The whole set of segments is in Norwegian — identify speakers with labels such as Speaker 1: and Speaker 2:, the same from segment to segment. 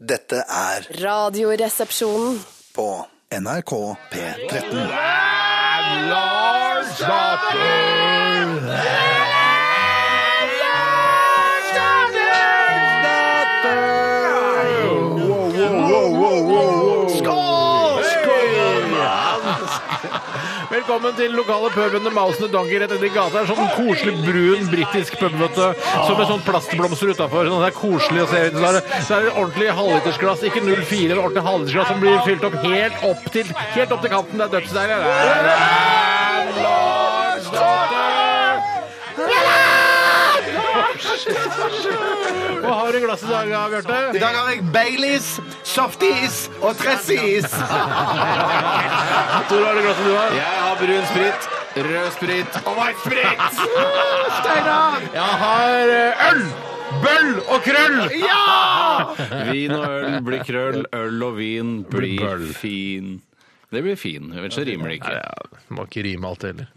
Speaker 1: Dette er
Speaker 2: Radioresepsjonen.
Speaker 1: på NRK P13.
Speaker 3: Velkommen til den lokale puben The Mouse and the Donkey rett uti gata. En sånn koselig brun britisk pub, vet du. Som med sånn plastblomster utafor. Sånn, det er koselig å se. ut. Så er det, så er det ordentlig halvlitersglass, ikke 04, eller ordentlig halvlitersglass som blir fylt opp helt opp til, helt opp til kanten. Det er dødsdeilig. Hva har du i glasset i dag, da,
Speaker 4: I
Speaker 3: Bjarte?
Speaker 4: dag har jeg Baileys, softis og tressis.
Speaker 3: Hvor har du glasset du har?
Speaker 4: Jeg har brun sprit, rød sprit og white sprit.
Speaker 3: Jeg har eh, øl! Bøll og krøll!
Speaker 4: Vin og øl blir krøll, øl og vin blir
Speaker 3: bøll.
Speaker 4: fin. Det blir fin, ellers så rimer det ikke.
Speaker 3: Må ikke rime alt heller.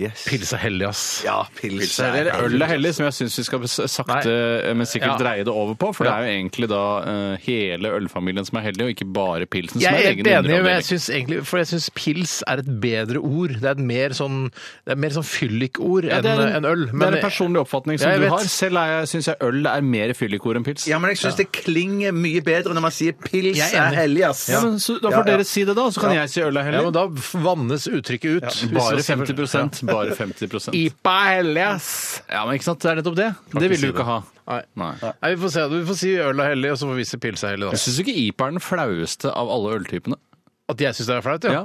Speaker 4: Yes.
Speaker 3: Pils er hellig, ass.
Speaker 1: Ja, pils
Speaker 4: Eller øl er hellig, som jeg syns vi skal s- sakte, eh, men sikkert
Speaker 3: Ja.
Speaker 4: dreie det over på. For det
Speaker 3: Ja.
Speaker 4: er jo egentlig da eh, hele ølfamilien som er hellig, og ikke bare pilsen som
Speaker 3: Jeg
Speaker 4: er
Speaker 3: er
Speaker 4: en egen
Speaker 3: helt enig, men jeg
Speaker 4: underavdeling.
Speaker 3: synes egentlig, for jeg syns pils er et bedre ord. Det er et mer sånn, det er mer sånn fyllikord
Speaker 4: Ja,
Speaker 3: enn
Speaker 4: det
Speaker 3: eh,
Speaker 4: er en-
Speaker 3: enn øl.
Speaker 4: det er
Speaker 3: Men
Speaker 4: en personlig oppfatning som
Speaker 3: Jeg
Speaker 4: du
Speaker 3: vet.
Speaker 4: har. Selv er jeg- syns jeg øl er mer fyllikord enn pils.
Speaker 1: Ja, men jeg syns det klinger mye bedre når man sier pils
Speaker 3: Jeg er
Speaker 1: er
Speaker 3: enig.
Speaker 1: hellig, ass.
Speaker 4: Ja, men så, Da får
Speaker 1: Ja, ja.
Speaker 4: dere si det, da, så kan jeg si øl er
Speaker 3: ja,
Speaker 4: hellig.
Speaker 3: men da vannes uttrykket ut. Hvis
Speaker 4: bare
Speaker 3: det-
Speaker 4: 50 Bare 50
Speaker 3: IPA er hellig, ass!
Speaker 4: Ja, men ikke sant, det er nettopp det. Det vil du ikke ha.
Speaker 3: Nei.
Speaker 4: Nei.
Speaker 3: Nei, vi får se. Vi får si øl er hellig, og så får vi si pils er hellig,
Speaker 4: Jeg
Speaker 3: da.
Speaker 4: syns ikke IPA er den flaueste av alle øltypene.
Speaker 3: At jeg syns det er flaut, ja.
Speaker 4: Ja.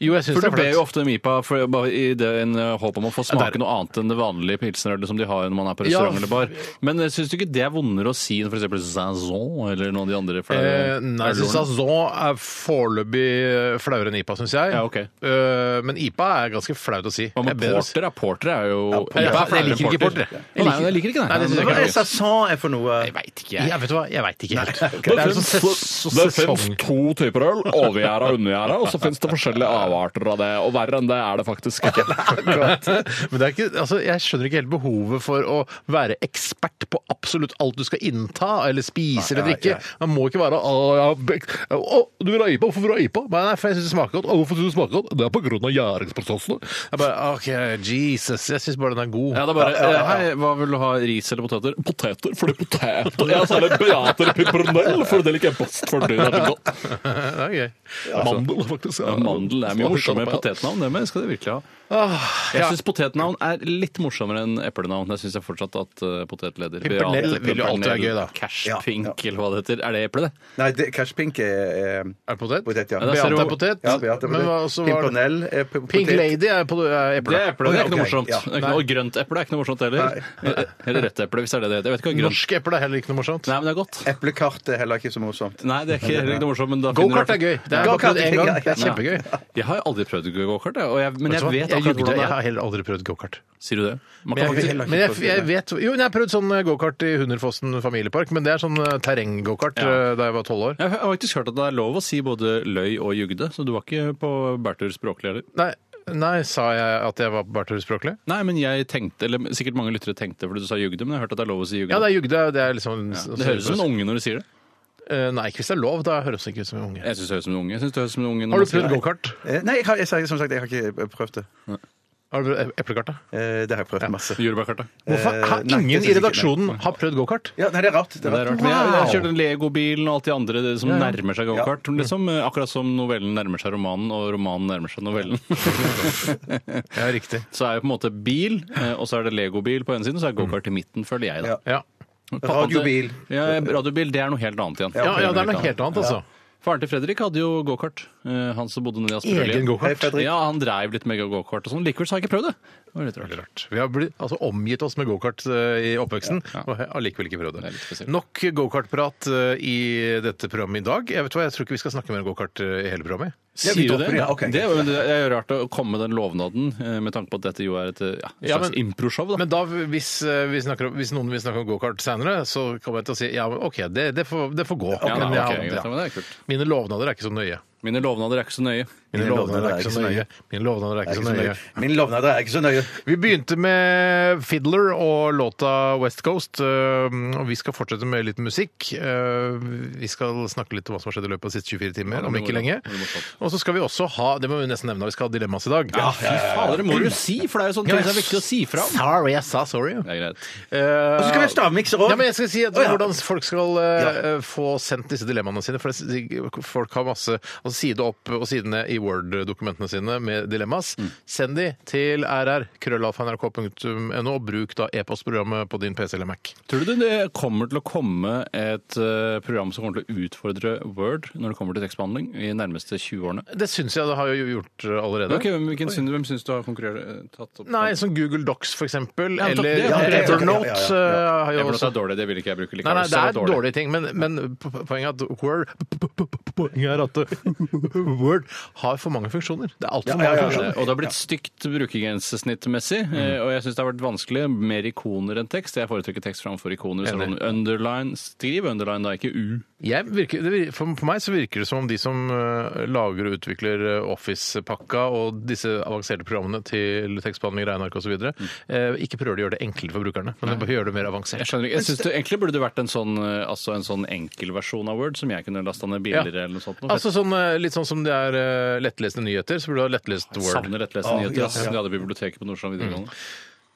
Speaker 3: Jo, jeg syns
Speaker 4: For
Speaker 3: det
Speaker 4: du
Speaker 3: er
Speaker 4: ber jo
Speaker 3: flaut.
Speaker 4: ofte om IPA for, bare i den eh, håp om å få
Speaker 3: Ja,
Speaker 4: smake
Speaker 3: der-
Speaker 4: noe annet enn det vanlige pilsnerølet som de har når man er på
Speaker 3: Ja.
Speaker 4: restaurant eller bar. Men syns du ikke det er vondere å si enn f.eks. Zazon eller noen av de andre flaue
Speaker 3: Eh, Nei, jeg syns
Speaker 4: ølordene?
Speaker 3: Sazon er foreløpig flauere enn IPA, syns jeg.
Speaker 4: Ja, ok.
Speaker 3: Eh, Men IPA er ganske flaut å si.
Speaker 4: Hva
Speaker 3: Det
Speaker 4: med
Speaker 3: er bedre å si-
Speaker 4: porter? da? Porter er jo IPA
Speaker 3: Ja,
Speaker 4: er
Speaker 3: jeg
Speaker 4: flauere
Speaker 3: liker
Speaker 4: enn
Speaker 3: ikke porter. Jeg
Speaker 4: Å, Nei,
Speaker 3: liker-
Speaker 4: jeg liker ikke
Speaker 3: Nei, det synes jeg
Speaker 1: Hva
Speaker 4: det.
Speaker 1: er sasson er for noe?
Speaker 4: Jeg veit ikke,
Speaker 3: Jeg
Speaker 4: jeg.
Speaker 3: vet du hva, jeg veit ikke helt.
Speaker 4: Det,
Speaker 3: er
Speaker 4: finnes-
Speaker 3: sånn ses-
Speaker 4: det finnes
Speaker 3: sesong.
Speaker 4: to typer øl, overgjæra og undergjæra, og så finnes det forskjellige avarter av det. Og verre enn det er det faktisk ikke.
Speaker 3: Men det er ikke, altså, jeg skjønner ikke helt behovet for å være ekspert på absolutt alt du skal innta eller spise eller drikke. Man må ikke være å, ja, bek- å, du vil ha IPA, hvorfor vil du ha IPA? Nei, nei, for jeg syns det smaker godt. Å, hvorfor syns du det smaker godt? Det er på grunn av gjæringsprosessene. Jeg bare, OK, Jesus. Jeg syns bare den er god.
Speaker 4: Ja, det er bare eh, Hei, hva vil du ha? Ris eller poteter? Poteter, fordi poteter Ja, så er det beater pimpernell, for det liker jeg best. For det er så godt.
Speaker 3: det er gøy. Mandel, faktisk.
Speaker 4: Ja, mandel er mye morsommere.
Speaker 3: Smaksopp, ja.
Speaker 4: Potetnavn, det med skal de virkelig ha.
Speaker 3: Ah,
Speaker 4: Jeg
Speaker 3: ja.
Speaker 4: syns potetnavn er litt morsommere enn eplenavn. Jeg syns jeg fortsatt at eh, potetleder
Speaker 3: Pimpernell
Speaker 4: Beate
Speaker 3: vil jo alltid
Speaker 4: Pimpernell,
Speaker 3: være gøy, da.
Speaker 4: Cash
Speaker 1: Ja,
Speaker 4: pink, eller hva det heter. Er det eple, det?
Speaker 1: Nei, det, Cash Pink er, eh,
Speaker 3: Er det potet?
Speaker 1: Potet, ja.
Speaker 4: Ja,
Speaker 3: Beate
Speaker 4: det
Speaker 3: er
Speaker 4: er
Speaker 3: potet.
Speaker 1: ja, Beate,
Speaker 3: Men hva- så var det-
Speaker 1: Pimpernell er eh, p-
Speaker 3: Pink
Speaker 1: potet.
Speaker 3: Lady er, på, er eple.
Speaker 4: Det er eple, det er ikke noe
Speaker 1: Ok,
Speaker 4: morsomt.
Speaker 1: ja.
Speaker 4: Det er ikke noe, og grønt eple er ikke noe morsomt heller. Eller rødt eple, hvis det er det det heter. Jeg vet ikke hva grønt
Speaker 3: Norsk eple er heller ikke noe morsomt.
Speaker 4: Nei, men det er godt.
Speaker 1: Eplekart er heller ikke så morsomt.
Speaker 4: Nei, det er ikke, heller ikke noe morsomt, men da finner
Speaker 3: Gokart
Speaker 4: du-
Speaker 3: er gøy. Det er bare
Speaker 1: Go-kart
Speaker 3: prøvd
Speaker 1: er
Speaker 3: én gang.
Speaker 1: gøy,
Speaker 3: Det er
Speaker 4: ja.
Speaker 3: kjempegøy.
Speaker 4: Jeg har aldri prøvd gokart, jeg, og jeg, men jeg
Speaker 3: Vet du hva?
Speaker 4: vet akkurat
Speaker 3: jugde.
Speaker 4: hvordan det
Speaker 3: Jeg
Speaker 4: er.
Speaker 3: har heller aldri prøvd gokart.
Speaker 4: Sier du det? Man
Speaker 3: Men
Speaker 4: kan
Speaker 3: jeg,
Speaker 4: faktisk...
Speaker 3: men jeg, jeg vet Jo, men jeg har prøvd sånn gokart i Hunderfossen familiepark, men det er sånn eh, terrenggokart
Speaker 4: Ja.
Speaker 3: eh, da jeg var tolv år.
Speaker 4: Jeg har faktisk hørt at det er lov å si både løy og jugde, så du var ikke på bærtur språklig heller.
Speaker 3: Nei, nei, sa jeg at jeg var på bærtur språklig?
Speaker 4: Nei, men jeg tenkte, eller sikkert mange lyttere tenkte fordi du sa jugde, men jeg har hørt at det er lov å si jugde.
Speaker 3: Ja, det er jugde. Det er liksom
Speaker 4: Ja, det høres ut som en unge når du sier det.
Speaker 3: Eh, Nei, ikke hvis det er lov. Da høres det ikke ut som en unge.
Speaker 4: Jeg syns det høres ut som en unge. Jeg synes det høres ut som en unge når man
Speaker 3: Har du
Speaker 4: sier
Speaker 3: prøvd
Speaker 4: det.
Speaker 3: gokart?
Speaker 1: Eh, Nei, jeg har, jeg, sa- som sagt, jeg har ikke prøvd det.
Speaker 3: Har du prøvd e- eplekart, da?
Speaker 1: Eh, Det har jeg prøvd masse.
Speaker 4: Jordbærkarta.
Speaker 3: Hvorfor
Speaker 1: Eh,
Speaker 3: har
Speaker 1: nei, det
Speaker 3: ingen
Speaker 1: synes jeg
Speaker 3: i
Speaker 1: ikke, nei.
Speaker 3: redaksjonen har prøvd gokart?
Speaker 1: Ja, nei, det er rart.
Speaker 4: Det er rart. Men jeg, jeg kjørte den Lego-bilen og alt de andre det som nærmer seg gokart. Liksom, eh, akkurat som novellen nærmer seg romanen, og romanen nærmer seg novellen.
Speaker 3: Ja, riktig.
Speaker 4: så er det på en måte bil, eh, og så er det Lego-bil på ene siden, og så er gokart i midten, føler jeg. da.
Speaker 1: Ja.
Speaker 3: Ja.
Speaker 4: Pappa, det-
Speaker 1: Radiobil.
Speaker 4: Ja, radiobil, det er noe helt annet igjen.
Speaker 3: Ja, ja, det er noe helt annet, altså.
Speaker 4: Faren til Fredrik hadde jo gokart. Eh, Han som bodde nede i
Speaker 3: Egen
Speaker 4: Asperøya.
Speaker 1: Hei,
Speaker 3: gokart.
Speaker 1: Fredrik.
Speaker 4: Ja, han dreiv litt med gokart og sånn. Likevel så har jeg ikke prøvd det. Det var litt rart.
Speaker 3: Rart. Vi har blitt, altså, omgitt oss med gokart eh, i oppveksten, og har allikevel ikke prøvd det.
Speaker 4: Det er litt spesielt.
Speaker 3: Nok gokartprat eh, i dette programmet i dag. Jeg vet hva, jeg tror ikke vi skal snakke mer om gokart eh, i hele programmet.
Speaker 4: Sier
Speaker 1: vi
Speaker 4: du
Speaker 1: dropper
Speaker 4: det?
Speaker 1: det, ja, ok.
Speaker 4: Det er jo det er jo rart å komme med den lovnaden, eh, med tanke på at dette jo er et eh, ja,
Speaker 3: Ja,
Speaker 4: slags
Speaker 3: men-
Speaker 4: improshow. da.
Speaker 3: Men da, hvis, eh, vi snakker om, hvis noen vil snakke om gokart senere, så kommer jeg til å si ja, men OK, det, det, får, det får gå.
Speaker 4: ja,
Speaker 3: Men
Speaker 4: da, ok,
Speaker 3: jeg-
Speaker 4: greit,
Speaker 3: ja.
Speaker 4: men det er kult.
Speaker 3: Mine lovnader er ikke så nøye.
Speaker 4: Mine lovnader er ikke så nøye.
Speaker 3: Mine lovnader er ikke så nøye. Mine lovnader er
Speaker 1: Det er ikke så
Speaker 3: ikke så nøye.
Speaker 1: nøye. Min lovnad er ikke så nøye.
Speaker 3: Vi begynte med Fiddler og låta West Coast. øh, Og vi skal fortsette med litt musikk. Øh, Vi skal snakke litt om hva som har skjedd i løpet av de siste 24 timer, om
Speaker 4: det
Speaker 3: ikke
Speaker 4: må vi-
Speaker 3: lenge.
Speaker 4: det må vi fortsatt.
Speaker 3: Og så skal vi også ha Det må vi nesten nevne, vi skal ha dilemmas i dag.
Speaker 4: fy fader, det må du si, for det er jo sånne ting som er viktig å si fra om.
Speaker 3: Sorry, jeg sa sorry.
Speaker 4: Det er greit.
Speaker 3: Eh,
Speaker 1: Og så skal vi ha stavmikser òg.
Speaker 3: Ja, men jeg skal si at
Speaker 1: Å, ja.
Speaker 3: hvordan folk skal eh, få sendt disse dilemmaene sine. For det- folk har masse altså side opp og sidene i Word-dokumentene sine med dilemmas. Send de til rr.krøllalfa.nrk.no og bruk da e-postprogrammet på din PC eller Mac.
Speaker 4: Tror du det kommer til å komme et eh, program som kommer til å utfordre Word når det kommer til tekstbehandling i de nærmeste 20 årene?
Speaker 3: Det syns jeg det har jo gjort eh, allerede.
Speaker 4: Ok, hvem, hvilken synd, hvem syns du har konkurrert? eh, Tatt opp?
Speaker 3: Nei, som Google Docs, for eksempel.
Speaker 4: Ja, men
Speaker 3: eller
Speaker 4: det- ja, det-
Speaker 3: Evernote.
Speaker 1: ja, ja, ja.
Speaker 3: eh, har jo
Speaker 4: Evernote
Speaker 3: også
Speaker 4: er dårlig, det vil ikke jeg bruke.
Speaker 3: Nei,
Speaker 4: likevel,
Speaker 3: nei, det
Speaker 4: så
Speaker 3: er dårlige ting, men, men po- poenget er at Word Poenget er at eh, Word har for mange funksjoner. Det er
Speaker 1: Ja,
Speaker 3: altfor
Speaker 1: ja,
Speaker 3: mange
Speaker 1: ja, ja.
Speaker 3: funksjoner.
Speaker 4: Eh, Og det har blitt stygt brukergrensesnittmessig.
Speaker 3: Mm.
Speaker 4: eh, Og jeg syns det har vært vanskelig. Mer ikoner enn tekst. Jeg foretrekker tekst framfor ikoner. Sånn underline, Skriv underline, da, ikke U.
Speaker 3: Jeg virker, det vir- for, for meg så virker det som om de som eh, lager og utvikler eh, Office-pakka og disse avanserte programmene til tekstbehandling, regneark osv.,
Speaker 4: Mm.
Speaker 3: eh, ikke prøver de å gjøre det enklere for brukerne, men de bare gjør det mer
Speaker 4: Jeg
Speaker 3: avansert.
Speaker 4: skjønner ikke. Jeg synes det, egentlig burde det vært en sånn, eh, altså en sånn enkel versjon av Word som jeg kunne lasta ned
Speaker 3: Ja.
Speaker 4: billigere eller noe sånt. noe.
Speaker 3: Altså sånn, eh, Litt sånn som det er eh, lettlesende nyheter, så burde du ha lettlest
Speaker 4: Jeg
Speaker 3: Word.
Speaker 4: savner rettlesende nyheter. ass. De hadde biblioteket på Nordstrand videregående.
Speaker 3: Mm.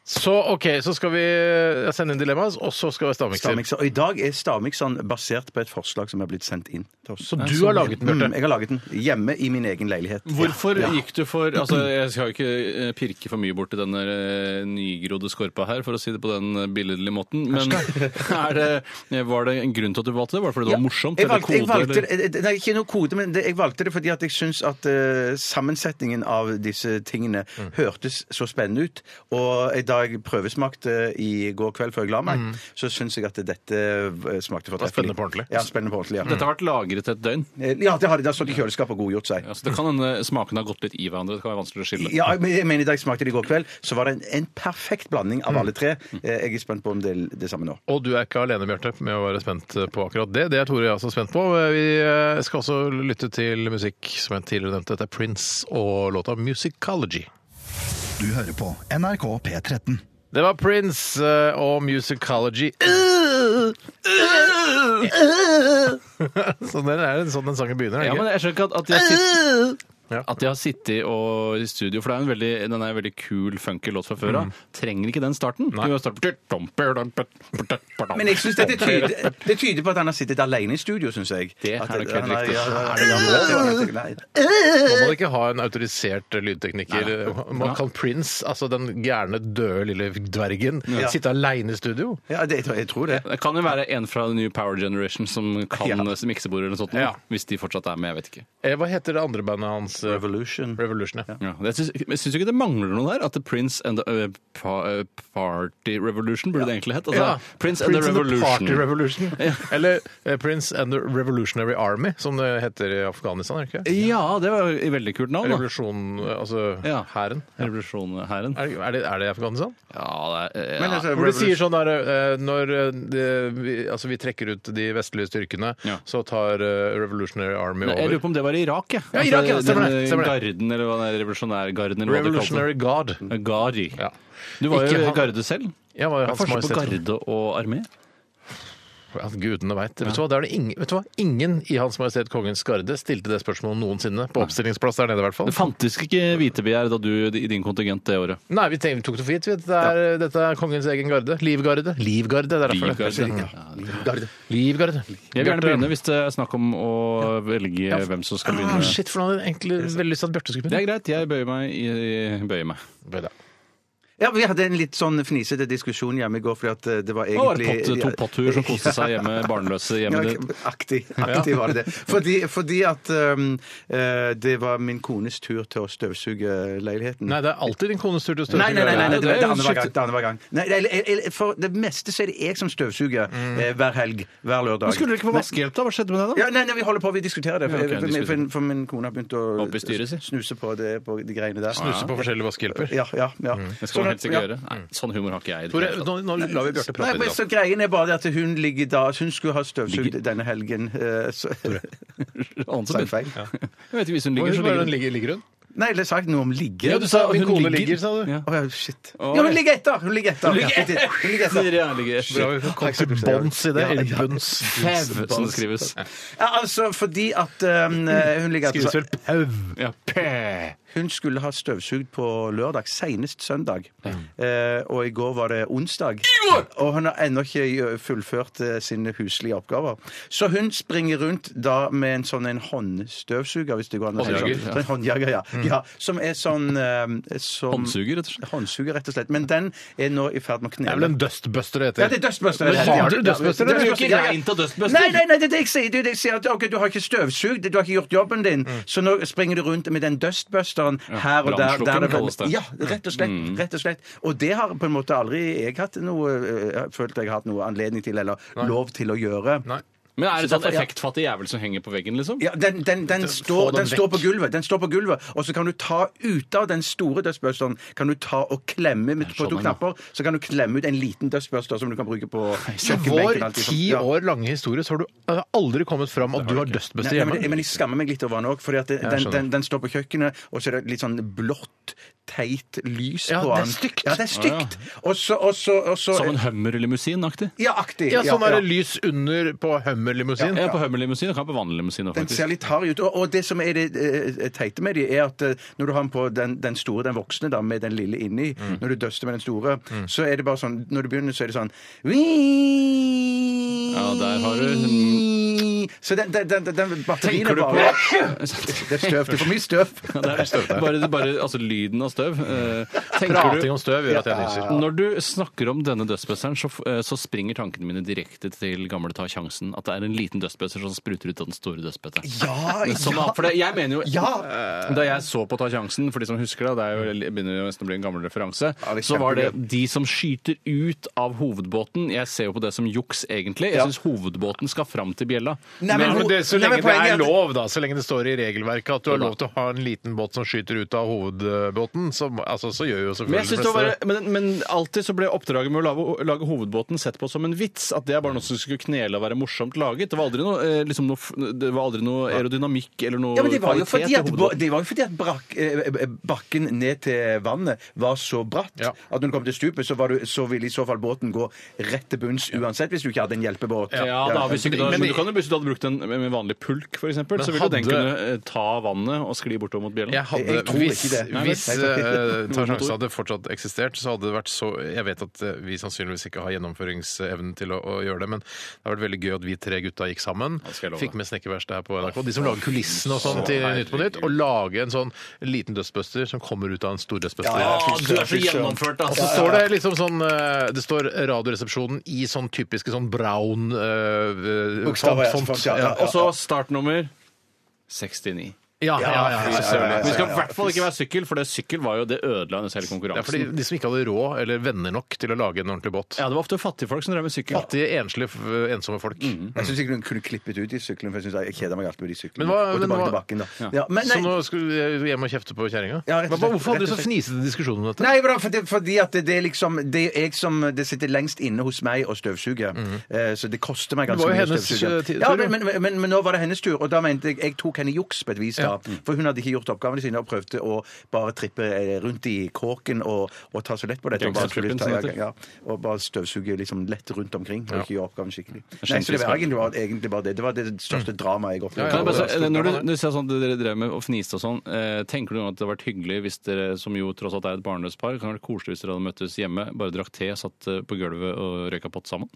Speaker 3: Så OK, så skal vi eh, sende inn dilemmaer, og så skal vi ha stavmikser.
Speaker 1: Stavmikser. Og i dag er stavmikseren basert på et forslag som er blitt sendt inn til oss.
Speaker 3: Så du har laget den,
Speaker 1: Mm,
Speaker 3: Bjarte.
Speaker 1: jeg har laget den hjemme i min egen leilighet.
Speaker 4: Hvorfor
Speaker 1: Ja.
Speaker 4: gikk du for altså Jeg skal jo ikke eh, pirke for mye borti denne eh, nygrodde skorpa her, for å si det på den eh, billedlige måten, men er det, eh, var det en grunn til at du valgte det? Var det fordi det var morsomt?
Speaker 1: Jeg
Speaker 4: eller
Speaker 1: valgte, jeg
Speaker 4: kode,
Speaker 1: valgte,
Speaker 4: eller?
Speaker 1: eh, nei, ikke noe kode, men det, jeg valgte det fordi at jeg syns at eh, sammensetningen av disse tingene hørtes så spennende ut. Og eh, da jeg prøvesmakte eh, i går kveld før jeg la meg, så syns jeg at dette eh, smakte fortreffelig.
Speaker 3: spennende på ordentlig.
Speaker 1: Ja, spennende på ordentlig, ja.
Speaker 4: Dette har vært lagret et døgn.
Speaker 1: Eh, Ja, det har det. Det har stått i kjøleskapet og godgjort seg.
Speaker 4: Altså, det kan hende smakene har gått litt i hverandre. Det kan være vanskelig å skille.
Speaker 1: Ja, men jeg mener Da jeg smakte det i går kveld, så var det en, en perfekt blanding av alle tre.
Speaker 4: Mm.
Speaker 1: Eh, Jeg er spent på om det er det samme nå.
Speaker 3: Og du er ikke alene, Bjarte, med å være spent eh, på akkurat det. Det er Tore og jeg også spent på. Vi eh, skal også lytte til musikk som jeg tidligere nevnte. Dette er Prince og låta 'Musicology'.
Speaker 5: Du hører på NRK P13.
Speaker 3: Det var Prince eh, og 'Musicology'. Så det er sånn den sangen begynner. er det
Speaker 4: Ja,
Speaker 3: ikke?
Speaker 4: men jeg skjønner ikke at, at, jeg sitter,
Speaker 1: Øh!
Speaker 3: Ja.
Speaker 4: at jeg har sittet og, i studio, for det er en veldig, den er en veldig kul, funky låt fra før av. Trenger ikke den starten. Du kan starte på-
Speaker 1: Men jeg synes dette tyder, det tyder på at han har sittet alene i studio, syns jeg.
Speaker 4: Det er
Speaker 1: At
Speaker 4: nok helt
Speaker 1: han har-
Speaker 4: riktig.
Speaker 1: ja, ja, ja, ja. Nei.
Speaker 3: Man må ikke ha en autorisert lydtekniker. Man kan Prince, altså den gærne, døde lille dvergen, sitte aleine i studio.
Speaker 1: Ja, det, jeg tror- jeg tror det.
Speaker 4: Det kan jo være en fra New Power Generation som kan
Speaker 1: Ja.
Speaker 4: eh, miksebord eller noe sånt. nå,
Speaker 3: Ja.
Speaker 4: Hvis de fortsatt er med, jeg vet ikke.
Speaker 3: Eh, Hva heter det andre bandet hans? eh,
Speaker 1: Revolution.
Speaker 3: Revolution, ja.
Speaker 4: Ja. Jeg syns jeg syns jo ikke det mangler noe der. At The Prince and the eh, pa, eh, Party Revolution burde det egentlig hett. Altså,
Speaker 3: Ja.
Speaker 4: Prince and the Revolution.
Speaker 3: Party Revolution. Eller eh, Prince and the Revolutionary Army, som det heter i Afghanistan. er det ikke?
Speaker 4: ja, det var jo et veldig kult navn. da.
Speaker 3: Revolusjon, eh, altså
Speaker 4: Ja.
Speaker 3: hæren.
Speaker 4: Revolusjonhæren.
Speaker 3: Er, det- er, det- er det i Afghanistan?
Speaker 4: Ja, det er, eh,
Speaker 1: Men
Speaker 4: ja.
Speaker 1: altså,
Speaker 3: Hvor de
Speaker 1: Revolution-
Speaker 3: sier sånn der, eh, Når eh, det, vi, altså vi trekker ut de vestlige styrkene,
Speaker 4: Ja.
Speaker 3: så tar eh, Revolutionary Army
Speaker 4: Nei, Jeg lurer
Speaker 3: over.
Speaker 4: på om det var i Irak, jeg.
Speaker 3: Ja, Irak, ja,
Speaker 4: Altså,
Speaker 3: stemmer det,
Speaker 4: den, eh,
Speaker 3: stemmer det.
Speaker 4: Garden, eller hva det er, revolusjonærgarden, eller
Speaker 3: Revolutionary God.
Speaker 4: hva det kalles. Gari.
Speaker 3: Ja.
Speaker 4: Du var
Speaker 3: Ikke
Speaker 4: jo i
Speaker 3: han-
Speaker 4: garde selv.
Speaker 3: Ja, var
Speaker 4: Hva er
Speaker 3: hans
Speaker 4: forskjellen på
Speaker 3: majestet.
Speaker 4: garde og armé?
Speaker 3: Ja, gudene veit. Vet, du hva, det er det ingen- vet du hva? Ingen i Hans Majestet Kongens Garde stilte det spørsmålet noensinne. På oppstillingsplass der nede, i hvert fall.
Speaker 4: Det fantes ikke hvitebegjær da du i din kontingent det året.
Speaker 3: Nei, vi tenkte, tok det for gitt. vi, at Det er, Dette er kongens egen garde. Livgarde. Livgarde, det er derfor. det heter
Speaker 4: Livgarde.
Speaker 3: det. Livgarde.
Speaker 4: Jeg vil gjerne
Speaker 3: Bjarte-
Speaker 4: begynne hvis det er snakk om å velge hvem som skal
Speaker 3: Ah,
Speaker 4: begynne.
Speaker 3: shit, for nå hadde jeg egentlig veldig lyst til at Bjarte skulle
Speaker 4: Det
Speaker 3: begynne.
Speaker 4: er greit, jeg bøyer meg. i- bøyer meg.
Speaker 3: Bra.
Speaker 1: Ja, Vi hadde en litt sånn fnisete diskusjon hjemme i går, fordi at eh, det var
Speaker 4: Det var det
Speaker 1: egentlig
Speaker 4: pott, to potthuer som koste seg hjemme, barnløse
Speaker 1: Ja,
Speaker 4: hjemme ditt.
Speaker 1: aktig, aktig var det det. Fordi, fordi at um, eh, det var min kones tur til å støvsuge leiligheten.
Speaker 3: Nei, det er alltid din kones tur til å stå
Speaker 1: Nei, nei, nei, nei, nei, det,
Speaker 4: Det er
Speaker 1: det
Speaker 4: jo
Speaker 1: andre var gang.
Speaker 4: skift-
Speaker 1: Det andre var gang. Nei, det, eller- eller- for det meste så er det jeg som støvsuger eh, hver helg, hver lørdag.
Speaker 4: Men skulle dere ikke få vaskehjelp, da? Hva skjedde med det, da?
Speaker 1: Ja, nei, nei, vi holder på, vi diskuterer det. For,
Speaker 4: Ja, ok,
Speaker 1: for- for,
Speaker 4: diskuterer.
Speaker 1: for, for min kone har begynt å
Speaker 4: Opp i styret, si.
Speaker 1: snuse på, det, på de greiene der.
Speaker 3: Snuse på forskjellige vaskehjelper.
Speaker 1: Ja, ja, ja.
Speaker 4: Jeg skal man helst ikke
Speaker 1: ja.
Speaker 4: gjøre. Nei, sånn humor har ikke jeg. i det
Speaker 3: Tore,
Speaker 4: hele tatt.
Speaker 3: nå, nå lar vi Bjarte
Speaker 1: Nei,
Speaker 3: prate
Speaker 1: men
Speaker 3: litt.
Speaker 1: så Greien er bare det at hun ligger da Hun skulle ha støvsugd denne helgen. eh, så-
Speaker 4: Annet som
Speaker 1: Sa jeg feil?
Speaker 4: Jeg vet ikke, hvis hun ligger, så
Speaker 3: Hvor
Speaker 4: ligger
Speaker 3: den
Speaker 4: hun.
Speaker 3: ligger, ligger hun?
Speaker 1: Nei, eller sagt noe om ligge.
Speaker 3: Ja, du sa
Speaker 4: Hun
Speaker 3: min kone
Speaker 4: ligger.
Speaker 3: ligger, sa du.
Speaker 4: Ja.
Speaker 1: Å ja, shit. Ja, hun ligger etter! Hun ligger etter. Ja, shit. Hun ligger etter.
Speaker 4: Ja, ligger.
Speaker 3: Bra, vi kom til bunns i det.
Speaker 1: Ja, ja.
Speaker 3: Eller bunns.
Speaker 4: Fev, som sånn det skrives.
Speaker 1: Ja, altså, fordi at um, eh, hun ligger etter.
Speaker 3: Skrives
Speaker 1: så-
Speaker 3: vel pau.
Speaker 4: Ja, pæ.
Speaker 1: Hun skulle ha støvsugd på lørdag, senest søndag. Eh, og i går var det onsdag. Og hun har ennå ikke gjø- fullført eh, sine huslige oppgaver. Så hun springer rundt da med en sånn en håndstøvsuger, hvis det går an å si det
Speaker 4: Håndjager,
Speaker 1: sånn. Så En håndjager, ja.
Speaker 4: ja. Mm.
Speaker 1: ja. Som er sånn eh, som,
Speaker 4: Håndsuger, rett og slett.
Speaker 1: Håndsuger, rett og slett. Men den er nå i ferd med å
Speaker 3: Det er vel
Speaker 1: knele.
Speaker 3: en dustbuster det heter.
Speaker 1: Ja, det er dustbuster. det
Speaker 3: Men
Speaker 1: heter, ja.
Speaker 3: fader, dustbuster, det er jo ikke
Speaker 1: Ja, ja.
Speaker 4: rent av dustbuster.
Speaker 1: Nei, nei, nei, det er det jeg sier. Det er det jeg sier at, ok, du har ikke støvsugd, du har ikke gjort jobben din,
Speaker 3: Mm.
Speaker 1: så nå springer du rundt med den dustbusteren her og der. der
Speaker 4: brannslukkeren kalles det.
Speaker 1: Ja, rett og slett.
Speaker 3: Mm.
Speaker 1: rett Og slett. Og det har på en måte aldri jeg hatt noe, eh, følt jeg har hatt noe anledning til eller lov til å gjøre.
Speaker 3: Nei.
Speaker 4: Men er det sånn
Speaker 1: derfor- ja.
Speaker 4: effektfattig jævel som henger på veggen, liksom?
Speaker 1: Ja, den, den, den, står, den
Speaker 3: den
Speaker 1: står
Speaker 3: vekk.
Speaker 1: på gulvet, den står på gulvet, og så kan du ta ut av den store dustbusteren kan du ta og klemme med, på
Speaker 4: sånn
Speaker 1: to
Speaker 4: en, ja.
Speaker 1: knapper, så kan du klemme ut en liten dustbuster som du kan bruke på
Speaker 3: I vår
Speaker 1: kjøkkenbenken. alt liksom.
Speaker 3: ti
Speaker 1: Ja.
Speaker 3: år lange historie så har du eh, aldri kommet fram at du har dustbuster
Speaker 1: Nei,
Speaker 3: hjemme.
Speaker 1: men, men jeg skammer meg litt over den òg, for den,
Speaker 3: Jeg
Speaker 1: den,
Speaker 3: skjønner.
Speaker 1: den, den står på kjøkkenet, og så er det litt sånn blått, teit lys
Speaker 3: Ja,
Speaker 1: på
Speaker 3: det er
Speaker 1: den.
Speaker 3: stygt.
Speaker 1: Ja, det er stygt. Og så, og så, og så
Speaker 4: Som en hummerlimousin-aktig?
Speaker 1: Ja, aktig.
Speaker 3: Ja, sånn er det
Speaker 1: ja.
Speaker 3: lys under på Hummer-limousin.
Speaker 4: Ja, på hummerlimousin og kan på vanlig limousin.
Speaker 1: Den ser litt hard ut. Og, og det som er det eh, teite med de, er at eh, når du har den på den, den store, den voksne, da, med den lille inni,
Speaker 3: Mm.
Speaker 1: når du duster med den store, så er det bare sånn Når du begynner, så er det sånn Ja,
Speaker 4: Ja, der har du-
Speaker 1: Så den, den, den, den batterien
Speaker 4: Tenker
Speaker 1: er
Speaker 4: du
Speaker 1: bare
Speaker 4: på
Speaker 1: Det er støv. Det er for mye støv.
Speaker 4: Ja, det er støv der. Bare, bare altså, lyden av støv. eh, tenker
Speaker 3: Prating
Speaker 4: du
Speaker 3: om støv gjør at jeg nyser.
Speaker 4: når du snakker om denne dustbusteren, så, f- eh, så springer tankene mine direkte til gamle Ta sjansen. At det er en liten dustbuster som spruter ut av den store dustbusteren.
Speaker 1: Ja,
Speaker 4: Som, for det, jeg mener jo
Speaker 1: Ja.
Speaker 4: Eh, Da jeg så på Ta sjansen, for de som husker det, det er jo, begynner jo nesten å bli en gammel referanse,
Speaker 1: Ja, det er
Speaker 4: så var det
Speaker 1: kjempegøy.
Speaker 4: de som skyter ut av hovedbåten Jeg ser jo på det som juks, egentlig. Jeg
Speaker 1: Ja.
Speaker 4: syns hovedbåten skal fram til bjella.
Speaker 1: Nei, men
Speaker 3: Ja, men det, så
Speaker 1: Nei,
Speaker 3: lenge
Speaker 1: men
Speaker 3: det
Speaker 1: poenget er
Speaker 3: er
Speaker 1: at-
Speaker 3: lov, da, så lenge det står i regelverket at du har lov til å ha en liten båt som skyter ut av hovedbåten, så, altså, så gjør jo
Speaker 4: Men, jeg synes
Speaker 3: selvfølgelig de
Speaker 4: det var
Speaker 3: fleste det.
Speaker 4: bare, men, men alltid så ble oppdraget med å lage, lage hovedbåten sett på som en vits. At det er bare noe som skulle knele og være morsomt laget. Det var aldri noe, eh, liksom noe, f- det var aldri noe aerodynamikk eller noe
Speaker 1: Ja, men det var jo
Speaker 4: kvalitet
Speaker 1: fordi
Speaker 4: i
Speaker 1: at,
Speaker 4: hovedbåten.
Speaker 1: det var jo fordi at brak, eh, eh, bakken ned til vannet var så bratt
Speaker 3: Ja.
Speaker 1: at når du kom til stupet, så, var du, så ville i så fall båten gå rett til bunns uansett hvis du ikke hadde en hjelpebåt.
Speaker 4: Ja, da, hvis du, ikke- da,
Speaker 3: Men-
Speaker 4: men du kan jo, hvis du hadde brukt en med med vanlig pulk, for eksempel, så ville jo den
Speaker 3: hadde-
Speaker 4: kunne eh, ta vannet og skli bortover mot bjellen.
Speaker 3: Jeg hadde,
Speaker 1: Jeg tror ikke
Speaker 3: hvis
Speaker 1: det. Nei,
Speaker 3: hvis
Speaker 1: vet jeg
Speaker 3: eh,
Speaker 1: ikke.
Speaker 3: Ta sjansen hadde fortsatt eksistert, så hadde det vært så Jeg vet at eh, vi sannsynligvis ikke har gjennomføringsevnen til å, å gjøre det, men det har vært veldig gøy at vi tre gutta gikk sammen.
Speaker 4: det skal jeg love
Speaker 3: Fikk med snekkerverkstedet her på NRK. De som lager kulissene og sånn til Nytt på Nytt. Og lage en sånn liten dustbuster som kommer ut av en stor dustbuster.
Speaker 4: Å, du er så gjennomført, altså.
Speaker 3: Og så står det liksom sånn eh, Det står Radioresepsjonen i sånn typiske sånn brown eh,
Speaker 1: Bokstaver, ja, font,
Speaker 3: font- font.
Speaker 1: ja, ja.
Speaker 3: Ja,
Speaker 4: Og så startnummer 69.
Speaker 3: ja, ja, ja,
Speaker 1: fy
Speaker 3: ja,
Speaker 1: søren.
Speaker 3: ja, ja.
Speaker 4: Men det skal i hvert fall ikke være sykkel, for det sykkel var jo det ødela hennes hele
Speaker 3: Det er fordi
Speaker 4: konkurransen.
Speaker 3: de som ikke hadde råd eller venner nok til å lage en ordentlig båt.
Speaker 4: Ja, det var ofte fattigfolk som drev med sykkel.
Speaker 3: Fattige, enslige, f- ensomme folk.
Speaker 1: Jeg syns ikke hun kunne klippet ut de syklene, for jeg, synes jeg kjeder meg alltid med de syklene.
Speaker 3: Men hva-
Speaker 1: og
Speaker 3: men
Speaker 1: tilbake
Speaker 3: hva-
Speaker 1: til bakken, da. Ja. men
Speaker 3: Så
Speaker 1: nei,
Speaker 3: nå skulle du hjem og kjefte på kjerringa?
Speaker 1: Ja, rett og
Speaker 3: Men
Speaker 1: slett.
Speaker 3: Hvorfor hadde du
Speaker 1: Rett og
Speaker 3: så fnisete diskusjon om dette?
Speaker 1: Nei, for det- fordi, fordi at det, det er liksom Det er jeg som det sitter lengst inne hos meg å støvsuge. Eh, Så det koster meg ganske
Speaker 3: Mhm. var jo
Speaker 1: mye å
Speaker 3: hennes, eh, ti-
Speaker 1: støvsuge. Ja,
Speaker 3: tur, jo.
Speaker 1: men, men, men, men nå var det hennes tur, og da mente jeg jeg tok henne i juks på et vis. da Mm. For hun hadde ikke gjort oppgavene sine og prøvde å bare trippe eh, rundt i kåken og, og ta så lett på dette. Og bare, skulle
Speaker 4: Gangstertrippen,
Speaker 1: ta,
Speaker 3: sånn
Speaker 4: som det heter.
Speaker 1: ja, og bare støvsuge liksom lett rundt omkring og ikke gjøre oppgaven skikkelig.
Speaker 4: skjønte
Speaker 1: Nei, så det var
Speaker 4: ikke.
Speaker 1: egentlig, det var egentlig bare det. Det var det største dramaet jeg opplevde.
Speaker 4: Kan jeg bare,
Speaker 3: liksom- Mm. Ja,
Speaker 4: si-
Speaker 3: det er
Speaker 4: når du,
Speaker 3: stort,
Speaker 4: du ser sånn, at dere drev med og fniste og sånn, eh, tenker du noen gang at det hadde vært hyggelig hvis dere, som jo tross alt er et barnløst par, kan det være koselig hvis dere hadde møttes hjemme, bare drakk te, satt eh, på gulvet og røyka pott sammen?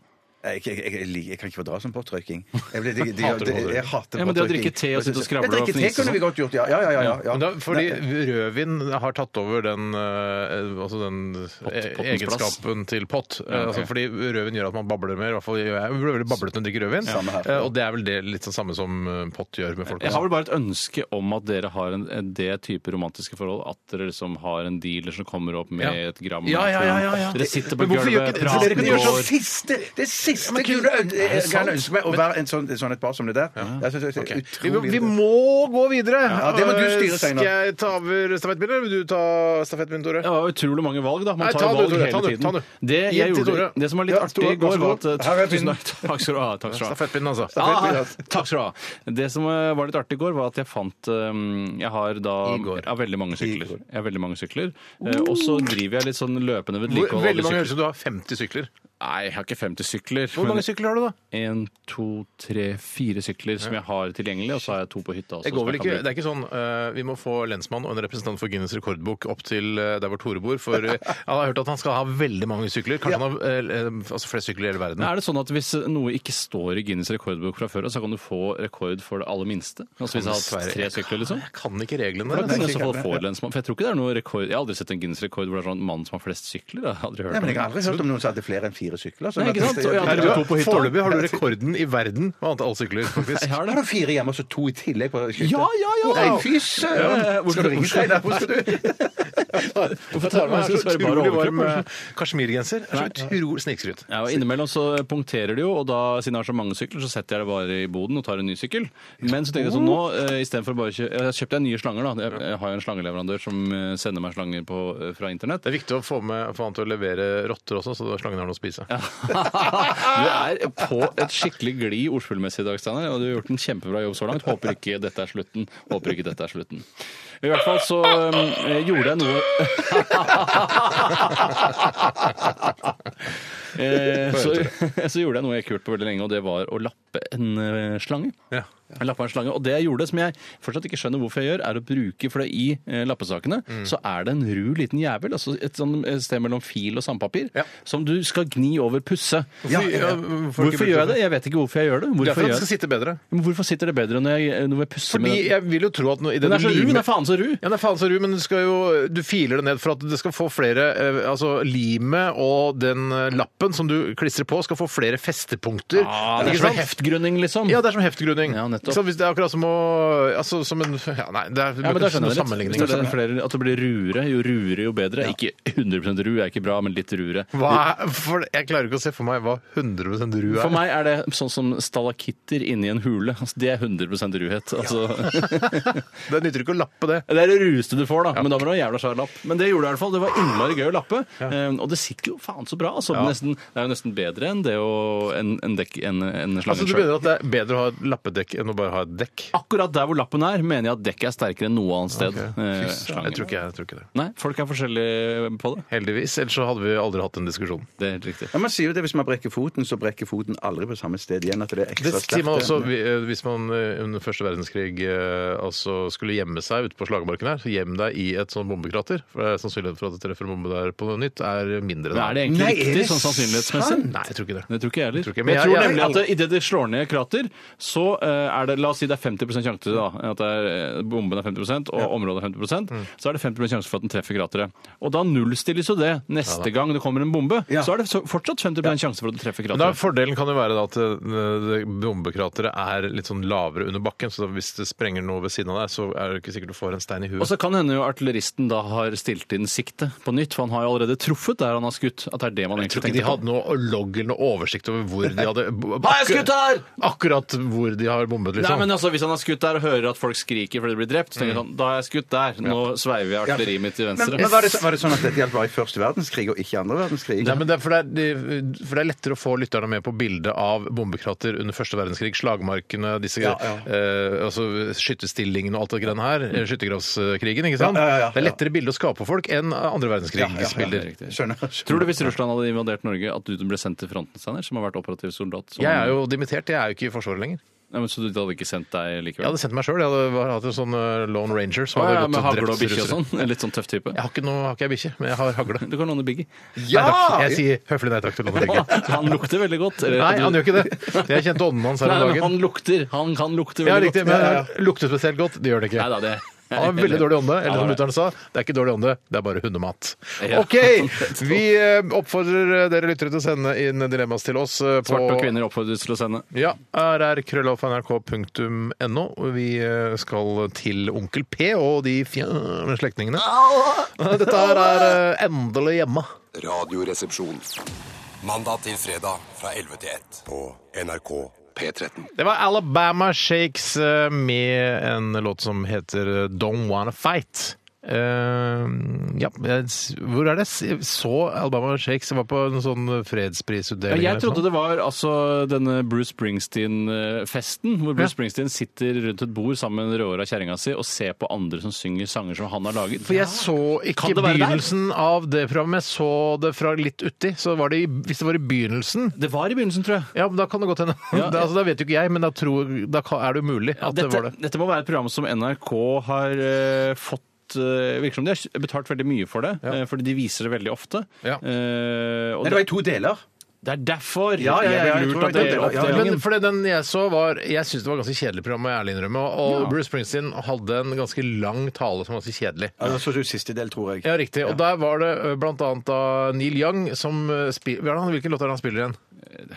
Speaker 1: Jeg, jeg, jeg, jeg, liker- jeg kan ikke fordra sånn påtrykking. Jeg, blir- de- de- de-
Speaker 3: Hater
Speaker 1: jeg, jeg hater
Speaker 4: Ja, men det å
Speaker 1: påtrykking.
Speaker 4: drikke te og sitte og skravle
Speaker 1: Jeg drikker
Speaker 4: og sånn.
Speaker 1: te
Speaker 4: fnise
Speaker 1: kunne vi godt gjort, ja. ja, ja, ja, ja, ja.
Speaker 3: Men da, fordi rødvin har tatt over den, eh, altså den eh,
Speaker 4: pottens
Speaker 3: egenskapen til pott. Eh,
Speaker 4: Ja, ok.
Speaker 3: altså, fordi rødvin gjør at man babler mer. I hvert fall gjør jeg jeg blir veldig bablet når jeg drikker rødvin.
Speaker 1: Samme her.
Speaker 3: Eh, og det er vel det litt sånn samme som eh, pott gjør med folk.
Speaker 4: Jeg har vel bare et ønske om at dere har en, en- det type romantiske forhold, at dere liksom har en dealer som kommer opp med
Speaker 3: Ja.
Speaker 4: et gram.
Speaker 3: Ja, ja, ja, ja, ja.
Speaker 4: Dere sitter på
Speaker 3: Men hvorfor gjør
Speaker 4: gulvet,
Speaker 3: ikke dere- dere
Speaker 4: praten
Speaker 3: kunne gjøre
Speaker 1: Det
Speaker 3: sånn
Speaker 4: går.
Speaker 1: siste, det siste kunne øn- jeg kan ønske meg å være en sånn, sånn et par som det der. Jeg synes det er
Speaker 3: Vi,
Speaker 1: utrolig
Speaker 3: vi må gå videre! Eh,
Speaker 1: Ja, det må du styre, Steinar.
Speaker 3: Skal jeg ta over stafettpinnen, eller vil du ta stafettpinnen, Tore?
Speaker 4: Det var utrolig mange valg, da. Man
Speaker 3: Nei,
Speaker 4: tar
Speaker 3: ta
Speaker 4: jo
Speaker 3: du,
Speaker 4: valg
Speaker 3: Tore, ta
Speaker 4: hele
Speaker 3: du,
Speaker 4: tiden.
Speaker 3: ta du.
Speaker 4: Det, jeg
Speaker 3: Gi den til
Speaker 4: gjorde,
Speaker 3: Tore.
Speaker 4: det som var litt
Speaker 1: Ja,
Speaker 4: artig i
Speaker 1: Tore,
Speaker 4: går,
Speaker 1: vær så
Speaker 4: var
Speaker 1: god.
Speaker 4: at eh,
Speaker 1: Her er
Speaker 4: Tusen
Speaker 1: pinnen.
Speaker 4: takk. Takk skal du ha. Takk skal du ha.
Speaker 3: Stafettpinnen, altså.
Speaker 1: Stafettpinnen,
Speaker 4: Ah,
Speaker 1: altså.
Speaker 4: takk skal du ha. Det som eh, var litt artig i går, var at jeg fant um, Jeg har da
Speaker 1: I går.
Speaker 4: jeg har veldig mange
Speaker 1: I
Speaker 4: sykler.
Speaker 1: går.
Speaker 4: Jeg har veldig mange sykler. Eh, Og så driver jeg litt sånn løpende
Speaker 3: Oh. Hvor,
Speaker 4: vedlikehold. av
Speaker 3: veldig mange
Speaker 4: alle
Speaker 3: høres ut som du har 50 sykler.
Speaker 4: sykler. Nei, jeg har ikke 50 sykler.
Speaker 3: Hvor mange sykler har du, da?
Speaker 4: En, to, tre, fire sykler som jeg har tilgjengelig, og så har jeg to på hytta. også,
Speaker 3: Det går
Speaker 4: som
Speaker 3: vel
Speaker 4: jeg kan
Speaker 3: ikke,
Speaker 4: bruke.
Speaker 3: det er ikke sånn eh, Vi må få lensmann og en representant for Guinness rekordbok opp til eh, der hvor Tore bor. For eh, jeg har hørt at han skal ha veldig mange sykler. Kanskje han har eh, eh, altså flest sykler i hele verden.
Speaker 4: Men Er det sånn at hvis noe ikke står i Guinness rekordbok fra før, så kan du få rekord for det aller minste? Altså hvis jeg har hatt
Speaker 3: Dessverre.
Speaker 4: tre sykler, liksom?
Speaker 3: Jeg kan ikke reglene.
Speaker 4: Da
Speaker 3: der,
Speaker 4: kan jeg
Speaker 3: altså.
Speaker 4: i så fall få et lensmann. For jeg tror ikke det er noe rekord Jeg har aldri sett en Guinness-rekord hvor det er sånn mann som har flest sykler. Jeg har aldri hørt
Speaker 1: Nei, men
Speaker 4: om
Speaker 1: jeg
Speaker 4: det.
Speaker 1: har aldri hørt om noen som hadde flere enn fire sykler. sånn
Speaker 4: Nei,
Speaker 1: at-
Speaker 4: ikke sant? Og jeg har
Speaker 3: Nei,
Speaker 4: aldri-
Speaker 3: du har-
Speaker 4: To på hytta.
Speaker 3: Foreløpig har du rekorden i verden med antall sykler. faktisk.
Speaker 4: Jeg har
Speaker 1: Har
Speaker 4: det.
Speaker 1: du fire hjemme og så to i tillegg? på kjøkkenet?
Speaker 4: Ja, ja, ja.
Speaker 1: Nei, fy søren! Skal du ringe Steinar? Hvor skal du?
Speaker 4: Hvorfor tar du meg
Speaker 3: så
Speaker 4: så svære bare
Speaker 3: utrolig varm
Speaker 4: overkropp? altså.
Speaker 3: eh, kasjmirgenser. Det er Så utrolig snikskryt.
Speaker 4: Ja, og Innimellom så punkterer det jo, og da, siden jeg har så mange sykler, så setter jeg det bare i boden og tar en ny sykkel. Men så tenkte jeg sånn nå, eh, i stedet for bare kjø Jeg kjøpte jeg nye slanger, da. Jeg, jeg har jo en slangeleverandør som eh, sender meg slanger på, eh, fra internett.
Speaker 3: Det er viktig å få, med, få han til å levere rotter også, så slangene har noe å spise.
Speaker 4: Du er på et skikkelig glid ordspillmessig i dag, Steinar. Og du har gjort en kjempebra jobb så langt. Håper ikke dette er slutten. Håper ikke dette er slutten. I hvert fall så eh, gjorde jeg noe Eh, så, så gjorde jeg noe jeg ikke har gjort på veldig lenge, og det var å lappe en eh, slange.
Speaker 3: Ja.
Speaker 4: Jeg lappa en slange, Og det jeg gjorde, som jeg fortsatt ikke skjønner hvorfor jeg gjør, er å bruke For det i eh, lappesakene så er det en ru liten jævel, altså et sånn eh, sted mellom fil og sandpapir,
Speaker 3: Ja.
Speaker 4: som du skal gni over pusse. Hvorfor, gjør jeg det? Jeg vet ikke hvorfor jeg gjør det.
Speaker 3: Det er
Speaker 4: Hvorfor,
Speaker 3: for at
Speaker 4: gjør
Speaker 3: det
Speaker 4: jeg...
Speaker 3: skal sitte bedre.
Speaker 4: det? Men hvorfor sitter det bedre når jeg, når jeg pusser
Speaker 3: Fordi
Speaker 4: med den?
Speaker 3: jeg vil jo tro at nå- i det
Speaker 4: Den er
Speaker 3: du
Speaker 4: så ru,
Speaker 3: limer-
Speaker 4: den er faen så ru!
Speaker 3: Ja, det er faen så ru, men du, skal jo, du filer det ned for at det skal få flere eh, Altså limet og den eh, lappen som du klistrer på, skal få flere festepunkter.
Speaker 4: Ah, det er
Speaker 3: Ikke
Speaker 4: som en
Speaker 3: sant?
Speaker 4: heftgrunning, liksom.
Speaker 3: Ja, det er som heftgrunning.
Speaker 4: Ja, nettopp.
Speaker 3: Ikke sant? hvis det er akkurat som å altså, som en, ja, Nei, det er,
Speaker 4: Ja, men da skjønner jeg litt.
Speaker 3: sammenligning.
Speaker 4: Hvis det, er flere, at det blir ruere. Jo ruere, jo bedre. Ikke 100 ru er ikke bra, men litt ruere.
Speaker 3: Hva er, for, jeg klarer ikke å se for meg hva 100 ru er.
Speaker 4: For meg er det sånn som stalakitter inni en hule. Altså, det er 100 ruhet. Altså,
Speaker 3: Det nytter ikke å lappe det.
Speaker 4: det er det rueste du får, da. Men da må du ha en jævla svær lapp. Men det gjorde jeg i hvert fall. Det var innmari gøy å lappe. Eh, og det sitter jo faen så bra. Altså, nesten, det er jo nesten bedre enn det å en, en, dekk, en, en slange
Speaker 3: Altså, du
Speaker 4: selv.
Speaker 3: mener at det er bedre å ha et lappedekk enn å bare ha et dekk?
Speaker 4: Akkurat der hvor lappen er, mener jeg at dekket er sterkere enn noe annet sted. eh, slangen.
Speaker 3: Jeg tror ikke, jeg tror ikke det.
Speaker 4: Nei, folk er forskjellige på det.
Speaker 3: Heldigvis. Ellers så hadde vi aldri hatt den diskusjonen.
Speaker 4: Det er helt riktig.
Speaker 1: Ja, man sier jo det hvis man brekker foten, så brekker foten aldri på samme sted igjen. At det er
Speaker 3: Det
Speaker 1: ekstra
Speaker 3: sier man
Speaker 1: sterkt.
Speaker 3: også vi- eh, hvis man eh, under første verdenskrig eh, altså skulle gjemme seg ute på slagmarken her. Så gjem deg i et sånn bombekrater. For det er sannsynligheten for at det treffer en bombe der på noe nytt, er mindre.
Speaker 4: Men
Speaker 3: da.
Speaker 4: er det egentlig
Speaker 1: Nei, er
Speaker 4: riktig
Speaker 1: det
Speaker 4: sånn sannsynlighetsmessig?
Speaker 1: sant?
Speaker 3: Nei, jeg tror ikke det.
Speaker 4: Det tror ikke jeg heller.
Speaker 3: tror ikke, men
Speaker 4: men jeg,
Speaker 3: jeg-
Speaker 4: tror
Speaker 3: jeg-
Speaker 4: nemlig at det- i det det slår ned krater, så eh, er det La oss si det er 50 sjanse, da. At det er, eh, bomben er 50 og området er 50 Så er det 50 sjanse for at den treffer krateret. Og da nullstilles jo det. Neste gang det kommer en bombe,
Speaker 1: Ja.
Speaker 4: så er det så- fortsatt 50 sjanse for at den treffer
Speaker 3: Men da,
Speaker 4: krateret.
Speaker 3: fordelen kan jo være da at eh, det bombekrateret er litt sånn lavere under bakken, så hvis det sprenger noe ved siden av deg, så er det ikke sikkert du får en stein i
Speaker 4: Og
Speaker 3: huet.
Speaker 4: så kan hende jo artilleristen da har stilt inn siktet på nytt, for han har jo allerede truffet der han har skutt. At det er det man
Speaker 3: Jeg tror
Speaker 4: egentlig
Speaker 3: ikke de
Speaker 4: tenkte på.
Speaker 3: hadde noe logg eller noe oversikt over hvor de hadde
Speaker 4: Har jeg skutt her?
Speaker 3: Akkurat hvor de har bombet, liksom.
Speaker 4: Nei, men altså, Hvis han har skutt der og hører at folk skriker fordi de blir drept, så tenker han da har jeg skutt der. Nå sveiver jeg artilleriet mitt til
Speaker 1: Men,
Speaker 4: venstre.
Speaker 1: men var, det, var det sånn at dette gjaldt bare i første verdenskrig og ikke i andre verdenskrig?
Speaker 3: Nei, men det er, for, det er, det- for det er lettere å få lytterne med på bildet av bombekrater under første verdenskrig, slagmarkene, disse
Speaker 1: Ja, ja.
Speaker 3: Eh, altså skytterstillingene og alt det greiene her. eh, Skyttergravskrigen, ikke sant?
Speaker 1: Ja, ja, ja, ja.
Speaker 3: Det er lettere bilde å skape for folk enn andre verdenskrigsbilder.
Speaker 4: Ja, ja, ja,
Speaker 1: Skjønner.
Speaker 4: Tror du hvis Russland hadde invadert Norge, at du ble sendt til fronten, Steinar? Som har vært operativ soldat? som-
Speaker 3: Jeg er jo dimittert, jeg er jo ikke i Forsvaret lenger.
Speaker 4: Nei, men, så du hadde ikke sendt deg
Speaker 3: Jeg
Speaker 4: likevel?
Speaker 3: hadde sendt meg sjøl. Jeg hadde var- hatt en sånn eh, Lone Ranger som hadde
Speaker 4: ja, ja,
Speaker 3: gått
Speaker 4: med
Speaker 3: og
Speaker 4: hagle og
Speaker 3: drept
Speaker 4: bikkje og
Speaker 3: russere.
Speaker 4: sånn? En litt sånn tøff type?
Speaker 3: Jeg har ikke noe, har ikke jeg bikkje, men jeg har hagle.
Speaker 4: Du kan låne Biggie.
Speaker 1: Ja!
Speaker 3: Nei takk. Jeg sier høflig nei takk til Lone Ranger.
Speaker 4: Han lukter veldig godt. eller-
Speaker 3: Nei, han gjør ikke det. Jeg kjente ånden hans her
Speaker 4: Nei,
Speaker 3: om
Speaker 4: men
Speaker 3: dagen.
Speaker 4: han lukter. Han kan lukte
Speaker 3: Ja,
Speaker 4: veldig
Speaker 3: riktig,
Speaker 4: godt.
Speaker 3: men lukter spesielt godt. Det gjør det ikke.
Speaker 4: Nei da, det
Speaker 3: Han har veldig dårlig ånde.
Speaker 4: Ja,
Speaker 3: Eller som
Speaker 4: det er det.
Speaker 3: mutter'n sa, det er ikke dårlig ånde, det er bare hundemat.
Speaker 4: Ja.
Speaker 3: OK! Vi eh, oppfordrer dere lyttere til å sende inn dilemmas til oss eh, på
Speaker 4: Svarte og kvinner oppfordres til å sende.
Speaker 3: Ja, rrkrøllalfa.nrk.no. Vi eh, skal til Onkel P og de fjerne slektningene. Dette her er eh, endelig hjemme.
Speaker 6: Radioresepsjon. Mandag til fredag fra 11 til 1 på NRK P13.
Speaker 3: Det var Alabama Shakes eh, med en låt som heter eh, Don't Wanna Fight. Eh, ja, jeg s- hvor er det? Jeg Så Alabama Shakes jeg var på en sånn fredsprisutdeling.
Speaker 4: jeg trodde det var altså denne Bruce Springsteen-festen, hvor Bruce Springsteen sitter rundt et bord sammen med råra kjerringa si og ser på andre som synger sanger som han har laget.
Speaker 3: For jeg så ikke
Speaker 4: Kan det være der?
Speaker 3: begynnelsen av det programmet, jeg så det fra litt uti. Så var det, i- hvis det var i begynnelsen
Speaker 4: Det var i begynnelsen, tror jeg.
Speaker 3: ja, men Da kan det godt hende.
Speaker 4: Ja.
Speaker 3: da, altså, da vet jo ikke jeg, men da, tror, da kan- er det umulig at det
Speaker 4: dette,
Speaker 3: var det.
Speaker 4: dette må være et program som NRK har eh, fått eh, Virker som de har betalt veldig mye for det, eh, fordi de viser det veldig ofte.
Speaker 3: Ja.
Speaker 4: Eh, og
Speaker 1: Nei, det var i to deler.
Speaker 4: det er derfor
Speaker 1: Ja, ja, ja,
Speaker 4: jeg
Speaker 1: jeg
Speaker 4: ble
Speaker 1: tror
Speaker 4: lurt av
Speaker 1: det-
Speaker 4: dere
Speaker 1: ja, ja.
Speaker 4: oppdelingen.
Speaker 3: Men for det- den jeg så var Jeg syns det var ganske kjedelig program, må jeg ærlig innrømme. Og og Bruce Springsteen hadde en ganske lang tale som var ganske kjedelig.
Speaker 1: Ja, det Altså, så ut siste del, tror jeg.
Speaker 3: Ja, riktig. Og der var det ø, blant annet da Neil Young som spiller Hvilken låt er det han spiller igjen?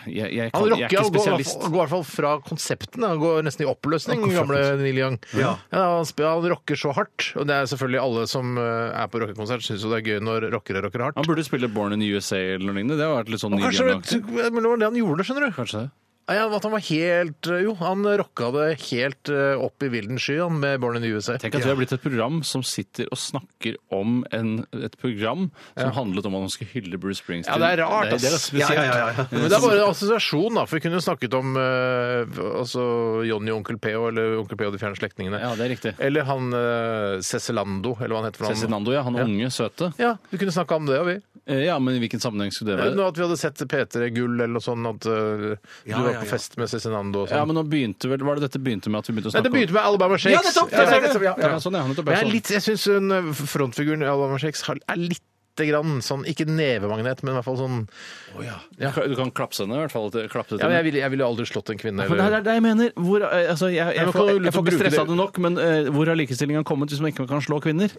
Speaker 4: Jeg, jeg,
Speaker 3: Han
Speaker 4: kan, jeg er
Speaker 3: rocker
Speaker 4: ikke
Speaker 3: altså. og går, i hvert
Speaker 4: spesialist.
Speaker 3: fall- går i hvert fall fra konseptene. Han går nesten i oppløsning, gamle Neil Young.
Speaker 1: Ja.
Speaker 3: han, sp- han rocker så hardt. Og det er selvfølgelig alle som ø, er på rockekonsert, syns jo det er gøy når rockere rocker hardt.
Speaker 4: Han burde spille Born in the USA eller noe lignende. Det har vært litt sånn
Speaker 3: Og kanskje det,
Speaker 4: nylig.
Speaker 3: det var det han gjorde, skjønner du.
Speaker 4: Kanskje det.
Speaker 3: Nei, han- at han var helt eh, Jo, han rocka det helt eh, opp i vilden sky han, med Born in the USA.
Speaker 4: Tenk at vi har blitt et program som sitter og snakker om en, et program som handlet om at man skulle hylle Bruce Springsteen.
Speaker 3: Ja, det er rart,
Speaker 4: Det, det er
Speaker 3: ass.
Speaker 1: Ja,
Speaker 4: spesielt.
Speaker 1: ja, ja, ja.
Speaker 3: Men det er bare en assosiasjon, da. For vi kunne jo snakket om eh, altså Johnny og Onkel P og eller Onkel P og de fjerne slektningene.
Speaker 4: Ja, det er riktig.
Speaker 3: Eller han eh, Cecelando, eller hva han heter for noe.
Speaker 4: Cezinando, ja. Han unge, søte.
Speaker 3: Ja, vi kunne snakka om det, og vi.
Speaker 4: Eh, Ja, men i hvilken sammenheng skulle det
Speaker 3: Eller
Speaker 4: være?
Speaker 3: at vi hadde sett P3 Gull eller noe sånt, at eh,
Speaker 1: Ja,
Speaker 3: du var
Speaker 1: ja,
Speaker 3: på
Speaker 1: ja.
Speaker 3: fest med Cezinando og
Speaker 4: Ja,
Speaker 3: sånn.
Speaker 4: men nå begynte vel, Var det dette begynte med at vi begynte å
Speaker 3: Nei,
Speaker 4: snakke
Speaker 3: det begynte med Alabama Shakes.
Speaker 1: Ja, nettopp!
Speaker 4: Ja,
Speaker 1: Ja,
Speaker 4: ja,
Speaker 1: nettopp,
Speaker 4: ja,
Speaker 1: ja, ja.
Speaker 4: sånn, ja, nettopp,
Speaker 3: Men
Speaker 4: ja,
Speaker 3: Jeg,
Speaker 4: sånn.
Speaker 3: er litt- jeg syns hun, eh, frontfiguren i Alabama Shakes har- er litt grann sånn, ikke nevemagnet, men i hvert fall sånn
Speaker 4: Du kan- Du kan klapse henne, i hvert fall. til- Klappe til
Speaker 3: ja, men
Speaker 4: henne.
Speaker 3: jeg ville jeg ville aldri slått en kvinne.
Speaker 4: Men det er
Speaker 3: Eller,
Speaker 4: det jeg mener. Hvor, eh, altså, jeg, jeg,
Speaker 3: men
Speaker 4: får,
Speaker 3: kan du
Speaker 4: jeg, får
Speaker 3: bruke
Speaker 4: ikke stressa
Speaker 3: det-
Speaker 4: det nok, men eh, hvor har likestillinga kommet hvis man ikke kan slå kvinner?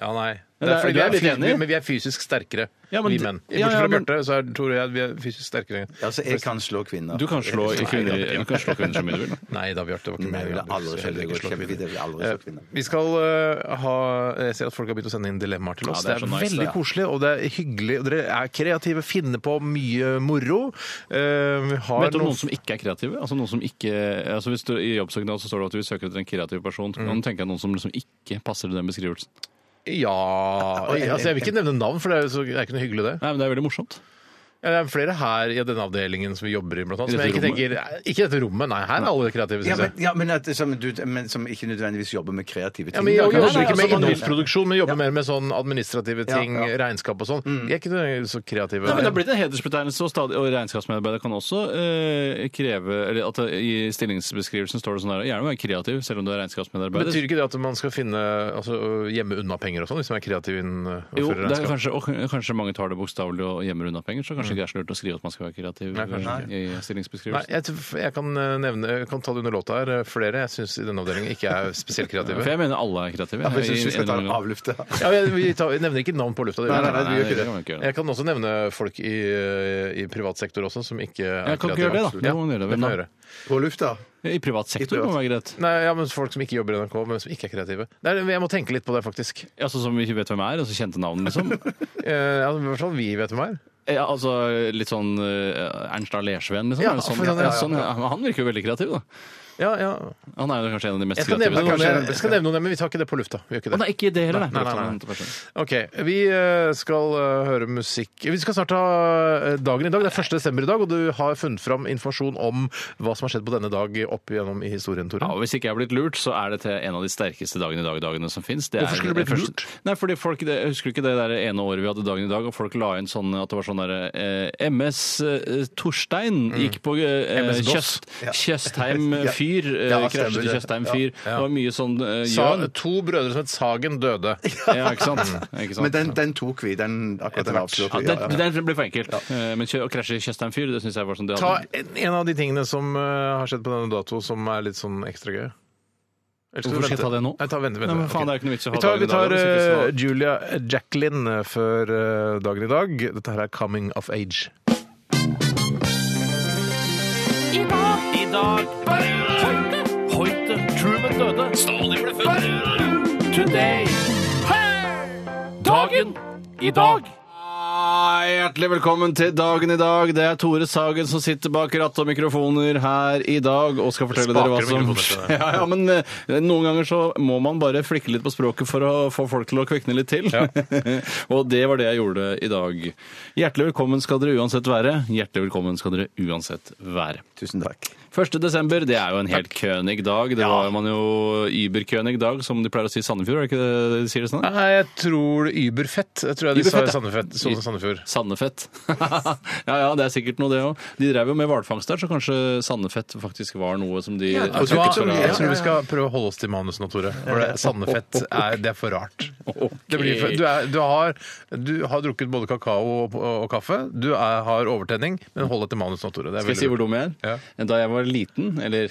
Speaker 3: ja, nei.
Speaker 4: Ja,
Speaker 3: Det er fordi
Speaker 4: du
Speaker 3: vi
Speaker 4: er
Speaker 3: er
Speaker 4: litt
Speaker 3: fys-
Speaker 4: enig.
Speaker 3: men vi er fysisk sterkere,
Speaker 4: Ja, men
Speaker 3: vi
Speaker 4: det-
Speaker 3: menn. I
Speaker 4: ja,
Speaker 3: bortsett
Speaker 4: ja,
Speaker 3: fra
Speaker 4: men-
Speaker 3: Bjarte, så er Tore og jeg vi er fysisk sterkere.
Speaker 1: Altså, jeg kan slå kvinner.
Speaker 4: Du kan slå kvinner, du kan slå kvinner så mye du vil.
Speaker 3: Nei da, Bjarte. Det var ikke
Speaker 1: Nei, jeg vil
Speaker 3: meningen.
Speaker 1: aldri
Speaker 3: Du skal
Speaker 1: slå
Speaker 3: heller ikke slå
Speaker 1: kvinner.
Speaker 3: kvinner.
Speaker 1: Jeg vil aldri
Speaker 3: Eh,
Speaker 1: slå kvinner.
Speaker 3: Vi skal eh, ha Jeg ser at folk har begynt å sende inn dilemmaer til oss.
Speaker 4: Ja,
Speaker 3: det,
Speaker 4: det er
Speaker 3: er
Speaker 4: så nice,
Speaker 3: veldig
Speaker 4: det, ja.
Speaker 3: koselig, og det er hyggelig. Og dere er kreative, finner på mye moro. Eh, vi har
Speaker 4: Vet du om
Speaker 3: noen-
Speaker 4: noen som ikke er kreative? Altså noen som ikke, altså hvis du, I jobbsøknad så står det at vi søker etter en kreativ person. Så kan du tenke deg noen som liksom ikke passer til den beskrivelsen.
Speaker 3: Ja altså, Jeg vil ikke nevne navn, for det er, jo så, det er ikke noe hyggelig, det.
Speaker 4: Nei, men Det er veldig morsomt.
Speaker 3: Ja, det er flere her i denne avdelingen som vi jobber i, blant annet.
Speaker 4: I
Speaker 3: Som jeg
Speaker 4: dette
Speaker 3: ikke tenker Ikke dette rommet, nei. Her er alle kreative,
Speaker 1: Ja,
Speaker 4: altså.
Speaker 3: syns
Speaker 1: men,
Speaker 3: jeg.
Speaker 1: ja, men, at, som, du, men som ikke nødvendigvis jobber med kreative ting.
Speaker 3: Ja, men jeg
Speaker 1: Nei,
Speaker 3: jobber
Speaker 1: nei,
Speaker 3: ikke med
Speaker 1: altså, man-
Speaker 3: innholdsproduksjon, men jobber mer med sånn administrative ting,
Speaker 1: Ja, ja.
Speaker 3: regnskap og sånn. Vi er ikke nødvendigvis så kreative.
Speaker 4: Nei, men Det har blitt en hedersbetegnelse, og, stadig, og regnskapsmedarbeider kan også eh, kreve eller at det, I stillingsbeskrivelsen står det sånn her Gjerne være kreativ selv om du er regnskapsmedarbeider.
Speaker 3: Betyr ikke det at man skal finne altså, gjemme unna penger og sånn, hvis man er kreativ innen
Speaker 4: jo, det er kanskje, og kanskje mange tar det bokstavelig og gjemmer unna penger, så kanskje ikke det er så lurt å skrive at man skal være kreativ
Speaker 3: Nei, kanskje
Speaker 4: eh, i
Speaker 3: Nei,
Speaker 4: stillingsbeskrivelsen.
Speaker 3: jeg, tror- jeg kan eh, nevne, jeg kan ta det under låta her. eh, Flere jeg syns i denne avdelingen ikke er spesielt kreative.
Speaker 4: For jeg mener alle er kreative.
Speaker 1: Ja, for jeg synes vi skal ta
Speaker 4: I- i-
Speaker 1: en avlufte.
Speaker 3: Ja, vi, vi, tar, vi nevner ikke navn på lufta. det
Speaker 1: Nei,
Speaker 3: gjør vi.
Speaker 1: nei, nei, vi gjør ikke det.
Speaker 4: kan vi ikke gjøre.
Speaker 3: Jeg kan også nevne folk i, eh, i privat sektor også, som ikke er
Speaker 4: Jeg kan ikke gjøre det, da. Det
Speaker 3: Ja,
Speaker 4: må man gjøre.
Speaker 3: det
Speaker 4: Hvem
Speaker 3: må
Speaker 4: da?
Speaker 3: gjøre.
Speaker 1: På lufta.
Speaker 4: I privat sektor må være greit.
Speaker 3: Nei, ja, men Folk som ikke jobber i NRK, men som ikke er kreative. Nei, jeg må tenke litt på det, faktisk.
Speaker 4: Altså Som vi ikke vet hvem er, altså kjente navn, liksom.
Speaker 3: Eh, ja, I hvert fall vi vet hvem er.
Speaker 4: Ja, altså Litt sånn eh, Ernst A. Lersveen, liksom.
Speaker 3: Ja,
Speaker 4: Er det sånn,
Speaker 3: for
Speaker 4: ja,
Speaker 3: sånn, ja, ja,
Speaker 4: sånn, ja. Han virker jo veldig kreativ, da.
Speaker 3: Ja, ja.
Speaker 4: Han er jo kanskje en av de mest
Speaker 3: Jeg skal nevne
Speaker 4: kreative.
Speaker 3: noen,
Speaker 1: kanskje
Speaker 3: jeg,
Speaker 1: den
Speaker 3: skal nevne noen men vi tar ikke det på lufta. Vi gjør ikke
Speaker 4: Å,
Speaker 3: det.
Speaker 4: nei, ikke det heller,
Speaker 3: Nei, nei, nei, nei. Ok, Vi eh, skal eh, høre musikk Vi skal snart ha eh, dagen i dag. Det er 1. desember i dag, og du har funnet fram informasjon om hva som har skjedd på denne dag opp igjennom i historien, Tore.
Speaker 4: Ja, og Hvis ikke jeg er blitt lurt, så er dette en av de sterkeste dagen i dag-dagene som fins.
Speaker 3: Hvorfor skulle du blitt lurt?
Speaker 4: Nei, fordi folk, det, Husker du ikke det der ene året vi hadde dagen i dag, og folk la inn sånn at det var sånn derre eh, MS eh, Torstein gikk på eh,
Speaker 3: MS Mm. Goss.
Speaker 4: Kjøst, Tjøstheim
Speaker 1: Ja.
Speaker 4: fyr. Eh,
Speaker 1: Ja,
Speaker 4: krasjet
Speaker 1: stemmer
Speaker 4: i
Speaker 1: det.
Speaker 4: Tjøstheim fyr. Det var mye sånn eh,
Speaker 3: Sa,
Speaker 4: gjøn.
Speaker 3: to brødre som het Sagen, døde.
Speaker 4: Ja, ikke sant? Ikke sant?
Speaker 1: Men den, den tok vi. Den, akkurat den avslørte
Speaker 4: Mm. ja,
Speaker 1: vi.
Speaker 4: den, den ble for enkelt. Eh, Men kjø- å krasje i Tjøstheim fyr, det syns jeg var sånn det
Speaker 3: Ta
Speaker 4: hadde.
Speaker 3: en, en av de tingene som eh, har skjedd på denne dato, som er litt sånn ekstra gøy. Eller
Speaker 4: Hvorfor skal jeg ta det nå?
Speaker 3: Nei, ta, vent, vent,
Speaker 4: Nei, men faen, det er
Speaker 3: ok.
Speaker 4: jo ikke noe vits å ha
Speaker 3: Vi tar,
Speaker 4: dagen i
Speaker 3: vi tar
Speaker 4: dag, hvis ikke
Speaker 3: eh, Julia Jacqueline eh, før eh, dagen i dag. Dette her er 'Coming of Age'.
Speaker 7: I dag Hoite Hoite Truman døde Stalin ble født Today Dagen I dag
Speaker 4: Hei, hjertelig velkommen til dagen i dag. Det er Tore Sagen som sitter bak ratt og mikrofoner her i dag og skal fortelle dere hva
Speaker 7: Spaker og
Speaker 4: som
Speaker 7: mikrofoner til
Speaker 4: ja, ja, men eh, Noen ganger så må man bare flikke litt på språket for å få folk til å kvikne litt til. og det var det jeg gjorde i dag. Hjertelig velkommen skal dere uansett være. Hjertelig velkommen skal dere uansett være.
Speaker 1: Tusen takk.
Speaker 4: 1. desember, det er jo en helt König-dag. Det var man jo Über-König-dag, som de pleier å si i Sandefjord, er det ikke det de sier det sånn?
Speaker 3: Nei, jeg tror Überfett. Jeg tror jeg de
Speaker 4: Überfett, ja.
Speaker 3: sa i Sandefjord. Sånn Sandefjord.
Speaker 4: Sandefett. ja ja, det er sikkert noe, det òg. De drev jo med hvalfangst der, så kanskje sandefett faktisk var noe som de
Speaker 3: Vet du hva? Jeg tror vi skal prøve å holde oss til manuset nå, Tore. For det, Sandefett er, det er for rart. Det blir for, du, er, du, har, du har drukket både kakao og, og kaffe. Du er, har overtenning, men hold deg til manus nå, Tore. Det er
Speaker 4: Skal jeg si hvor dum jeg er? Da jeg var liten, eller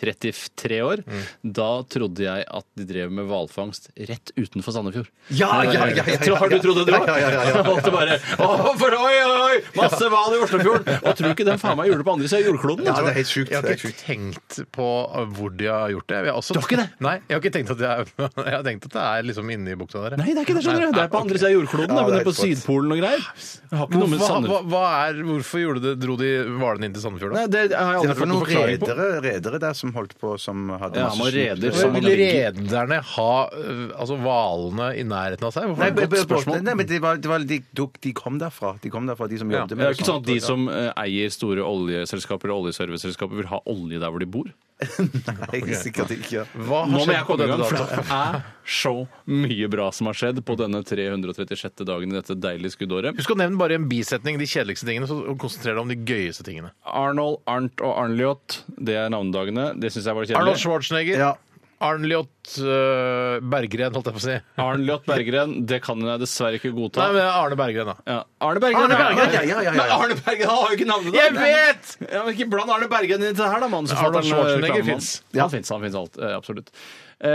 Speaker 4: 33 år,
Speaker 1: Mm.
Speaker 4: da trodde jeg at de drev med hvalfangst rett utenfor Sandefjord.
Speaker 1: Ja, ja, ja, ja, ja, ja.
Speaker 4: Har du trodd det, du òg?
Speaker 1: Ja, ja, ja, ja, ja.
Speaker 4: Måtte bare Å, for oi, oi, oi! Masse hval i Oslofjorden! Og tror ikke den faen meg gjorde det på andre siden av jordkloden. altså.
Speaker 1: Ja, det er helt sjukt. Det
Speaker 3: Jeg har
Speaker 1: er helt
Speaker 3: ikke
Speaker 1: sjukt.
Speaker 3: tenkt på uh, hvor de har gjort det. Jeg har også-
Speaker 4: Du har ikke det?
Speaker 3: Nei, jeg har ikke tenkt at det er, jeg har tenkt at det er liksom inne i bukta der.
Speaker 4: Nei, det er ikke det, skjønner du. Det er på andre siden av jordkloden.
Speaker 1: Ja,
Speaker 4: da, men
Speaker 1: det er
Speaker 4: det er
Speaker 1: helt
Speaker 4: på
Speaker 1: godt.
Speaker 4: Sydpolen og greier. Jeg har ikke noe med
Speaker 3: Hva,
Speaker 4: Sandefjord
Speaker 3: hva, hva er, hvorfor gjorde det, dro de hvalene inn til Sandefjord? da?
Speaker 4: Nei, det har jeg
Speaker 1: Det
Speaker 4: aldri
Speaker 1: var
Speaker 4: fått noen
Speaker 1: noen
Speaker 4: forklaring på.
Speaker 1: redere, redere der som holdt på, som hadde
Speaker 4: Ja, han var
Speaker 1: snut.
Speaker 4: reder.
Speaker 3: Hvorfor
Speaker 4: som
Speaker 3: Ville
Speaker 4: allergi.
Speaker 3: rederne ha øh, altså hvalene i nærheten av seg? Hvorfor
Speaker 1: Nei,
Speaker 3: er det
Speaker 1: b- b-
Speaker 3: godt spørsmål?
Speaker 1: båtene- Nei, men det var, det var, de, duk- de kom derfra, de kom derfra, de som jobbet
Speaker 4: Det
Speaker 1: med
Speaker 4: er jo ikke sånn at de
Speaker 1: Ja.
Speaker 4: som eh, eier store oljeselskaper og oljeserviceselskaper vil ha olje der hvor de bor.
Speaker 1: Nei, sikkert ikke.
Speaker 3: Hva
Speaker 4: Nå
Speaker 3: har
Speaker 4: må
Speaker 3: skjedd
Speaker 4: jeg
Speaker 3: på
Speaker 4: komme i
Speaker 3: denne
Speaker 4: gang, for
Speaker 3: datoen?
Speaker 4: det er så mye bra som har skjedd på denne 336. dagen i dette deilige skuddåret.
Speaker 3: Husk å nevne bare i en bisetning de kjedeligste tingene, så konsentrer deg om de gøyeste tingene.
Speaker 4: Arnold, Arnt og Arnljot, det er navnedagene. Det syns jeg var
Speaker 3: Arnold
Speaker 4: kjedelig.
Speaker 3: Schwarzenegger.
Speaker 1: Ja.
Speaker 3: Arnljot øh, Berggren, holdt jeg på å si.
Speaker 4: Arnljot Berggren, det kan jeg dessverre ikke
Speaker 3: Nei,
Speaker 4: godta.
Speaker 3: men Arne Berggren, da.
Speaker 4: Ja. Arne Berggren,
Speaker 1: Arne
Speaker 4: ja,
Speaker 1: Berggren,
Speaker 4: ja,
Speaker 1: ja, ja, ja, ja.
Speaker 4: Men Arne Berggren han har jo ikke navnet
Speaker 3: Jeg vet!
Speaker 4: Ja, men Ikke bland Arne Berggren inn i dette her, da, mann. så får den,
Speaker 3: Arnold
Speaker 4: eh,
Speaker 3: Schwarzenegger
Speaker 4: reklamen.
Speaker 3: finnes.
Speaker 4: Han fins, han fins alt. eh, Absolutt.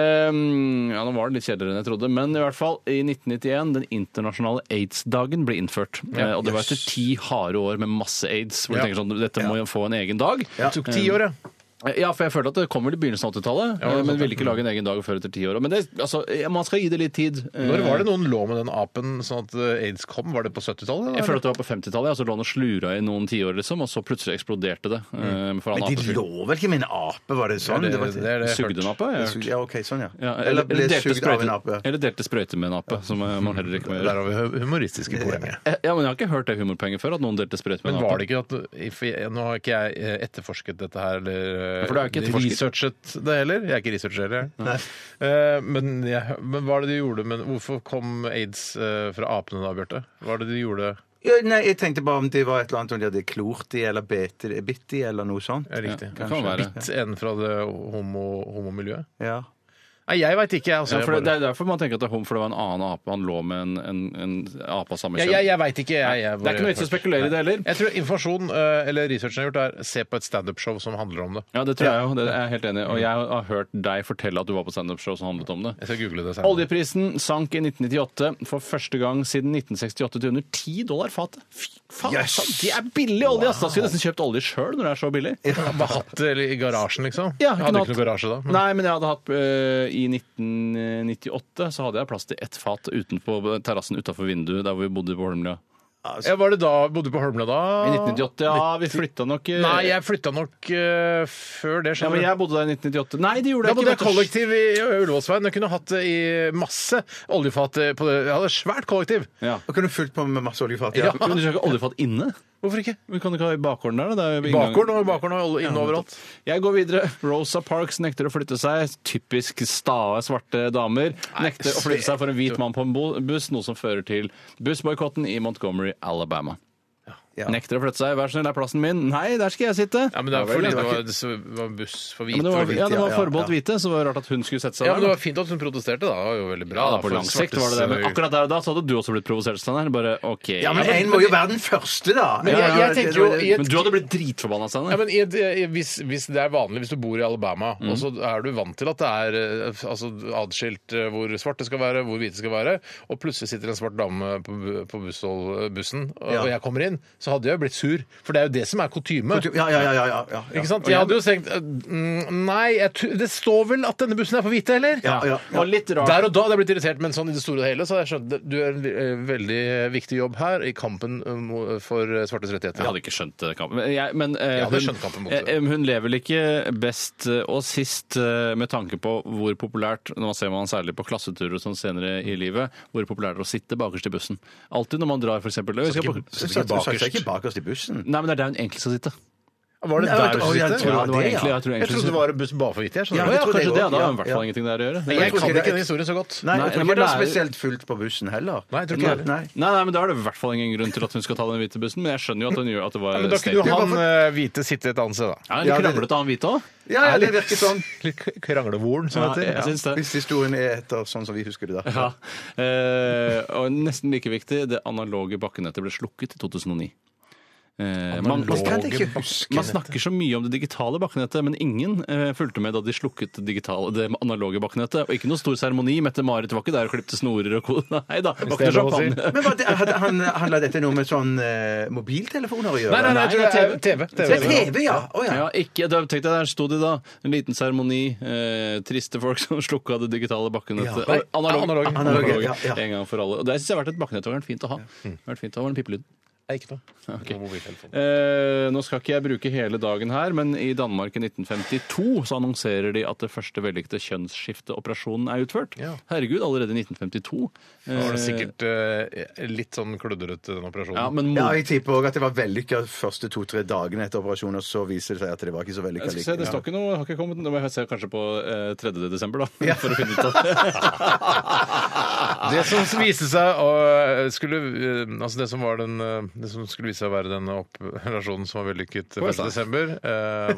Speaker 4: Ehm, ja, nå var det litt kjedeligere enn jeg trodde, men i hvert fall, i 1991, den internasjonale aids-dagen ble innført. Eh, og det var etter ti harde år med masse aids, hvor
Speaker 3: Ja.
Speaker 4: du tenker sånn, dette må jo få en egen dag.
Speaker 3: Det tok ti år, ja.
Speaker 4: Eh, Ja, for jeg følte at det kom vel i begynnelsen av 80-tallet,
Speaker 3: det er
Speaker 4: eh, men
Speaker 3: sant,
Speaker 4: ville ikke lage en egen dag før etter ti år. Men det, altså, eh, man skal gi det litt tid. Eh,
Speaker 3: Når var det noen lå med den apen sånn at eh, aids kom? Var det på 70-tallet?
Speaker 4: Jeg
Speaker 3: eller?
Speaker 4: føler at det var på 50-tallet, altså lå han og slura i noen tiår, liksom, og så plutselig eksploderte det. eh, for han
Speaker 1: Men de
Speaker 4: apefyren.
Speaker 1: lå vel ikke med en ape, var det sånn?
Speaker 3: det,
Speaker 1: var-
Speaker 3: det, er det jeg
Speaker 4: Sugde
Speaker 3: hørte.
Speaker 4: en ape? har jeg hørt.
Speaker 1: Ja, OK, sånn, ja.
Speaker 4: Ja,
Speaker 1: Eller ble
Speaker 4: delte
Speaker 1: sugd av
Speaker 4: sprøyte-
Speaker 1: en ape.
Speaker 4: Eller delte sprøyte med en ape, som eh, man heller ikke må
Speaker 3: Der
Speaker 4: gjøre.
Speaker 3: har vi hu- humoristiske poenget.
Speaker 4: Eh, Ja, men Jeg har ikke hørt det humorpoenget før, at noen delte sprøyte med en
Speaker 3: Men var
Speaker 4: ape.
Speaker 3: det ikke at eh, for jeg, Nå har ikke jeg eh, etterforsket dette her, eller eh,
Speaker 4: For du er jo ikke etterforsker.
Speaker 3: researchet det heller. Jeg er ikke researcher heller. jeg. Eh, Men, jeg, men hva er det du gjorde men Hvorfor kom aids eh, fra apene da, Bjarte? Hva er det du gjorde
Speaker 1: Ja, nei, jeg tenkte bare om det var et eller annet om de hadde klort i eller bet i- bitt i eller noe sånt.
Speaker 3: er riktig?
Speaker 4: det kan være.
Speaker 3: Bitt en fra det homo, homomiljøet?
Speaker 1: Ja.
Speaker 3: Nei, jeg veit ikke, jeg. Altså,
Speaker 4: Ja, for det, det
Speaker 3: jeg bare-
Speaker 4: er derfor man tenker at det er hom, for det var en annen ape han lå med en, en, en ape av samme
Speaker 3: jeg,
Speaker 4: kjønn.
Speaker 3: jeg, jeg vet ikke. Jeg, jeg
Speaker 4: det er ikke noe vits i å spekulere i det heller.
Speaker 3: Jeg tror informasjon eh, eller researchen jeg har gjort, er se på et standup-show som handler om det.
Speaker 4: Ja, det tror jeg jo. Det er jeg helt enig i. Og jeg har hørt deg fortelle at du var på standup-show som handlet om det.
Speaker 3: Jeg skal google det senere.
Speaker 4: Oljeprisen sank i 1998 for første gang siden 1968 til under 10 dollar fatet. Fy faen,
Speaker 1: Yes!
Speaker 4: sant? det er billig olje! ass. Da skulle jeg nesten kjøpt olje sjøl når det er så billig.
Speaker 3: Jeg Bare hatt det i garasjen, liksom.
Speaker 4: Ja,
Speaker 3: jeg
Speaker 4: kunne
Speaker 3: hadde
Speaker 4: hatt-
Speaker 3: ikke noe garasje da. men-
Speaker 4: Nei, men jeg hadde hatt eh, I 1998 så hadde jeg plass til ett fat utenpå terrassen utafor vinduet der hvor vi bodde på Holmlia.
Speaker 3: Ja, var det da bodde du på Holmlia da?
Speaker 4: I 1998, ja, vi flytta nok eh,
Speaker 3: Nei, jeg flytta nok eh, før det.
Speaker 4: Ja,
Speaker 3: skjønner
Speaker 4: men
Speaker 3: du.
Speaker 4: jeg bodde der i 1998. Nei, det gjorde
Speaker 3: da
Speaker 4: jeg
Speaker 3: bodde
Speaker 4: ikke. vet
Speaker 3: jeg
Speaker 4: du.
Speaker 3: kollektiv i Ullevålsveien. Jeg kunne hatt det i masse oljefat. eh, På det. Jeg hadde et svært kollektiv.
Speaker 4: Ja.
Speaker 1: Og kunne fylt på med masse oljefat.
Speaker 4: Ja. Men du skal ikke ha oljefat inne?
Speaker 3: Hvorfor ikke?
Speaker 4: Vi kan ikke ha i bakgården der? da. Det er jo inngangen.
Speaker 3: Bakgården og bakgården og olje inne overalt.
Speaker 4: Jeg går videre. Rosa Parks nekter å flytte seg. Typisk stae, svarte damer. Nekter å flytte seg for en hvit mann på en bo- buss, noe som fører til bussboikotten i Montgomery, Alabama.
Speaker 1: Ja.
Speaker 4: Nekter å flytte seg. Vær så snill, det er plassen min. Nei, der skal jeg sitte.
Speaker 3: Ja, men det var
Speaker 4: vel,
Speaker 3: fordi
Speaker 4: det
Speaker 3: det
Speaker 4: var
Speaker 3: var,
Speaker 4: ikke-
Speaker 3: det var en buss
Speaker 4: Ja,
Speaker 3: for hvit.
Speaker 4: men det
Speaker 3: for
Speaker 4: var,
Speaker 3: hvit.
Speaker 4: ja, det var
Speaker 1: ja,
Speaker 4: forbeholdt
Speaker 1: ja.
Speaker 4: hvite, så det var rart at hun skulle sette seg
Speaker 3: Ja, men det
Speaker 4: der.
Speaker 3: var fint at hun protesterte, da. Det var jo veldig bra.
Speaker 4: Ja, da,
Speaker 3: da,
Speaker 4: på
Speaker 3: for
Speaker 4: lang sikt var det det, men
Speaker 3: svartes-
Speaker 4: akkurat der og da så hadde du også blitt provosert, Steinar. Bare OK.
Speaker 1: Ja, men en må jo være den første, da!
Speaker 3: Men jeg- jeg tenker jo- jeg-
Speaker 4: Men du hadde blitt dritforbanna,
Speaker 3: Ja,
Speaker 4: Steinar.
Speaker 3: men i et, i, hvis, hvis det er vanlig, hvis du bor i Alabama,
Speaker 1: Mm.
Speaker 3: og så er du vant til at det er eh, altså, adskilt eh, hvor svarte skal være, hvor hvite skal være, og plutselig sitter en svart dame på, bu- på busshold- eh, bussen, og,
Speaker 1: Ja.
Speaker 3: og jeg kommer inn, så hadde jeg jo blitt sur. For det er jo det som er kutyme.
Speaker 1: Ja, ja, ja. ja, ja, ja.
Speaker 3: Ikke sant? Jeg hadde jo tenkt eh, mm, Nei, jeg, tu- det står vel at denne bussen er for hvite, eller?
Speaker 1: Ja, ja, ja.
Speaker 4: Og litt rart.
Speaker 3: Der og da hadde jeg blitt irritert, men sånn i det store og hele så hadde jeg skjønt det. du gjør en eh, veldig viktig jobb her i kampen eh, mo- for eh, svartes rettigheter.
Speaker 4: Jeg hadde ikke skjønt eh, kampen. Men, jeg, men eh,
Speaker 3: Jeg hadde
Speaker 4: hun,
Speaker 3: skjønt kampen mot det.
Speaker 4: eh, hun lever vel ikke best eh, og sist eh, med tanke på hvor populært Nå ser man særlig på klasseturer og sånn senere i livet, hvor populært det er å sitte bakerst i bussen. Alltid når man drar, f.eks.
Speaker 1: Så
Speaker 4: Nei,
Speaker 1: satt du satt ikke bakerst i bussen?
Speaker 4: men det er der hun egentlig skal sitte.
Speaker 3: Var det
Speaker 1: Nei,
Speaker 3: der du
Speaker 1: å, jeg
Speaker 3: sitter?
Speaker 1: tror
Speaker 4: Ja, det var
Speaker 1: det, ja.
Speaker 4: egentlig, jeg tror
Speaker 3: Jeg
Speaker 4: egentlig
Speaker 3: trodde det var en buss bare for hvite. Jeg, skjønner
Speaker 1: Ja,
Speaker 3: du.
Speaker 4: Å ja,
Speaker 1: tror det
Speaker 4: kanskje det.
Speaker 1: går,
Speaker 4: Da har
Speaker 1: ja,
Speaker 4: hun i hvert
Speaker 1: ja.
Speaker 4: fall ingenting der å gjøre.
Speaker 3: Men jeg
Speaker 1: tror
Speaker 3: kan
Speaker 1: ikke det-
Speaker 3: ikke den historien så godt.
Speaker 1: Nei,
Speaker 4: Nei,
Speaker 1: jeg tror
Speaker 4: men
Speaker 1: ikke det er
Speaker 4: det er-
Speaker 1: spesielt fullt på bussen heller.
Speaker 3: Nei, jeg tror ikke det.
Speaker 1: Nei.
Speaker 4: Nei, nei, men Da er det i hvert fall ingen grunn til at hun skal ta den hvite bussen, men jeg skjønner jo at hun gjør at det var
Speaker 3: Men da kunne jo
Speaker 4: statement.
Speaker 3: han eh, hvite sitte et annet sted, da.
Speaker 4: Ja,
Speaker 1: Ja,
Speaker 4: Litt
Speaker 1: det-
Speaker 4: kranglete han hvite òg.
Speaker 1: Ja, ja, det virker sånn.
Speaker 3: Litt kranglevoren, som
Speaker 4: Ja,
Speaker 3: det heter.
Speaker 4: jeg syns det.
Speaker 1: Hvis historien er etter sånn som vi husker det da.
Speaker 4: Ja. Eh, og nesten like viktig, det analoge bakkenettet ble slukket i 2009. Eh, man, man,
Speaker 1: Det kan jeg
Speaker 4: snakker,
Speaker 1: ikke huske.
Speaker 4: man snakker så mye om det digitale bakkenettet, men ingen eh, fulgte med da de slukket det, digitale, det analoge bakkenettet. Og ikke noe stor seremoni. Mette-Marit var ikke der og klipte snorer og kode. Nei da.
Speaker 3: det er
Speaker 4: Bakte
Speaker 3: lov å si.
Speaker 4: champagne.
Speaker 1: Men var det, hadde, han, handla dette noe med sånn eh, mobiltelefoner å gjøre?
Speaker 3: Nei, nei, nei, jeg tror det er TV.
Speaker 1: Det er TV, ja! Å ja.
Speaker 4: Ja, ikke, da tenkte jeg, Der sto de, da. En liten seremoni. Eh, triste folk som slukka det digitale bakkenettet.
Speaker 1: Ja. Nei,
Speaker 4: Og analog-
Speaker 3: analoge.
Speaker 4: analoge,
Speaker 1: Analoge, ja, ja.
Speaker 4: En gang for alle. Og Det syns jeg har vært et bakkenett. Det har vært fint å ha. Det har vært fint å ha en pipelyd.
Speaker 3: Nei, Ikke noe.
Speaker 4: Ok.
Speaker 3: Mobiltelefon.
Speaker 4: Eh, nå skal ikke jeg bruke hele dagen her, men i Danmark i 1952 så annonserer de at det første vellykkede kjønnsskifteoperasjonen er utført.
Speaker 3: Ja.
Speaker 4: Herregud, allerede i 1952. Eh,
Speaker 3: Da var det sikkert eh, litt sånn kludrete, den operasjonen.
Speaker 4: ja, men
Speaker 1: Ja,
Speaker 4: mot-
Speaker 1: jeg tipper òg at det var vellykka første to-tre dagene etter operasjonen, og så viser det seg at det var ikke så
Speaker 4: jeg
Speaker 1: vellykka
Speaker 4: skal se, det står ikke noe, har ikke kommet noe. Da må jeg se kanskje på eh, 3. desember, da. For å finne ut av
Speaker 3: Det som viste seg å skulle eh, Altså det som var den eh, Det som skulle vise seg å være den operasjonen som var vellykket 1.12.,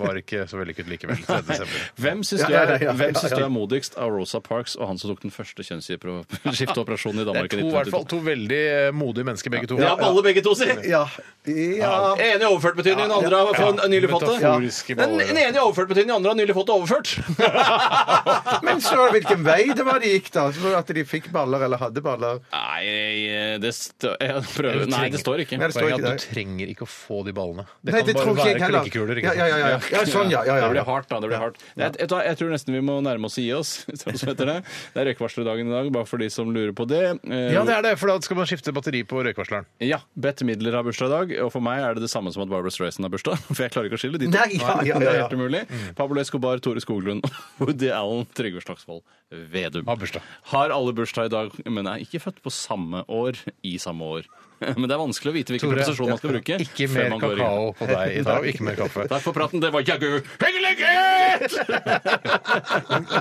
Speaker 3: var ikke så vellykket likevel. 3. desember.
Speaker 4: Hvem syns
Speaker 1: Ja,
Speaker 4: du er,
Speaker 1: ja, ja, ja,
Speaker 4: hvem syns
Speaker 1: ja,
Speaker 4: du
Speaker 1: ja.
Speaker 4: er modigst av Rosa Parks og han som tok den første kjønnsskifteoperasjonen i
Speaker 3: Det er
Speaker 4: Danmark i
Speaker 3: to, i hvert fall
Speaker 4: 1952?
Speaker 3: to veldig eh, modige mennesker, begge to.
Speaker 4: Ja, baller begge to, si!
Speaker 1: Ja. ja.
Speaker 4: Ene i overført betydning, den andre har fått- nylig fått det.
Speaker 3: Metaforiske
Speaker 4: Den
Speaker 3: baller.
Speaker 4: den ene i overført betydning, den andre har nylig fått det overført.
Speaker 1: Men så hvilken vei det var de gikk, da? Så at de fikk baller, eller hadde baller?
Speaker 4: Nei, det, stå, jeg prøver. Nei, det står ikke.
Speaker 1: Nei, det står ikke
Speaker 3: Poenget er
Speaker 1: der.
Speaker 3: at du trenger ikke å få de ballene. Det
Speaker 1: Nei,
Speaker 3: kan
Speaker 1: det tror
Speaker 3: bare
Speaker 1: ikke jeg
Speaker 3: være
Speaker 1: heller.
Speaker 3: klikkekuler.
Speaker 1: Ja, ja,
Speaker 3: Ikke
Speaker 1: ja,
Speaker 3: sant?
Speaker 1: ja. ja sånn, ja. ja, ja,
Speaker 4: Det blir
Speaker 1: ja.
Speaker 4: hardt, da. det blir hardt. Jeg, jeg, tror- jeg tror nesten vi må nærme oss og gi oss. som det heter Det Det er røykvarslerdagen i dag, bare for de som lurer på det. Eh,
Speaker 3: Ja, det er det, for da skal man skifte batteri på røykvarsleren.
Speaker 4: Ja, Bette Midler har bursdag i dag, og for meg er det det samme som at Barbara Streisand har bursdag. For jeg klarer ikke å skille de to.
Speaker 1: Nei, ja, ja, ja, ja.
Speaker 4: Det er helt umulig. Pablo Escobar, Tore Skoglund, Woody Allen, Trygve Slagsvold Vedum.
Speaker 3: Har bursdag.
Speaker 4: Har alle bursdag i dag, men er ikke født på samme år i samme år. Men det er vanskelig å vite hvilken preposisjon man skal bruke.
Speaker 3: ikke
Speaker 4: før
Speaker 3: mer
Speaker 4: man går i gang.
Speaker 3: kakao på deg i dag, og ikke mer kaffe.
Speaker 4: Takk for praten, det var jaggu hyggelighet!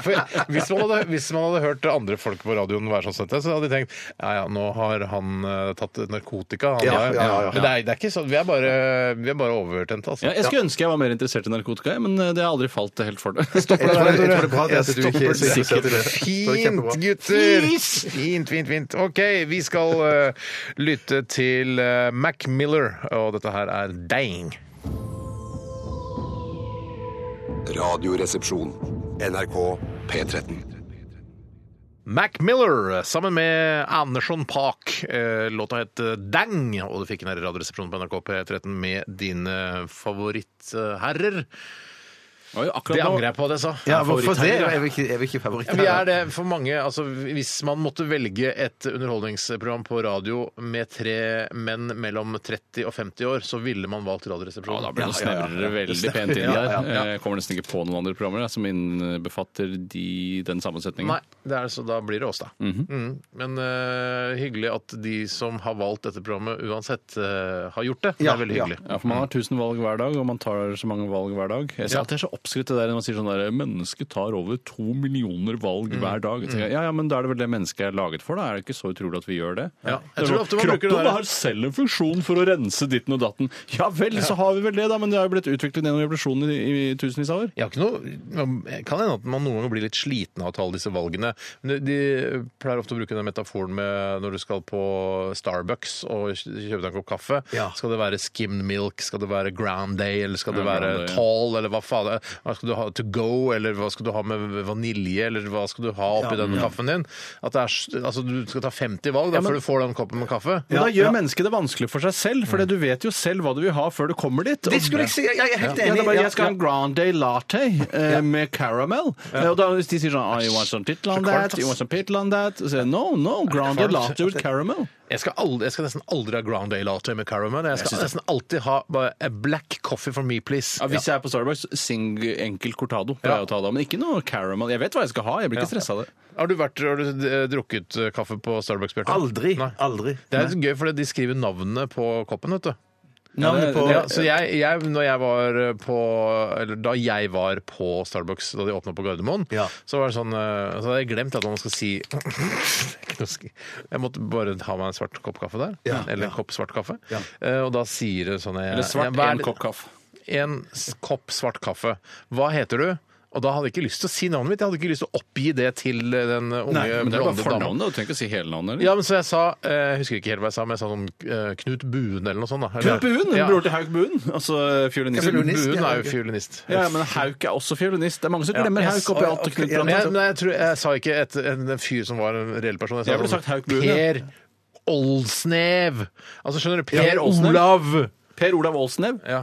Speaker 3: For hvis, man hadde, hvis man hadde hørt andre folk på radioen være sånn som dette, så hadde de tenkt ja ja, nå har han eh, tatt narkotika. Han
Speaker 1: Ja,
Speaker 3: der.
Speaker 1: ja, ja, ja.
Speaker 3: Men det er, det er ikke sånn. Vi er bare, vi er bare overtente, altså.
Speaker 4: Ja, jeg skulle ønske jeg var mer interessert i narkotika, men eh, det har aldri falt helt for det.
Speaker 1: Jeg tror, jeg tror det er bra det
Speaker 3: Jeg
Speaker 1: at du ikke er så
Speaker 3: stopper
Speaker 1: interessert i det. Jeg tror det er
Speaker 3: Fint,
Speaker 1: kjempebra.
Speaker 3: gutter! Fint, fint, fint. OK, vi skal eh, lytte til eh, Mac Miller, og dette her er Dang.
Speaker 6: Radioresepsjon. NRK P13.
Speaker 3: Mac Miller eh, sammen med Andersson Park. Eh, Låta het eh, Dang, og du fikk den her i Radioresepsjonen på NRK P13 med dine favorittherrer. Det angrer jeg på at jeg sa.
Speaker 1: Ja, hvorfor det?
Speaker 3: Favorittherrer,
Speaker 1: Jeg
Speaker 3: ja.
Speaker 1: vil ikke, jeg vil ikke favoritt.
Speaker 3: Vi er det for mange. altså Hvis man måtte velge et underholdningsprogram på radio med tre menn mellom 30 og 50 år, så ville man valgt
Speaker 4: Ja, da
Speaker 3: Radioresepsjonen.
Speaker 4: blir det snørre veldig pent inn der. Jeg kommer nesten ikke på noen andre programmer jeg, som innbefatter de, den sammensetningen.
Speaker 3: Nei, det er, så da blir det oss, da. Mhm. Men eh, hyggelig at de som har valgt dette programmet uansett, eh, har gjort det.
Speaker 1: Ja,
Speaker 3: det er veldig
Speaker 1: ja.
Speaker 3: hyggelig.
Speaker 4: Ja, for Man har 1000 valg hver dag, og man tar så mange valg hver dag. Jeg ser
Speaker 3: Ja.
Speaker 4: at Det er så oppskrytt det der når man sier sånn der, mennesket tar over to millioner valg
Speaker 3: Mm.
Speaker 4: hver dag. Så tenker Jeg, ja, ja, men Da er det vel det mennesket er laget for? da? Er det ikke så utrolig at vi gjør det?
Speaker 3: Ja.
Speaker 4: Det er
Speaker 3: Jeg tror
Speaker 4: sånn,
Speaker 3: ofte man bruker det
Speaker 4: Kroppen
Speaker 3: der-
Speaker 4: har selv en funksjon for å rense ditten og datten. Ja vel, så har vi vel det, da, men det har jo blitt utviklet gjennom evolusjonen i, i tusenvis av år.
Speaker 3: Jeg har ikke noe, kan hende at man noen ganger blir litt sliten av å ta alle disse valgene. Men de de pleier ofte å bruke den metaforen med når du skal på Starbucks og kj- kjøpe deg en kopp kaffe.
Speaker 1: Ja.
Speaker 3: Skal det være skimmed milk, skal det være ground day, eller skal det
Speaker 4: Ja,
Speaker 3: være
Speaker 4: Ground Day, ja.
Speaker 3: tall, eller hva faen? det er? Hva skal du ha to go, eller hva skal du ha med vanilje, eller hva skal du ha oppi den kaffen din? At det er, s- altså, du skal ta 50 valg da, før du får den koppen med kaffe.
Speaker 4: Men da gjør mennesket det vanskelig for seg selv,
Speaker 3: Mm.
Speaker 4: for du vet jo selv hva du vil ha før du kommer dit.
Speaker 1: Det skulle jeg si! Jeg er helt
Speaker 4: Ja, det
Speaker 1: enig.
Speaker 4: er bare,
Speaker 1: Ja,
Speaker 4: jeg skal ha en grande latte eh, med caramel. Eh, Og da, hvis de sier sånn oh, You want some tittle on that? You want some tittle on that? Så sier jeg no, no, grande
Speaker 3: Kvalmt.
Speaker 4: latte with caramel.
Speaker 3: Jeg skal, aldri, jeg skal nesten aldri ha Ground Day latte med caramel. Jeg skal nesten alltid ha bare a black coffee for me, please.
Speaker 4: Ja, hvis jeg er på Starbucks, sing enkel cortado.
Speaker 3: Ja.
Speaker 4: pleier jeg å ta da, Men ikke noe caramel. Jeg vet hva jeg skal ha. Jeg blir ikke stressa av det.
Speaker 3: Har du, vært, har du eh, drukket eh, kaffe på Starbucks, Bjarte?
Speaker 1: Aldri.
Speaker 3: Nei.
Speaker 1: Aldri.
Speaker 3: Det er så gøy, for de skriver navnene på koppen, vet du.
Speaker 1: Navnet på
Speaker 3: Ja, så jeg, jeg, når jeg var eh, på, eller da jeg var på Starbucks da de åpna på Gardermoen,
Speaker 1: Ja.
Speaker 3: så var det sånn eh, Så hadde jeg glemt at man skal si Det er ikke noe sk- Jeg måtte bare ha meg en svart kopp kaffe der.
Speaker 1: Ja,
Speaker 3: eller en
Speaker 1: ja.
Speaker 3: kopp svart kaffe. Eh, og da sier det sånn jeg,
Speaker 4: Eller svart,
Speaker 3: jeg, hva er
Speaker 4: en
Speaker 3: det-
Speaker 4: kopp kaffe.
Speaker 3: en s- kopp svart kaffe. Hva heter du? Og da hadde jeg ikke lyst til å si navnet mitt. Jeg hadde ikke lyst til å oppgi det til eh, den unge
Speaker 4: Nei, men det er bare
Speaker 3: blonde damen.
Speaker 4: fornavnet. Du trenger ikke å si hele navnet. eller?
Speaker 3: Ja, men så jeg sa eh, Jeg husker ikke helt hva jeg sa, men jeg sa noen eh, Knut Buen eller noe sånt. da. Eller-
Speaker 4: Knut Buen,
Speaker 3: Ja.
Speaker 4: bror til Hauk Buen, altså fiolinisten.
Speaker 1: Fiolinist.
Speaker 3: Buen
Speaker 1: ja,
Speaker 3: er jo
Speaker 1: ok.
Speaker 3: fiolinist.
Speaker 4: Ja, men Hauk er også fiolinist. Det er mange som glemmer
Speaker 3: Ja.
Speaker 4: Hauk oppi alt. og
Speaker 1: ok,
Speaker 4: Knut
Speaker 1: ja,
Speaker 4: Buen.
Speaker 3: Men jeg, men jeg, tror, jeg sa ikke et, en, en fyr som var en reell person. Jeg, sa
Speaker 4: Jeg ville
Speaker 3: sånn,
Speaker 4: sagt Hauk Buen, ja.
Speaker 3: Per Olsnev. Altså, skjønner du? Per
Speaker 4: Per Olsnev.
Speaker 3: Olav.
Speaker 4: Per Olav Olsnev.
Speaker 3: Ja.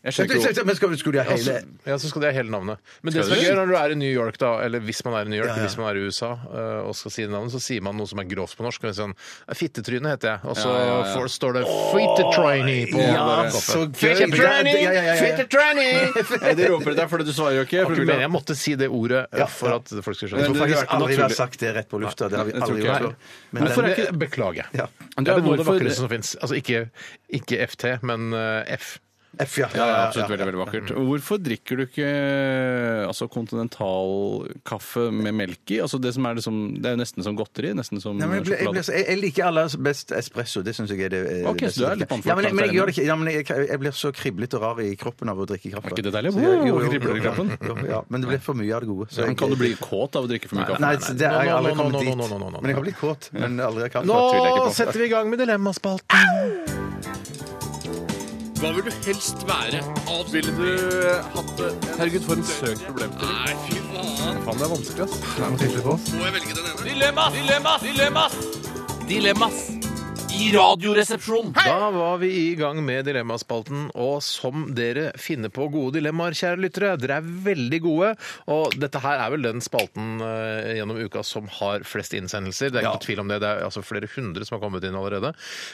Speaker 4: Jeg
Speaker 1: Men
Speaker 4: skjønner ikke
Speaker 1: skal- Men skal, skulle de ha hele
Speaker 3: Altså, ja, så skal de ha hele navnet. Men det
Speaker 4: Skal
Speaker 3: som er
Speaker 4: de?
Speaker 3: gøy når du er i New York, da, eller hvis man er i New York,
Speaker 1: Ja, ja.
Speaker 3: hvis man er i USA eh, og skal si navnet, så sier man noe som er grovt på norsk. og Sånn, Fittetryne heter jeg, og så
Speaker 4: Ja, ja, ja.
Speaker 3: får- står det fittetryne på
Speaker 1: Ja, så
Speaker 3: koppen.
Speaker 1: gøy.
Speaker 3: Fittetryne!
Speaker 1: Ja, ja, ja, ja.
Speaker 3: Fittetryne!
Speaker 4: Nei, de roper etter deg fordi du svarer jo ikke.
Speaker 3: Det
Speaker 4: for
Speaker 3: var
Speaker 4: du
Speaker 3: ikke
Speaker 4: vil
Speaker 3: meningen. Jeg måtte si det ordet eh,
Speaker 1: Ja,
Speaker 3: for
Speaker 1: ja.
Speaker 3: at folk skulle
Speaker 1: Jeg
Speaker 3: skjønne.
Speaker 1: tror
Speaker 4: det ville
Speaker 1: faktisk
Speaker 4: vært
Speaker 1: aldri vi har
Speaker 4: naturlig.
Speaker 1: sagt det rett på lufta. Det har vi
Speaker 4: Nei, jeg tror
Speaker 1: aldri
Speaker 4: ikke
Speaker 1: gjort.
Speaker 4: jeg.
Speaker 1: Men
Speaker 4: Hvorfor
Speaker 1: den-
Speaker 4: er ikke-
Speaker 3: Beklager.
Speaker 1: Ja.
Speaker 4: Men
Speaker 3: Det er noe av det
Speaker 4: hvorfor-
Speaker 3: vakreste som fins. Altså ikke, ikke FT, men eh, F.
Speaker 1: F, ja.
Speaker 4: Ja, det er absolutt veldig, veldig vakkert. Hvorfor drikker du ikke altså, kontinentalkaffe med melk i? Altså, det, som er liksom, det er jo nesten som godteri. Nesten som
Speaker 1: Nei, men jeg, ble, jeg, ble,
Speaker 4: sjokolade.
Speaker 1: jeg, jeg liker aller best espresso. Det syns jeg er det eh,
Speaker 4: Ok, så
Speaker 1: beste.
Speaker 4: du er litt på en
Speaker 1: ja, men, jeg- men jeg
Speaker 4: forkant
Speaker 1: gjør det ikke. Ja, men jeg, jeg blir så kriblete og rar i kroppen av å drikke kaffe.
Speaker 4: Er ikke det deilig?
Speaker 1: Så jeg-
Speaker 4: Wow, kribler i kroppen.
Speaker 1: jo, ja, men det blir for mye av det gode. så jeg-
Speaker 4: Men kan du bli kåt av å drikke for mye kaffe?
Speaker 1: Nei, så det har jeg aldri
Speaker 3: Nå, nå, nå,
Speaker 1: kommet dit.
Speaker 3: nå, nå, nå, nå, nå.
Speaker 1: Men jeg har blitt kåt. Men aldri har kaffe.
Speaker 3: Nå
Speaker 1: Tviler jeg ikke på.
Speaker 3: setter vi i gang med Dilemmaspalten.
Speaker 7: Hva vil du helst være? Ville du hatt det? Herregud, for en søk problem til. Nei, fy faen. Faen, det er vanskelig, ass. Må jeg velge den ene? Dilemmas! Dilemmas! Dilemmas! Dilemmas! I radioresepsjonen!
Speaker 3: Da var vi i gang med Dilemmaspalten, og som dere finner på gode dilemmaer, kjære lyttere, dere er veldig gode. Og dette her er vel den spalten eh, gjennom uka som har flest innsendelser. Det er ikke noe tvil om det. Det er altså flere hundre som har kommet inn allerede.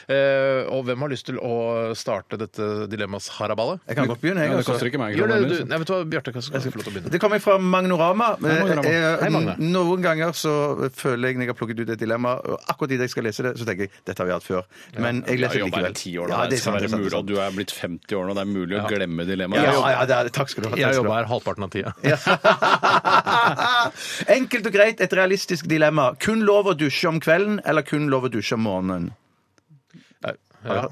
Speaker 3: Eh, og hvem har lyst til å starte dette dilemmas haraballet?
Speaker 1: Jeg kan godt begynne, jeg.
Speaker 4: Ja, det
Speaker 1: altså.
Speaker 4: koster ikke meg en
Speaker 3: Gjør det,
Speaker 4: krone.
Speaker 3: du.
Speaker 4: eller?
Speaker 3: Nei, vet du hva, Bjarte, kan skal få lov til å begynne.
Speaker 1: Det kommer fra Magnorama.
Speaker 4: Magnorama.
Speaker 1: Eh,
Speaker 3: Hei, Magne.
Speaker 1: n- Noen ganger så føler jeg når jeg har plukket ut et dilemma, og akkurat idet jeg skal lese det, så tenker jeg dette har vi hatt før. Men jeg leser
Speaker 4: Jeg har
Speaker 1: det
Speaker 4: jobba her i
Speaker 1: likevel.
Speaker 4: ti år nå.
Speaker 1: Ja,
Speaker 4: det,
Speaker 1: det er sant, det
Speaker 4: skal
Speaker 1: er
Speaker 4: være
Speaker 1: sant, det
Speaker 4: mulig,
Speaker 1: er
Speaker 4: og du er blitt 50 år nå. Det er mulig å glemme dilemmaet.
Speaker 1: sant.
Speaker 4: Jeg
Speaker 1: Ja,
Speaker 4: jobber-
Speaker 1: ja, det er, takk skal du ha. takk
Speaker 3: Jeg
Speaker 1: skal du
Speaker 3: jobber
Speaker 1: ha.
Speaker 3: her halvparten av tida.
Speaker 1: Enkelt og greit, et realistisk dilemma. Kun lov å dusje om kvelden, eller kun lov å dusje om morgenen?
Speaker 3: Ja.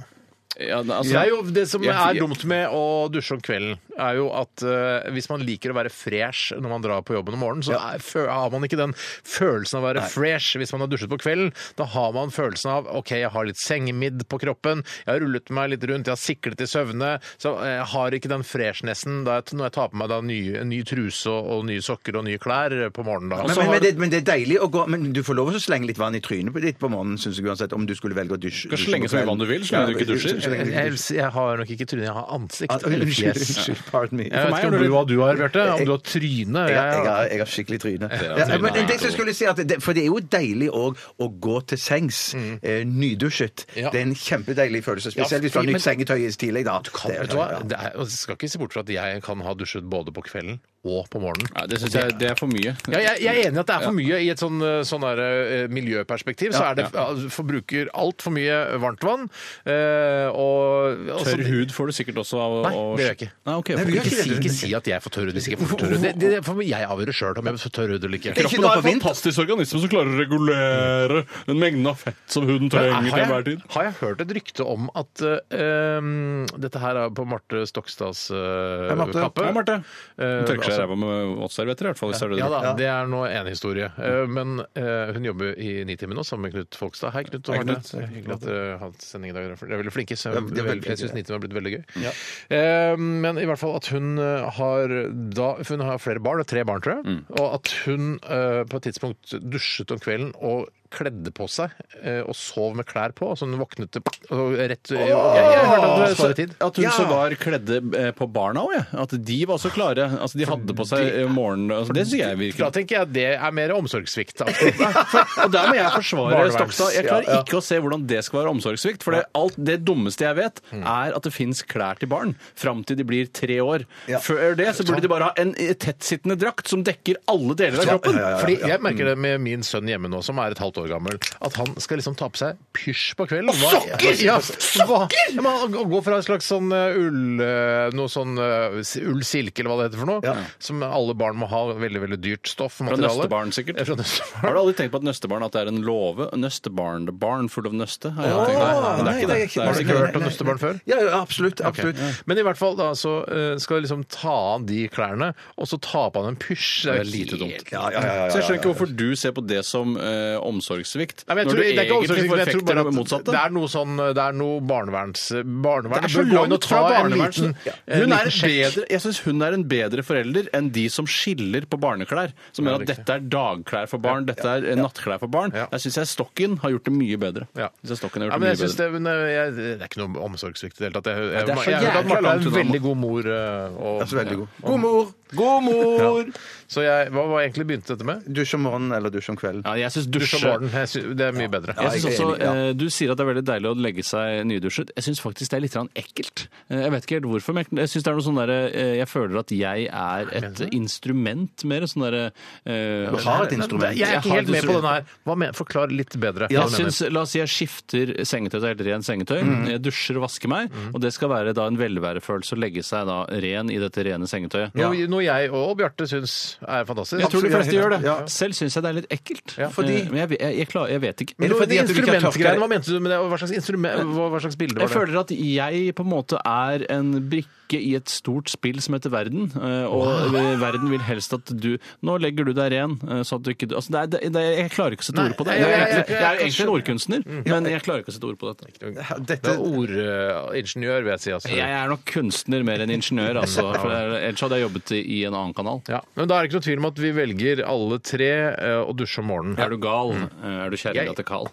Speaker 4: Ja, altså,
Speaker 3: Det, er jo, det som
Speaker 4: Jeg-
Speaker 3: er
Speaker 4: jeg-
Speaker 3: dumt med å dusje om kvelden, er jo at eh, hvis man liker å være fresh når man drar på jobben om morgenen, så er, fø- har man ikke den følelsen av å være fresh hvis man har dusjet på kvelden. Da har man følelsen av OK, jeg har litt sengemidd på kroppen, jeg har rullet meg litt rundt, jeg har siklet i søvne, så eh, jeg har ikke den freshnessen da jeg, når jeg tar på meg da ny, ny truse og, og nye sokker og nye klær på morgenen. Da.
Speaker 1: Men, men, men, det, men det er deilig å gå Men du får lov å slenge litt vann i trynet på ditt på morgenen, syns jeg uansett, om du skulle velge å dusje.
Speaker 4: kan
Speaker 1: dusje
Speaker 4: slenge
Speaker 1: på
Speaker 4: så mye
Speaker 1: kvelden.
Speaker 4: vann du vil, så lenge
Speaker 1: Ja,
Speaker 4: du ikke
Speaker 1: så
Speaker 4: dusjer.
Speaker 1: lenge du ikke
Speaker 3: jeg, jeg har nok ikke tryne, jeg har ansikt.
Speaker 1: Ah,
Speaker 3: eller
Speaker 1: Unnskyld,
Speaker 3: fjes.
Speaker 1: unnskyld, pardon me.
Speaker 3: Jeg vet
Speaker 4: meg
Speaker 3: ikke
Speaker 4: er
Speaker 3: om
Speaker 4: det-
Speaker 3: du, hva du har, Bjarte. Om du har tryne.
Speaker 1: Jeg,
Speaker 3: Jeg-
Speaker 1: jeg, har, jeg har skikkelig tryne.
Speaker 4: er
Speaker 1: Ja,
Speaker 4: trynet,
Speaker 1: men
Speaker 4: ja.
Speaker 1: det jeg skulle si at det, For det er jo deilig òg å gå til sengs eh, nydusjet.
Speaker 3: Ja.
Speaker 1: Det er en kjempedeilig følelse.
Speaker 3: Ja,
Speaker 1: Spesielt hvis du har
Speaker 3: fordi-
Speaker 1: nytt sengetøy i tillegg, da.
Speaker 3: kan,
Speaker 1: Det er-
Speaker 3: vet du hva? Det er, og jeg skal ikke se bort fra at jeg kan ha dusjet både på kvelden og på morgenen.
Speaker 4: Nei, det syns jeg det er for mye.
Speaker 3: Ja, jeg, jeg er enig i at det er for mye i et sånn, eh, sånn der, eh, miljøperspektiv. Så er det, altså, forbruker altfor mye varmtvann. eh, Og, og
Speaker 4: Tørr
Speaker 3: så-
Speaker 4: hud får du sikkert også av å
Speaker 3: Nei, det gjør jeg ikke.
Speaker 4: Nei, ok,
Speaker 1: Nei, vi
Speaker 4: for-
Speaker 1: gjør
Speaker 3: Ikke si,
Speaker 1: det.
Speaker 3: ikke si at jeg får tørr hud hvis ikke jeg får tørr hud. Det, det, det får jeg avgjøre sjøl om jeg får tørr hud eller ikke.
Speaker 1: Ikke nå
Speaker 4: Kroppen er
Speaker 1: på
Speaker 4: en
Speaker 1: vint-
Speaker 4: fantastisk organisme som klarer å regulere den mengden av fett som huden
Speaker 3: Men
Speaker 4: trenger til
Speaker 3: har,
Speaker 4: enhver
Speaker 3: jeg,
Speaker 4: tid.
Speaker 3: har jeg hørt et rykte om at eh, um, Dette her er på Marte Stokstads eh,
Speaker 1: Marte.
Speaker 3: kappe.
Speaker 4: Ja, Marte.
Speaker 3: Eh,
Speaker 4: trekker seg er ræva med våtservietter, i hvert fall. Hvis det er det
Speaker 3: Ja
Speaker 4: du
Speaker 3: da, det er nå en historie. Eh, Men eh, hun jobber i Nitimen nå sammen med Knut Fogstad. Hei, Knut. og
Speaker 4: Hei,
Speaker 3: Arne.
Speaker 4: Knut.
Speaker 3: Det er Hyggelig at dere har hatt sending i dag. dere er fl- Dere er veldig flinke. Så
Speaker 1: Ja, de er veldig
Speaker 3: jeg
Speaker 1: flinke,
Speaker 3: syns
Speaker 1: ja.
Speaker 3: Nitimen har blitt veldig gøy. Eh, Men i hvert fall at hun eh, har da Hun har flere barn, det er tre barn, tror jeg.
Speaker 1: Mm.
Speaker 3: Og at hun eh, på et tidspunkt dusjet om kvelden og kledde på seg eh, og sov med klær på. Så hun våknet til- og rett Jeg, jeg hørte at det sparer tid.
Speaker 4: At hun
Speaker 1: Ja.
Speaker 4: sågar kledde eh, på barna òg, jeg. At de var så klare. Altså, de hadde på seg eh, morgenen altså, Det syns jeg
Speaker 3: Da
Speaker 4: virker
Speaker 3: tenker jeg at det er mer omsorgssvikt. altså.
Speaker 4: Og der må jeg forsvare
Speaker 3: Barneverns-
Speaker 4: Stokstad. Jeg klarer
Speaker 3: ja, ja.
Speaker 4: ikke å se hvordan det skal være omsorgssvikt. For det, alt det dummeste jeg vet,
Speaker 3: Mm.
Speaker 4: er at det fins klær til barn fram til de blir tre år. Før det
Speaker 3: Sånn.
Speaker 4: så burde de bare ha en eh, tettsittende drakt som dekker alle deler av kroppen.
Speaker 3: Fordi Jeg merker det med min sønn hjemme nå, som er et halvt år gammel. At han skal liksom ta på seg pysj på kvelden. Og sokker! Ja, sokker! Ja, men han går fra en slags sånn eh, ull eh, Noe sånn eh, si- ull-silke, eller hva det heter for noe, som alle barn må ha. Veldig veldig dyrt stoff. materiale.
Speaker 4: nøstebarn, sikkert.
Speaker 3: Eh, Fra nøstebarn.
Speaker 4: Har du aldri tenkt på at nøstebarn at det er en låve? Nøstebarn-barn full av nøste? Har jeg
Speaker 1: Åh,
Speaker 4: tenkt.
Speaker 1: nei,
Speaker 4: Men det er ikke
Speaker 1: det er
Speaker 4: det.
Speaker 1: ikke-
Speaker 4: Det
Speaker 3: Har
Speaker 4: er
Speaker 3: du
Speaker 4: sikkert
Speaker 3: ikke
Speaker 1: nei,
Speaker 3: hørt om
Speaker 1: nei,
Speaker 3: nøstebarn før?
Speaker 1: Ja, ja, absolutt. absolutt.
Speaker 3: Men i hvert fall da, så eh, skal liksom ta av de klærne, og så ta på han en pysj.
Speaker 4: Det er lite dumt.
Speaker 1: Ja, ja, ja, ja, ja,
Speaker 4: Så jeg skjønner
Speaker 1: ja.
Speaker 4: ikke hvorfor du ser på det som eh, omsorgssvikt.
Speaker 3: Nei, men jeg
Speaker 4: når
Speaker 3: tror,
Speaker 4: du
Speaker 3: det er ikke
Speaker 4: egentlig
Speaker 3: omsorgssvikt, men jeg tror
Speaker 4: forfekter
Speaker 3: bare
Speaker 4: det
Speaker 3: at
Speaker 4: motsatte.
Speaker 3: Det er noe sånn Det er noe barneverns... Barnevern
Speaker 4: Det er så
Speaker 3: bør gå inn og
Speaker 4: langt fra
Speaker 3: ta en
Speaker 4: barnevern.
Speaker 3: liten-
Speaker 4: Ja.
Speaker 3: en
Speaker 4: Eh, Hun er
Speaker 3: liten
Speaker 4: en
Speaker 3: sjekk.
Speaker 4: bedre, jeg syns hun er en bedre forelder enn de som skiller på barneklær. Som mener at
Speaker 3: riktig.
Speaker 4: dette er dagklær for barn, dette er eh, nattklær for barn.
Speaker 3: Ja.
Speaker 4: Der syns jeg Stokken har gjort det mye bedre.
Speaker 3: Ja.
Speaker 4: Jeg synes Stokken har
Speaker 3: Ja,
Speaker 4: gjort
Speaker 3: men jeg
Speaker 4: det mye
Speaker 3: synes
Speaker 4: bedre.
Speaker 3: det, men eh, jeg, det er ikke noe omsorgssvikt i det hele tatt. Jeg, jeg,
Speaker 4: det er så
Speaker 3: jeg, har hørt at
Speaker 4: jævla
Speaker 3: Marte er
Speaker 4: langt
Speaker 3: en
Speaker 4: unna,
Speaker 3: veldig god mor. eh, Og,
Speaker 1: Altså, veldig god.
Speaker 3: God mor! God mor! Så jeg, hva var egentlig begynte dette med?
Speaker 1: Dusj om morgenen eller dusj om kvelden.
Speaker 4: Ja, jeg syns
Speaker 3: Dusj og barn. Jeg sy- Det er mye bedre.
Speaker 4: Jeg synes
Speaker 1: jeg er
Speaker 4: også,
Speaker 1: enig, ja.
Speaker 4: eh, Du sier at det er veldig deilig å legge seg nydusjet. Jeg syns faktisk det er litt grann ekkelt. Eh, Jeg vet ikke helt hvorfor, men jeg synes det er noe sånn der, eh, jeg føler at jeg er et instrument mer. Sånn derre
Speaker 1: Du har et instrument.
Speaker 3: Jeg er ikke
Speaker 4: har
Speaker 3: helt
Speaker 4: et
Speaker 3: med på
Speaker 4: instrument.
Speaker 3: den her. Hva men, forklar litt bedre. hva
Speaker 4: Jeg
Speaker 3: du mener.
Speaker 4: synes, la oss si jeg skifter sengetøy til helt ren sengetøy.
Speaker 1: Mm.
Speaker 4: Jeg dusjer og vasker meg, og det skal være da en velværefølelse å legge seg da ren i dette rene sengetøyet.
Speaker 3: Noe, noe jeg og Bjarte syns er fantastisk.
Speaker 4: Jeg tror de fleste gjør det.
Speaker 1: Ja.
Speaker 4: Selv syns jeg det er litt ekkelt.
Speaker 3: Ja,
Speaker 1: fordi-
Speaker 4: Eh, Men jeg, jeg, jeg, klarer, jeg vet ikke.
Speaker 3: Men
Speaker 1: det fordi
Speaker 3: de
Speaker 1: at du ikke har tørket
Speaker 3: instrumentgreiene,
Speaker 1: deg?
Speaker 3: hva mente du med det? og Hva slags, instrument, hva, hva slags bilde
Speaker 4: Jeg
Speaker 3: var det?
Speaker 4: føler at jeg på en måte er en brikke i et stort spill som heter verden, eh, og verden vil helst at du Nå legger du deg ren, eh, sånn at du ikke altså det er, det, det- Jeg klarer ikke å sette ord på det.
Speaker 3: nei,
Speaker 4: Jeg er
Speaker 3: jeg- jeg-
Speaker 4: egentlig-
Speaker 3: jeg-
Speaker 4: jeg er jo egentlig en ordkunstner,
Speaker 3: Mm.
Speaker 4: men jeg klarer ikke å sette ord på dette.
Speaker 3: Det
Speaker 1: Dette
Speaker 3: er ordingeniør, vil jeg si. Altså.
Speaker 4: Jeg er nok kunstner mer enn ingeniør, altså. For ellers hadde jeg jobbet i en annen kanal.
Speaker 3: Ja, men da er det ikke noe tvil om at vi velger alle tre eh, å dusje om morgenen.
Speaker 4: Er du gal? Eh, Er du
Speaker 3: Mm. Jeg-
Speaker 4: kjerringa til Carl?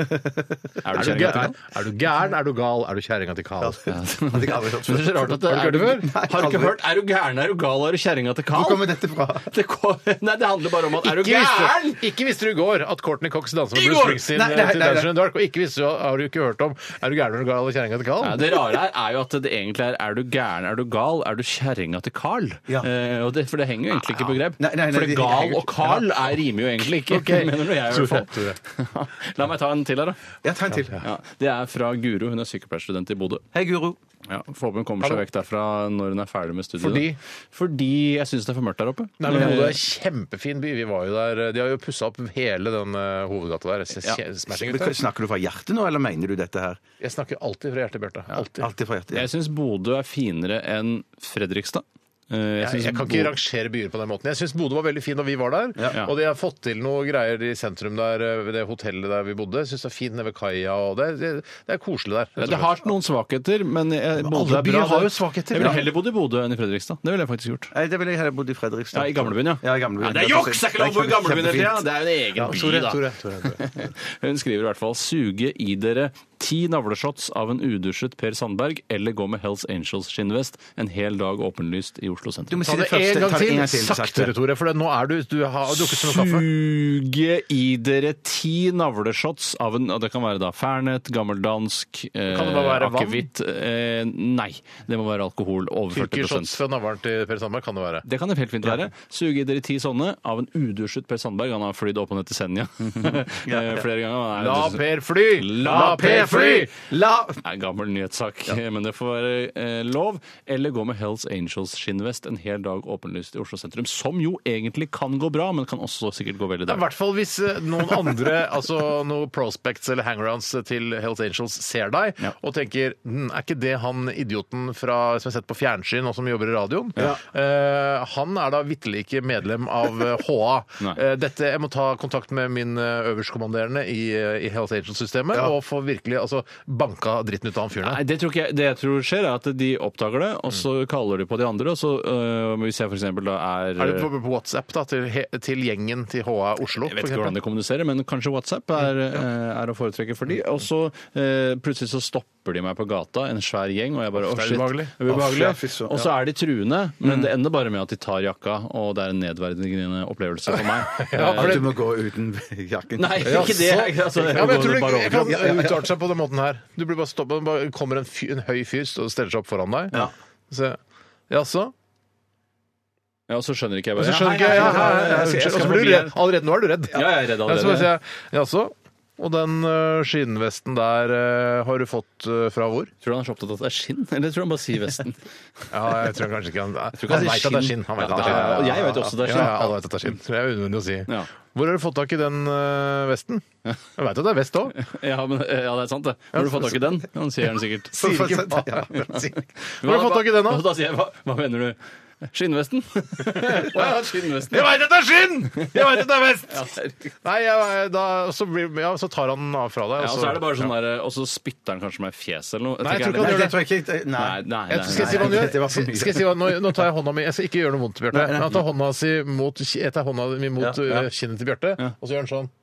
Speaker 4: Er
Speaker 3: Er
Speaker 4: du kjerringa til Carl?
Speaker 3: du gæren? Er du gæren, er du gal, er du kjerringa til Carl?
Speaker 1: hadde jeg aldri hørt
Speaker 4: Men det er så rart at det,
Speaker 3: Har du ikke hørt
Speaker 1: før?
Speaker 4: er
Speaker 3: det
Speaker 4: Har du ikke hørt? Er du gæren, er du gal, er du kjerringa til Carl?
Speaker 1: Hvor kommer dette fra?
Speaker 4: Det kom, nei, det handler bare om at Er du
Speaker 3: Ikke visste,
Speaker 4: gæren?
Speaker 3: ikke visste du i går at Courtney Cox dansa med
Speaker 4: I
Speaker 3: Bruce
Speaker 4: går!
Speaker 3: Springsteen
Speaker 1: Nei,
Speaker 3: eh,
Speaker 1: nei,
Speaker 3: til
Speaker 1: nei,
Speaker 3: Dancing
Speaker 1: nei.
Speaker 3: in the Dark, og ikke visste du, har du ikke hørt om Er du gæren, er du gal, er du kjerringa til Carl?
Speaker 4: Ja, det rare her er jo at det egentlig er er du gæren, er du gal, er du kjerringa til Carl?
Speaker 1: Ja.
Speaker 4: Eh, og det, for det henger jo egentlig ikke på grep.
Speaker 1: Nei, nei, nei,
Speaker 4: for det
Speaker 1: det-
Speaker 4: gal
Speaker 1: det-
Speaker 4: og Carl er, rimer jo egentlig ikke.
Speaker 3: Ok.
Speaker 4: Mener nå jeg, i
Speaker 3: Tror
Speaker 4: hvert fall.
Speaker 3: jeg,
Speaker 4: La meg ta en til her, da.
Speaker 1: Ja, ta en til.
Speaker 4: Ja, det er fra Guro. Hun er sykepleierstudent i Bodø.
Speaker 1: Hei, Guro.
Speaker 4: Ja, Forhåpentlig kommer seg
Speaker 3: Hallo.
Speaker 4: vekk derfra når hun er ferdig med studiet.
Speaker 3: Fordi?
Speaker 4: da. Fordi jeg syns det er for mørkt der oppe.
Speaker 3: Nei, men Bodø
Speaker 4: Eh,
Speaker 3: er kjempefin by. Vi var jo der. eh, De har jo pussa opp hele den eh, hovedgata der. Jeg,
Speaker 4: Ja.
Speaker 3: smashing,
Speaker 1: Men Snakker du fra hjertet nå, eller mener du dette her?
Speaker 3: jeg snakker alltid fra hjertet, Bjarte. Alltid.
Speaker 1: Alltid fra hjertet. ja.
Speaker 4: jeg syns Bodø er finere enn Fredrikstad. Eh,
Speaker 3: Jeg,
Speaker 4: synes
Speaker 3: jeg kan ikke
Speaker 4: Bo-
Speaker 3: rangere byer på den måten. Jeg syns Bodø var veldig fin da vi var der.
Speaker 4: Ja.
Speaker 3: Og de har fått til noe greier i sentrum der, eh, ved det hotellet der vi bodde. Jeg syns det er fint nede ved kaia, og det, det, det er koselig der.
Speaker 4: Ja, Det har noen svakheter, men jeg, Bodø
Speaker 1: alle
Speaker 4: er
Speaker 1: byer
Speaker 4: bra.
Speaker 1: har
Speaker 4: Det-
Speaker 1: jo svakheter.
Speaker 4: Jeg ville
Speaker 1: Ja.
Speaker 4: heller bodd i Bodø enn i Fredrikstad. Det ville jeg faktisk gjort.
Speaker 1: Nei, det ville jeg heller bodd i Fredrikstad.
Speaker 4: Ja, I gamlebyen, ja.
Speaker 1: ja, i gamlebyen.
Speaker 4: det er juks! Det er ikke lov å bo i gamlebyen hele tida!
Speaker 1: kjempefint.
Speaker 4: Det er jo en egen by,
Speaker 3: Tore,
Speaker 4: da.
Speaker 3: Tore, Tore, Tore.
Speaker 4: Hun skriver i hvert fall 'suge i dere ti navleshots av en udusjet Per Sandberg', eller gå med Hells Angels skinnvest en hel dag åpenlyst i Oslo
Speaker 1: Du
Speaker 4: sentrum.
Speaker 1: må
Speaker 3: Ta
Speaker 1: si
Speaker 3: det
Speaker 1: det første.
Speaker 3: en gang
Speaker 1: ta det
Speaker 3: til,
Speaker 1: sakte.
Speaker 3: saktere, Tore, for det, nå er du Du har drukket som en kaffe.
Speaker 4: Suge i dere ti navleshots av en og Det kan være da Fernet, gammeldansk, eh,
Speaker 3: Kan det bare være vann?
Speaker 4: akevitt eh, Nei. Det må være alkohol. Over 40
Speaker 3: Fylkeshots fra navlen til Per Sandberg kan det være.
Speaker 4: Det kan det helt fint være. Suge i dere ti sånne av en udusjet Per Sandberg. Han har flydd opp og ned til Senja Eh, flere ganger. Han er-
Speaker 3: La Per fly!
Speaker 4: La Per free!
Speaker 1: La
Speaker 4: Det er en gammel nyhetssak, men det får være eh, lov. Eller gå med Hells Angels skinnvest en hel dag åpenlyst i Oslo sentrum. Som jo egentlig kan gå bra, men kan også sikkert gå veldig
Speaker 3: I
Speaker 4: dårlig.
Speaker 3: hvert fall hvis eh, noen andre, altså noen prospects eller hangarounds til Hells Angels ser deg
Speaker 4: Ja.
Speaker 3: og tenker hm, Er ikke det han idioten fra, som jeg har sett på fjernsyn og som jobber i radioen? Eh, han er da vitterlig ikke medlem av eh, HA.
Speaker 4: Nei.
Speaker 3: Eh, dette, Jeg må ta kontakt med min eh, øverstkommanderende i, eh, i Hells Angels-systemet og få virkelig altså, banka dritten ut av han fyren
Speaker 4: Nei,
Speaker 3: her.
Speaker 4: det, tror ikke jeg, det jeg tror skjer, er at de oppdager det, og så kaller de på de andre. Og så, øh, hvis jeg for eksempel da er
Speaker 3: Mm. Er det på på WhatsApp da, til, he- til gjengen til HA Oslo?
Speaker 4: Jeg vet
Speaker 3: for
Speaker 4: ikke hvordan
Speaker 3: eksempel?
Speaker 4: de kommuniserer, men kanskje WhatsApp er, eh, er å foretrekke for
Speaker 3: Mm.
Speaker 4: de. Og så eh, plutselig så stopper de meg på gata, en svær gjeng, og jeg bare Å,
Speaker 3: det er
Speaker 4: shit.
Speaker 3: ubehagelig.
Speaker 4: Det er ubehagelig.
Speaker 1: Å, fy søren,
Speaker 4: Og så er de truende,
Speaker 3: Mm.
Speaker 4: men det ender bare med at de tar jakka, og det er en nedverdigende opplevelse for meg.
Speaker 3: Ja, for
Speaker 1: At
Speaker 3: det-
Speaker 1: du må gå uten jakken.
Speaker 4: Nei, ikke det. Altså,
Speaker 3: Ja, men jeg tror
Speaker 4: går
Speaker 3: det
Speaker 4: bare
Speaker 3: jeg
Speaker 4: over.
Speaker 3: kan uttale seg på den måten her. Du blir bare stoppet, det bare kommer en, fyr, en høy fyr og stiller seg opp foran deg.
Speaker 4: Ja.
Speaker 3: Så, Jaså?
Speaker 4: Ja, og så skjønner ikke jeg
Speaker 3: Og
Speaker 4: bare
Speaker 3: så skjønner ikke jeg, ja, ja, ja,
Speaker 4: jeg
Speaker 3: unnskyld.
Speaker 4: skal
Speaker 3: Og så blir du
Speaker 4: forbi
Speaker 3: redd. Allerede nå er du redd.
Speaker 4: Ja, jeg er redd
Speaker 3: Ja, så bare
Speaker 4: allerede.
Speaker 3: sier jeg jaså? Og den øh, skinnvesten der øh, har du fått øh, fra hvor?
Speaker 4: Tror du han er så opptatt av at det er skinn, eller tror du han bare sier vesten?
Speaker 3: Ja, jeg tror kanskje ikke han Han
Speaker 4: tror ikke han sier
Speaker 3: vet at det er skinn.
Speaker 4: skinn.
Speaker 3: Han vet
Speaker 4: Ja,
Speaker 3: at det er
Speaker 4: ja, ja,
Speaker 3: skinn.
Speaker 4: og jeg vet også det er skinn.
Speaker 3: Ja, ja, alle vet at det er skinn. Så det er unødvendig å si.
Speaker 4: Ja.
Speaker 3: Hvor har du fått tak i den øh, vesten? Jeg veit at det er vest òg.
Speaker 4: Ja, men, ja, det er sant, det. Har du fått tak i den? Han sier den sikkert.
Speaker 3: Sier ikke hva. Sier ikke. Hvor har du fått tak i den,
Speaker 4: Og
Speaker 3: da?
Speaker 4: da sier jeg, hva, hva mener du? Skinnvesten? Å ja, skinnvesten.
Speaker 3: Jeg veit at det er skinn! Jeg veit at det er vest!
Speaker 4: Ja, herregud.
Speaker 3: Nei, ja, da, så, blir, ja, så tar han den av fra deg.
Speaker 4: Ja, og så er det bare sånn der, og så spytter han kanskje meg i fjeset eller noe.
Speaker 3: Nei,
Speaker 4: er
Speaker 3: jeg tror ikke
Speaker 1: det
Speaker 4: litt-
Speaker 1: tror jeg ikke. Nei.
Speaker 4: Nei, nei,
Speaker 3: Jeg-
Speaker 4: nei,
Speaker 3: Skal jeg si hva
Speaker 4: nei.
Speaker 3: han gjør?
Speaker 1: dette var for mye.
Speaker 3: Skal jeg si hva, nå, nå tar jeg hånda mi Jeg skal ikke gjøre noe vondt til Bjarte. Men Han tar hånda si mot, etter hånda mi mot
Speaker 1: Ja, ja.
Speaker 3: øh, kinnet til Bjarte, og så gjør han sånn.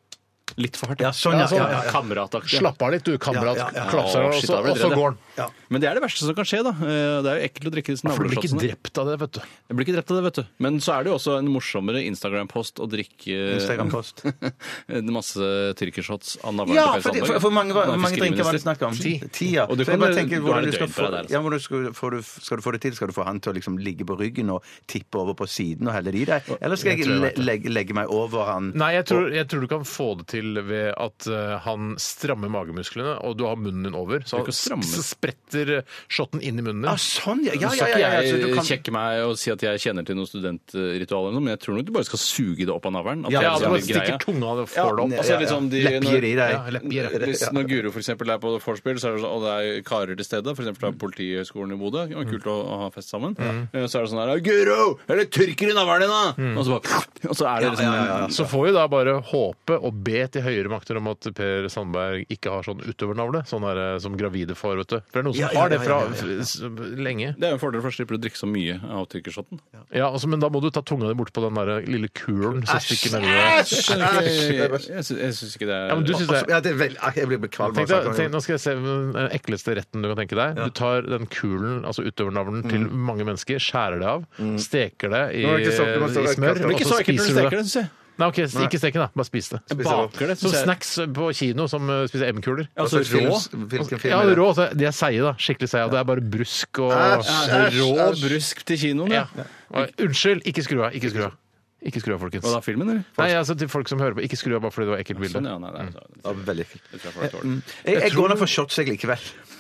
Speaker 4: Litt for hardt.
Speaker 1: Ja, sånn, ja.
Speaker 3: sånn.
Speaker 1: ja, ja, ja.
Speaker 4: Kamerataktig.
Speaker 3: Slapp av litt, du, kamerat.
Speaker 1: Ja, ja, ja.
Speaker 3: Klapser han,
Speaker 4: Å,
Speaker 3: og
Speaker 4: shit,
Speaker 3: så,
Speaker 4: da blir
Speaker 3: og
Speaker 4: jeg
Speaker 3: så
Speaker 4: redd,
Speaker 3: går han.
Speaker 4: Men det er det verste som kan skje, da. Eh, Det er jo ekkelt å drikke disse
Speaker 3: For du blir ikke
Speaker 4: navleshotsene.
Speaker 3: drept av det, vet du.
Speaker 4: Jeg blir ikke drept av det, vet du. Men så er det jo også en morsommere Instagram-post å drikke
Speaker 1: Instagram-post.
Speaker 4: en masse tyrkershots av navlen
Speaker 1: Ja,
Speaker 4: til
Speaker 1: for,
Speaker 4: Kajsa
Speaker 1: for,
Speaker 4: Sandberg.
Speaker 1: for mange,
Speaker 4: Hun er
Speaker 1: hvor mange drinker var det
Speaker 4: fiskeriminister.
Speaker 1: snakk om?
Speaker 4: Ti.
Speaker 1: Ti, ja.
Speaker 4: Og du
Speaker 1: Så jeg
Speaker 4: kan-
Speaker 1: bare tenker,
Speaker 4: du har
Speaker 1: hvordan du
Speaker 4: et
Speaker 1: skal
Speaker 4: døgn på
Speaker 1: få,
Speaker 4: deg altså. der,
Speaker 1: ja, hvordan du skal, får du, skal du få det til? Skal du få han til å liksom ligge på ryggen og tippe over på siden og helle det i deg? Eller skal
Speaker 3: Jeg
Speaker 1: jeg,
Speaker 3: tror jeg
Speaker 1: le,
Speaker 3: vet det.
Speaker 1: legge, legge meg over han?
Speaker 3: Nei, jeg tror, jeg tror du kan få det til ved at eh, han strammer magemusklene, og du har munnen din over. Så
Speaker 4: Du
Speaker 3: han
Speaker 4: kan stramme.
Speaker 3: s- spretter shotten inn i munnen din.
Speaker 1: Ah, sånn, ja. Ja,
Speaker 4: Så
Speaker 1: ja,
Speaker 4: skal
Speaker 1: ja, ja,
Speaker 4: ikke
Speaker 1: så du
Speaker 4: jeg
Speaker 1: kan-
Speaker 4: kjekke Eh, meg og si at jeg kjenner til noen studentritual, eller noe, men jeg tror nok du bare skal suge det opp av navlen. at
Speaker 1: Ja,
Speaker 4: det
Speaker 3: Ja,
Speaker 4: er
Speaker 3: at
Speaker 4: liksom
Speaker 3: du bare
Speaker 4: litt greia.
Speaker 3: stikker tunga og får det opp.
Speaker 4: Altså,
Speaker 1: Ja, ja.
Speaker 4: liksom de-
Speaker 1: Leppier i deg.
Speaker 3: Ja, leppier.
Speaker 4: Hvis når Guro for eksempel er på vorspiel, så er det sånn, og det er karer til stede, f.eks. fra
Speaker 1: Mm.
Speaker 4: Politihøgskolen i Bodø, og kult å, å ha fest sammen, Eh, så er det sånn her 'Guro! Er det tyrker i navlen din, da?'
Speaker 1: Mm.
Speaker 4: Og, så bare, og så er det liksom
Speaker 3: Så får vi da bare håpe og be til høyere makter om at Per Sandberg ikke har sånn utovernavle, sånn der, eh, som gravide får, vet du. For det er noen som
Speaker 1: Ja, ja,
Speaker 3: har det
Speaker 1: ja,
Speaker 3: fra
Speaker 1: ja, ja,
Speaker 3: s- lenge.
Speaker 4: Det er jo en fordel, for da slipper du å drikke så mye av tyrkershotten.
Speaker 3: Ja, altså, Men da må du ta tunga di bort på den der lille kulen som stikker nedi der.
Speaker 4: Jeg, jeg, jeg, sy- jeg syns ikke det er
Speaker 3: Ja, men du synes det er...
Speaker 1: Ja, det er vel, jeg blir kvalm. av
Speaker 3: Tenk
Speaker 1: å
Speaker 3: deg,
Speaker 1: snakke om
Speaker 3: tenk,
Speaker 1: det.
Speaker 3: nå skal jeg se den eh, ekleste retten du kan tenke deg. Du tar den kulen, altså utøvernavlen, til mange mennesker, skjærer det av, steker det i,
Speaker 1: Mm. Nå er det ikke så ekkelt, men så er
Speaker 3: i
Speaker 1: det
Speaker 3: smør,
Speaker 1: ekkelt.
Speaker 4: Men
Speaker 3: og
Speaker 4: ikke
Speaker 3: så
Speaker 4: så ekkelt når du
Speaker 3: spiser du
Speaker 4: steker
Speaker 3: det.
Speaker 4: det, syns jeg.
Speaker 3: Nei, ok, Ikke steke, da. Bare spis det.
Speaker 4: Baker det,
Speaker 3: Som
Speaker 4: syns jeg.
Speaker 3: snacks på kino, som uh, spiser M-kuler.
Speaker 4: Altså rå.
Speaker 1: Hvilken film
Speaker 3: Ja,
Speaker 1: er det?
Speaker 3: rå. så De er seige, da. Skikkelig seige. og Det er bare brusk og
Speaker 4: Rå brusk til kinoen,
Speaker 3: Ja.
Speaker 4: ja.
Speaker 3: Oi, Unnskyld, ikke skru av. Ikke skru av, Ikke skru av, folkens.
Speaker 4: Hva da, filmen, eller?
Speaker 3: Nei, altså til folk som hører på. Ikke skru av bare fordi det var ekkelt bilde.
Speaker 4: Sånn, ja, nei, nei, så-
Speaker 1: Ja, veldig fint.
Speaker 4: det tror jeg folk tåler.
Speaker 1: Jeg, jeg går nok for shots jeg likevel.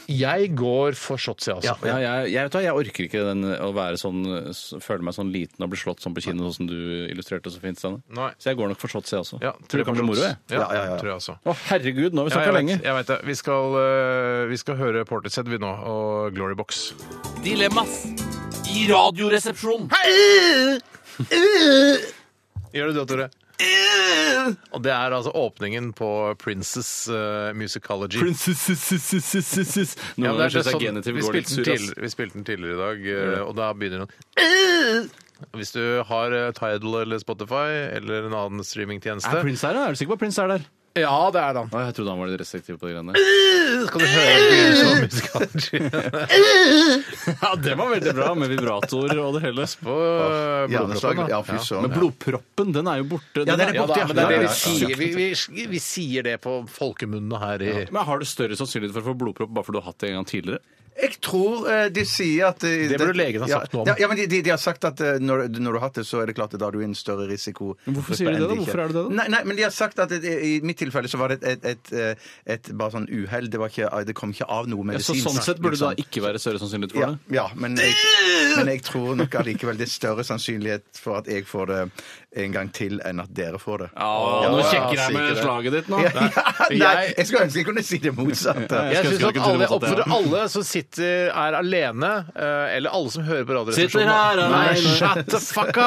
Speaker 3: Jeg går for shots, jeg, altså.
Speaker 4: Ja, jeg, jeg, vet du hva, jeg orker ikke den, å være sånn, s- føle meg sånn liten og bli slått sånn på kino, sånn som du illustrerte så fint. Steinar.
Speaker 3: Nei.
Speaker 4: Så jeg går nok for shots, jeg også.
Speaker 3: Ja,
Speaker 4: tror det kan bli moro. jeg.
Speaker 3: Ja,
Speaker 1: Ja, ja, ja.
Speaker 3: tror jeg også.
Speaker 4: Å, herregud, nå har vi
Speaker 3: Ja,
Speaker 4: snakka
Speaker 3: jeg,
Speaker 4: lenge.
Speaker 3: vet, jeg vet det. Vi skal, eh, vi skal høre Portishead vi nå, og Glory Box.
Speaker 7: Dilemmas i Radioresepsjonen.
Speaker 3: Gjør du det, Tore? Og det er altså åpningen på Princess eh, Musicology.
Speaker 4: Noen
Speaker 3: Ja, men
Speaker 4: ganger
Speaker 3: det er
Speaker 4: syns jeg
Speaker 3: sånn-
Speaker 4: genitiv
Speaker 3: vi,
Speaker 4: går litt
Speaker 3: spilte den
Speaker 4: sur. ass.
Speaker 3: tidligere- vi spilte den tidligere i dag, eh, og da begynner den Hvis du har eh, Tidal eller Spotify eller en annen
Speaker 4: Er
Speaker 3: streamingtjeneste
Speaker 4: Prince her, da? Er du sikker på at Prince er der?
Speaker 3: Ja, det er den.
Speaker 4: Å, jeg trodde han var litt restriktiv på de greiene.
Speaker 3: Skal du høre musikalen
Speaker 4: Ja, det var veldig bra, med vibratorer og det hele.
Speaker 3: på eh,
Speaker 1: Hjerneslag.
Speaker 3: blodproppen? da.
Speaker 1: Ja, fy søren.
Speaker 4: sånn, Men blodproppen, den er jo borte.
Speaker 1: Ja, den er
Speaker 4: jo
Speaker 1: borte, ja.
Speaker 3: Ja, men det er det vi
Speaker 1: Ja, ja,
Speaker 3: sier. Vi, vi, vi sier det på folkemunne her i
Speaker 4: Men har du større sannsynlighet for å få blodpropp bare fordi du har hatt det en gang tidligere?
Speaker 1: Jeg tror eh, de sier at eh,
Speaker 3: Det burde legen ha sagt
Speaker 1: ja,
Speaker 3: noe om.
Speaker 1: Ja, ja, men de, de, de har sagt at eh, når, når du har hatt det, så er det klart at da har du en større risiko.
Speaker 4: Men hvorfor sier de det da? Hvorfor er det det da?
Speaker 1: Nei, nei, men de har sagt at det, i mitt tilfelle så var det et, et, et, et bare sånn uhell. Det, var ikke- det kom ikke av noe
Speaker 4: Ja, så
Speaker 1: medisinsk.
Speaker 4: sånn sett burde det da
Speaker 1: liksom.
Speaker 4: ikke være større sannsynlighet for
Speaker 1: ja,
Speaker 4: det?
Speaker 1: ja, men jeg, men jeg tror nok allikevel det er større sannsynlighet for at jeg får det en gang til, enn at dere får det.
Speaker 4: Ja, nå sjekker jeg med
Speaker 1: sikkert.
Speaker 4: slaget ditt nå.
Speaker 1: Ja, nei,
Speaker 3: Jeg-
Speaker 1: jeg skulle ønske jeg kunne si det motsatte.
Speaker 4: Ja,
Speaker 3: Jeg
Speaker 4: skulle
Speaker 3: synes
Speaker 4: ønske jeg
Speaker 3: at
Speaker 4: kunne
Speaker 3: alle,
Speaker 4: tro at
Speaker 3: jeg
Speaker 4: det-
Speaker 3: oppfordrer alle som sitter er alene, eh, eller alle som hører på
Speaker 4: Sitter
Speaker 3: Radioresepsjonen
Speaker 4: her
Speaker 3: da. Nei,
Speaker 4: alene.
Speaker 3: shut the fuck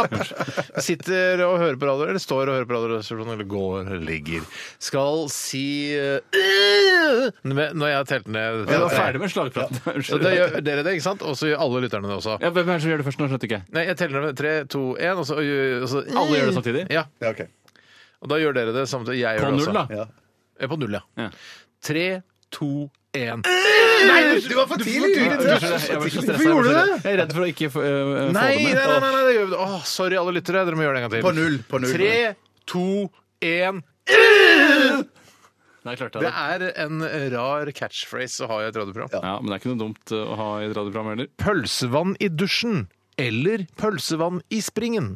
Speaker 3: up! Sitter og hører på radio, eller står og hører på Radioresepsjonen, eller går eller ligger. Skal si eh, med- Når jeg har telt ned
Speaker 4: Vi var ferdig med slagpraten.
Speaker 3: Ja, Da gjør dere det, ikke sant? Og så gjør alle lytterne det også.
Speaker 4: Ja, hvem er det som gjør det først? Nå skjønte ikke jeg.
Speaker 3: Nei, jeg teller ned tre, to, én, og så, og så
Speaker 4: Alle gjør det samtidig?
Speaker 3: Ja,
Speaker 1: Ja, ok.
Speaker 3: og da gjør dere det samtidig. Jeg gjør
Speaker 4: På
Speaker 3: det
Speaker 4: null,
Speaker 3: også.
Speaker 4: da.
Speaker 1: Ja.
Speaker 3: Eh, På null, ja.
Speaker 4: Ja.
Speaker 3: Tre, to, én.
Speaker 1: Du var for tidlig
Speaker 4: Jeg
Speaker 1: ute!
Speaker 4: var så stressa, jeg var så
Speaker 3: Hvorfor gjorde du
Speaker 4: stressa.
Speaker 3: det?
Speaker 4: Jeg er redd for å ikke få, øh, få
Speaker 3: Nei, nei,
Speaker 4: det med.
Speaker 3: nei, nei, nei, det gjør vi. Åh, sorry, alle lyttere. Dere må gjøre det en gang til.
Speaker 1: På null. På null.
Speaker 3: Tre, to, én.
Speaker 4: Nei, klarte jeg
Speaker 3: Det
Speaker 4: det.
Speaker 3: er en rar catchphrase å ha i et radioprogram.
Speaker 4: Ja, Men det er ikke noe dumt øh, å ha i et radioprogram heller.
Speaker 3: Pølsevann i dusjen eller pølsevann i springen?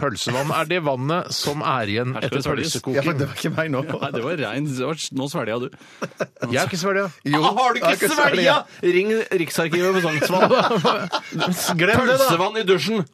Speaker 3: Pølsevann er det vannet som er igjen
Speaker 4: Her skal
Speaker 3: etter
Speaker 4: det svelges.
Speaker 1: Ja, men
Speaker 3: pølsekoking.
Speaker 1: det var ikke meg nå.
Speaker 4: Nei, det var rein det var, Nå svelga du.
Speaker 3: Jeg har ikke svelget.
Speaker 1: Jo,
Speaker 4: har du
Speaker 1: jeg
Speaker 4: ikke svelga?! Ring Riksarkivet på Sognsvann.
Speaker 3: Glem det, da!
Speaker 4: Pølsevann i dusjen!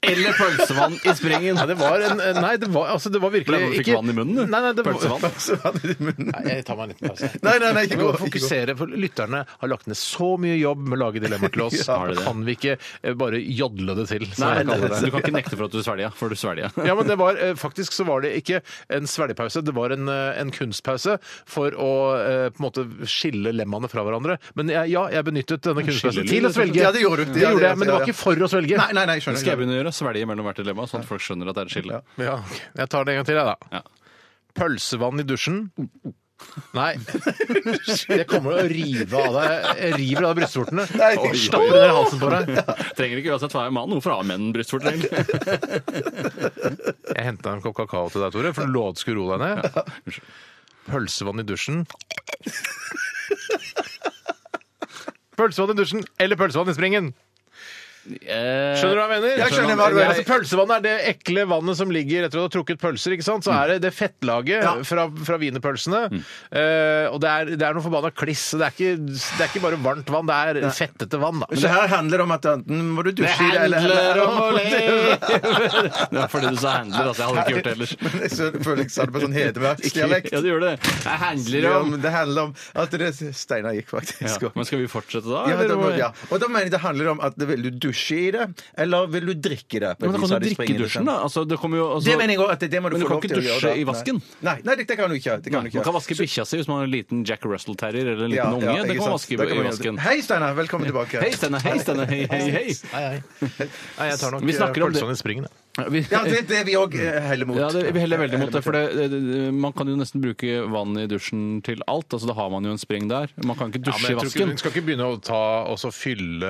Speaker 4: Eller pølsevann i springen.
Speaker 3: Nei, det var en Nei, det var, altså, det var virkelig
Speaker 4: Ble- fikk vann i munnen, du?
Speaker 3: Nei, nei, det var,
Speaker 4: Pølsevann.
Speaker 1: Pølsevann i munnen.
Speaker 3: Nei, Jeg tar meg en liten pause.
Speaker 1: Nei, nei, nei,
Speaker 3: Vi
Speaker 1: ikke
Speaker 3: må
Speaker 1: gå. ikke gå.
Speaker 3: fokusere, for Lytterne har lagt ned så mye jobb med å lage dilemmaer til oss.
Speaker 4: Ja, har de det?
Speaker 3: Kan vi ikke eh, bare jodle det til? som
Speaker 4: Nei,
Speaker 3: jeg kaller
Speaker 4: Du kan ikke nekte for at du svelga, for du svelga.
Speaker 3: Ja, men det var, eh, Faktisk så var det ikke en svelgepause, det var en, eh, en kunstpause for å eh, på en måte skille lemmene fra hverandre. Men jeg, ja, jeg benyttet denne kunstpausen til å svelge.
Speaker 1: Ja, det gjorde du.
Speaker 3: Det
Speaker 1: Ja,
Speaker 3: gjorde jeg, men det
Speaker 1: ja, ja.
Speaker 3: var ikke for å svelge.
Speaker 1: Nei, nei, nei, jeg
Speaker 4: Skal jeg
Speaker 1: skjønner.
Speaker 4: begynne å gjøre? Svelge mellom hvert dilemma, sånn at folk skjønner at det er et skille.
Speaker 3: Ja, ok. Jeg tar det en gang til, jeg, da.
Speaker 4: Ja.
Speaker 3: Pølsevann i dusjen. Nei. Jeg kommer til å rive av deg Jeg river av deg brystvortene
Speaker 1: Nei,
Speaker 3: og stapper ned halsen på deg.
Speaker 4: Trenger ikke uansett være mann. Hvorfor har menn brystvorter, egentlig?
Speaker 3: Jeg henta en kopp kakao til deg, Tore, for du lovte du skulle roe deg ned. Pølsevann i dusjen. Pølsevann i dusjen eller pølsevann i springen. Skjønner du hva jeg mener?
Speaker 1: Jeg skjønner hva du mener.
Speaker 3: Altså, pølsevann er det ekle vannet som ligger etter at du har trukket pølser. ikke sant? Så er det det fettlaget fra, fra wienerpølsene. Eh, og det er, det er noe forbanna kliss. så Det er, ikke, det er ikke bare varmt vann, det er fettete vann. da. Men
Speaker 1: Så her handler det om at enten må du dusje i det, eller
Speaker 4: Det var fordi du sa handler, altså. Jeg hadde ikke gjort det ellers.
Speaker 1: Men jeg så- føler jeg sa det på sånn
Speaker 4: Ja,
Speaker 1: hedmarksdialekt.
Speaker 4: du gjorde det. Jeg handler
Speaker 1: Det,
Speaker 4: om
Speaker 1: om- det handler om at det Steinar gikk faktisk
Speaker 4: ja.
Speaker 1: opp.
Speaker 4: Men skal vi fortsette da?
Speaker 1: Ja, men
Speaker 4: eller
Speaker 1: da,
Speaker 4: hva?
Speaker 1: ja. Og da mener jeg det handler om at det- vil du dusje i det, eller vil du drikke det?
Speaker 4: Men da
Speaker 1: Så
Speaker 4: kan
Speaker 1: er det
Speaker 4: du drikke i
Speaker 1: springende,
Speaker 4: dusjen,
Speaker 1: sant?
Speaker 4: da. Altså, det kommer jo, altså,
Speaker 1: Det mener jeg også, at det, det må du
Speaker 4: Men du
Speaker 1: få
Speaker 4: kan
Speaker 1: lov
Speaker 4: ikke
Speaker 1: til å gjøre.
Speaker 4: dusje
Speaker 1: da.
Speaker 4: i vasken?
Speaker 1: Nei, nei det, det kan du ikke. Det kan du
Speaker 4: Nei, man
Speaker 1: ikke.
Speaker 4: kan vaske bikkja si hvis man har en liten Jack Russell-terrier eller en
Speaker 1: Ja,
Speaker 4: liten
Speaker 1: ja,
Speaker 4: unge. det
Speaker 1: ikke
Speaker 4: kan man
Speaker 1: sant.
Speaker 4: vaske
Speaker 1: Da kan
Speaker 4: i
Speaker 1: man gjøre det.
Speaker 4: vasken.
Speaker 1: Hei, Steinar. Velkommen tilbake.
Speaker 4: Hei, Steinar. Hei, Steinar. Hei, hei, hei.
Speaker 3: Nei, hei. Nei, jeg tar nok
Speaker 4: Vi snakker om det.
Speaker 3: pølsevann i springen. jeg.
Speaker 4: Vi,
Speaker 1: Ja, det, det er vi òg heller mot.
Speaker 4: ja, det, vi heller veldig mot det, for det, det, det- man kan jo nesten bruke vann i dusjen til alt. Altså, da har man jo en spring der. Man kan ikke dusje
Speaker 3: Ja, men
Speaker 4: i
Speaker 3: jeg tror ikke,
Speaker 4: vasken.
Speaker 3: hun skal ikke begynne å ta, og så fylle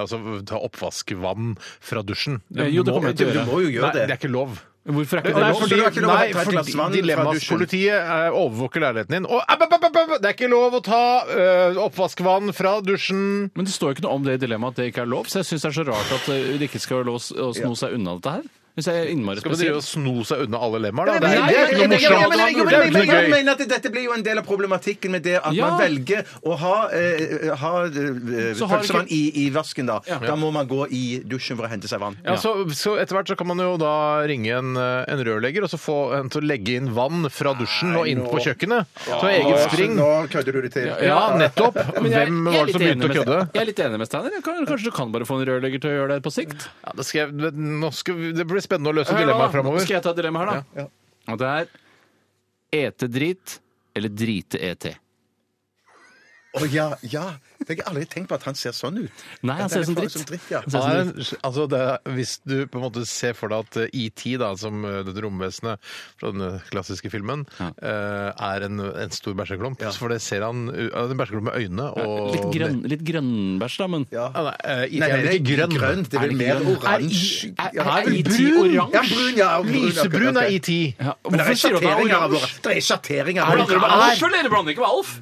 Speaker 3: altså, ta oppvaskvann fra dusjen. Du
Speaker 4: Eh, jo, det
Speaker 3: må-
Speaker 4: kommer jeg til å
Speaker 3: du
Speaker 4: gjøre.
Speaker 3: må jo gjøre
Speaker 1: Nei,
Speaker 3: det.
Speaker 1: det
Speaker 3: er ikke lov.
Speaker 4: Hvorfor er
Speaker 1: Nei,
Speaker 4: ikke det
Speaker 1: for-
Speaker 4: lov?
Speaker 1: fordi- du har ikke lov å
Speaker 3: nei,
Speaker 1: ta et glass vann fra
Speaker 3: fordi Dilemmaspolitiet eh, overvåker leiligheten din. Og app, app, app, app, app, det er ikke lov å ta eh, oppvaskvann fra dusjen!
Speaker 4: Men det står jo ikke noe om det i dilemmaet at det ikke er lov, så jeg syns det er så rart at eh, det ikke skal være lov å sno seg unna dette her. Hvis jeg er innmari
Speaker 3: Skal man drive og
Speaker 4: spesiell.
Speaker 3: sno seg unna alle lemmer,
Speaker 1: Nei,
Speaker 3: da? Det er,
Speaker 1: men-
Speaker 3: det er ikke
Speaker 1: men-
Speaker 3: noe
Speaker 1: men- men-
Speaker 3: morsomt.
Speaker 1: men- men-
Speaker 3: Det er ikke
Speaker 1: men-
Speaker 3: noe
Speaker 1: Jeg
Speaker 3: gøy.
Speaker 1: mener at dette blir jo en del av problematikken med det at
Speaker 4: Ja.
Speaker 1: man velger å ha, eh, ha eh,
Speaker 4: Så har
Speaker 1: pølsevann
Speaker 4: ikke-
Speaker 1: i, i vasken, da. Da må man gå i dusjen for å hente seg vann.
Speaker 3: Ja, så, så etter hvert så kan man jo da ringe en, eh, en rørlegger og så få en til å legge inn vann fra dusjen og inn på kjøkkenet. Så eget spring.
Speaker 1: Nå kødder du det til.
Speaker 3: Ja, nettopp.
Speaker 4: Men jeg-
Speaker 3: Hvem
Speaker 4: jeg er
Speaker 3: var det som
Speaker 4: litt enig
Speaker 3: begynte å
Speaker 4: med-
Speaker 3: kødde?
Speaker 4: Jeg er litt enig med Steiner. Jeg kan- Kanskje du kan bare få en rørlegger til å gjøre det på sikt?
Speaker 3: Ja, det, skal jeg, nå skal vi, det blir spennende å løse
Speaker 4: Hør nå,
Speaker 3: dilemmaet
Speaker 4: da.
Speaker 3: framover.
Speaker 4: Skal jeg ta et dilemma her, da? Og det er ete drit eller drite ET.
Speaker 1: Å ja, ja. Tenk, Jeg har aldri tenkt på at han ser sånn ut.
Speaker 4: Nei, han
Speaker 1: At
Speaker 4: ser ut som
Speaker 1: er
Speaker 4: dritt.
Speaker 1: Som dritt ja.
Speaker 4: ser ut som
Speaker 3: Ja, altså det, er- hvis du på en måte ser for deg at eh, ET, da, som eh, dette romvesenet fra den klassiske filmen, eh, er en, en stor bæsjeklump, så for det ser han eh, En bæsjeklump med øyne og
Speaker 4: Litt, grønn, litt grønnbæsj, da, men
Speaker 1: Ja.
Speaker 3: Ja, nei, eh, ET
Speaker 1: Nei,
Speaker 3: er
Speaker 1: det er
Speaker 3: vel ikke grønn?
Speaker 1: grønt. Det
Speaker 4: Er
Speaker 1: er
Speaker 4: det
Speaker 1: vel mer
Speaker 4: grønn?
Speaker 1: oransje.
Speaker 4: Er i-
Speaker 1: Ja,
Speaker 4: er- er
Speaker 1: brun.
Speaker 4: IT oransje?
Speaker 1: Ja, brun, ja. ja, brun, ja,
Speaker 3: Lysebrun
Speaker 1: akkurat,
Speaker 3: er E
Speaker 1: ok.
Speaker 3: ET.
Speaker 4: ja,
Speaker 1: Men det er
Speaker 4: Hvorfor sier du at han
Speaker 1: sjatteringer
Speaker 4: er
Speaker 1: av
Speaker 4: oransje?
Speaker 1: oransje. Det er sjatteringer av
Speaker 4: Blander du med
Speaker 1: oransje.
Speaker 4: Alf, eller? Dere blander ikke med Alf?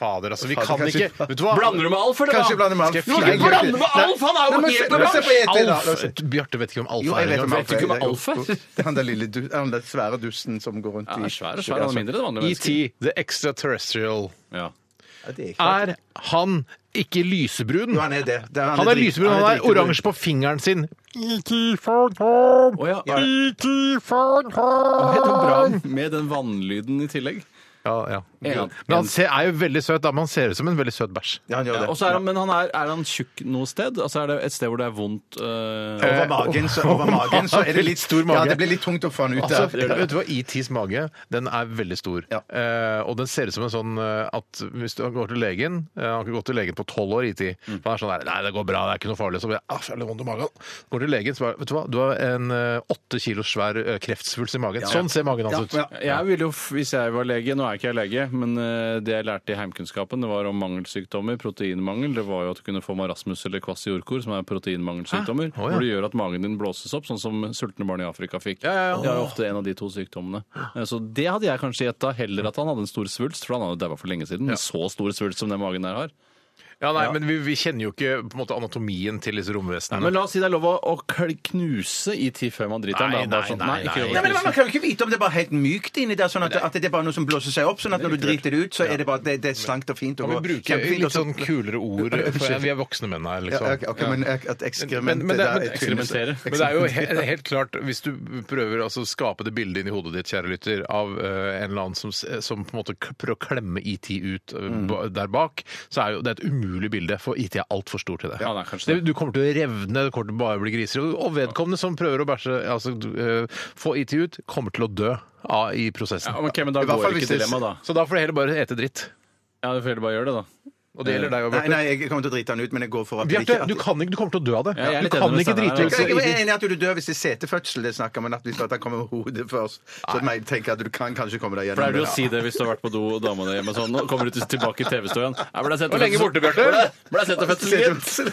Speaker 3: Fader, altså, vi
Speaker 1: Fader,
Speaker 3: kan
Speaker 1: kanskje-
Speaker 3: ikke Vet du hva?
Speaker 4: Blander du med Alf, eller?
Speaker 1: Kanskje blander med Alf.
Speaker 4: Du må ikke blande med Alf! Han er
Speaker 1: Nei,
Speaker 4: jo
Speaker 1: men se-
Speaker 4: helt
Speaker 1: la oss se på
Speaker 4: oransje!
Speaker 1: ET, da. La oss
Speaker 3: Alf!
Speaker 1: se.
Speaker 3: Bjarte vet ikke hvem Alf
Speaker 1: Jo,
Speaker 3: er.
Speaker 1: jeg vet om
Speaker 3: engang.
Speaker 1: Alf er.
Speaker 4: ikke om Alf er.
Speaker 1: Det er han der lille du, han der svære dusten som går rundt i sånn.
Speaker 4: Ja, svær og svær, han er mindre enn vanlige
Speaker 3: ET,
Speaker 4: mennesker.
Speaker 3: E The Extraterrestrial.
Speaker 4: Ja.
Speaker 1: Ja, det er ikke-
Speaker 3: Er han ikke lysebrun?
Speaker 1: Jo, han er det. Det er-
Speaker 3: Han er
Speaker 1: drit-
Speaker 3: lysebrun, han er
Speaker 1: dritbrun.
Speaker 3: oransje på fingeren sin. ET for Tom!
Speaker 4: Å ja, er det
Speaker 3: ET for Tom!
Speaker 4: helt bra med den vannlyden i tillegg?
Speaker 3: Ja, ja.
Speaker 4: Ja.
Speaker 3: Men han ser, er jo veldig søt, da. Men han ser ut som en veldig søt bæsj.
Speaker 1: Ja, han gjør
Speaker 4: Ja,
Speaker 1: det.
Speaker 4: og så er han, men han er, er han tjukk noe sted? Altså Er det et sted hvor det er vondt eh,
Speaker 1: Over magen, så, over magen, så er det litt
Speaker 3: Stor mage.
Speaker 1: Ja, det blir litt tungt å få han ut
Speaker 3: Altså,
Speaker 1: der.
Speaker 3: vet du hva, ETs mage den er veldig stor.
Speaker 1: Ja.
Speaker 3: Eh, og den ser ut som en sånn eh, at hvis du går til legen eh, Han har ikke gått til legen på tolv år, ET. For Han er sånn der, Nei, det går bra, det er ikke noe farlig. Så blir jeg, «Ah, jeg har litt vondt i magen. Går til legen, så bare Vet du hva, du har en eh, åtte kilo svær eh, kreftsvulst i magen. Sånn ser magen hans
Speaker 1: Ja,
Speaker 3: ut.
Speaker 4: Jeg ville jo, f- Hvis jeg var lege Nå er ikke jeg lege, men eh, det jeg lærte i heimkunnskapen, det var om mangelsykdommer, proteinmangel. Det var jo at du kunne få marasmus eller kvasiorkor, som er proteinmangelsykdommer.
Speaker 3: Å, ja.
Speaker 4: Hvor det gjør at magen din blåses opp, sånn som sultne barn i Afrika fikk.
Speaker 3: Ja, ja, ja.
Speaker 4: Det er jo ofte en av de to sykdommene. Eh, Så det hadde jeg kanskje gjetta, heller at han hadde en stor svulst, for han hadde daua for lenge siden. Men så stor svulst som den magen der har.
Speaker 3: Ja, nei, men vi, vi kjenner jo ikke på en måte anatomien til disse romvesenene.
Speaker 4: Men la oss si det er lov å, å kl- knuse i tid før man driter.
Speaker 3: Nei,
Speaker 4: den, da. Bare sånn,
Speaker 3: nei, nei,
Speaker 4: ikke
Speaker 3: nei.
Speaker 4: lov å
Speaker 1: Nei, men
Speaker 4: knuse.
Speaker 1: Man kan jo ikke vite om det er bare helt mykt inni der, sånn at, at det er bare noe som blåser seg opp. sånn at Når du driter det ut, så er det bare det, det er slankt og fint. Og
Speaker 3: Kan vi bruke
Speaker 1: kjempefint, og
Speaker 3: litt
Speaker 1: så-
Speaker 3: sånn kulere ord? For vi er voksne menn her,
Speaker 1: ja,
Speaker 3: liksom.
Speaker 1: ok, ok, men eh, at ekskrementet
Speaker 3: Men, men, det,
Speaker 1: der
Speaker 3: men,
Speaker 1: er tynnest.
Speaker 4: eksperimentere.
Speaker 3: men det er jo he- helt klart, hvis du prøver å altså, skape det bildet inni hodet ditt, kjære lytter, av eh, en eller annen som, s- som på en måte k- prøver å klemme IT ut eh, ba- der bak, så er jo det et umulig bilde, for IT er altfor stor til det.
Speaker 4: Ja, det er kanskje det.
Speaker 3: Du kommer til å revne, det kommer til å bare bli griser. Og- Og vedkommende som prøver å bæsje, altså du, eh, få IT ut, kommer til å dø av, i prosessen.
Speaker 4: Ja, men ok, men da
Speaker 1: I hvert
Speaker 4: går
Speaker 1: fall
Speaker 4: ikke
Speaker 1: hvis det-
Speaker 4: dilemmaet, da.
Speaker 3: Så da får det heller bare ete dritt.
Speaker 4: Ja, Du får heller bare gjøre det, da. Eh,
Speaker 3: Og det gjelder deg òg,
Speaker 1: Nei,
Speaker 3: Bjarte.
Speaker 1: nei, jeg kommer til å drite han ut, men jeg går for at det
Speaker 3: Bjarte,
Speaker 1: ikke- at-
Speaker 3: du, kan ikke- du kommer til å dø av det.
Speaker 4: Ja, jeg er litt
Speaker 3: du
Speaker 4: enig med
Speaker 3: kan ikke
Speaker 4: Steinar
Speaker 3: drite
Speaker 4: her,
Speaker 3: ut
Speaker 1: Jeg er
Speaker 3: IT.
Speaker 1: enig i at du dør hvis det er setefødsel det snakker om, men at hvis at han kommer med hodet først, så jeg tenker jeg at du kan kanskje komme deg gjennom
Speaker 4: Pleier du å
Speaker 1: det.
Speaker 4: si det hvis du har vært på do og dama di hjemme og sånn? Nå kommer du til- tilbake i TV-stuen. Hvor
Speaker 3: lenge borte, Bjarte?
Speaker 4: Ble jeg sett av fødselen din?
Speaker 1: Setefødsel.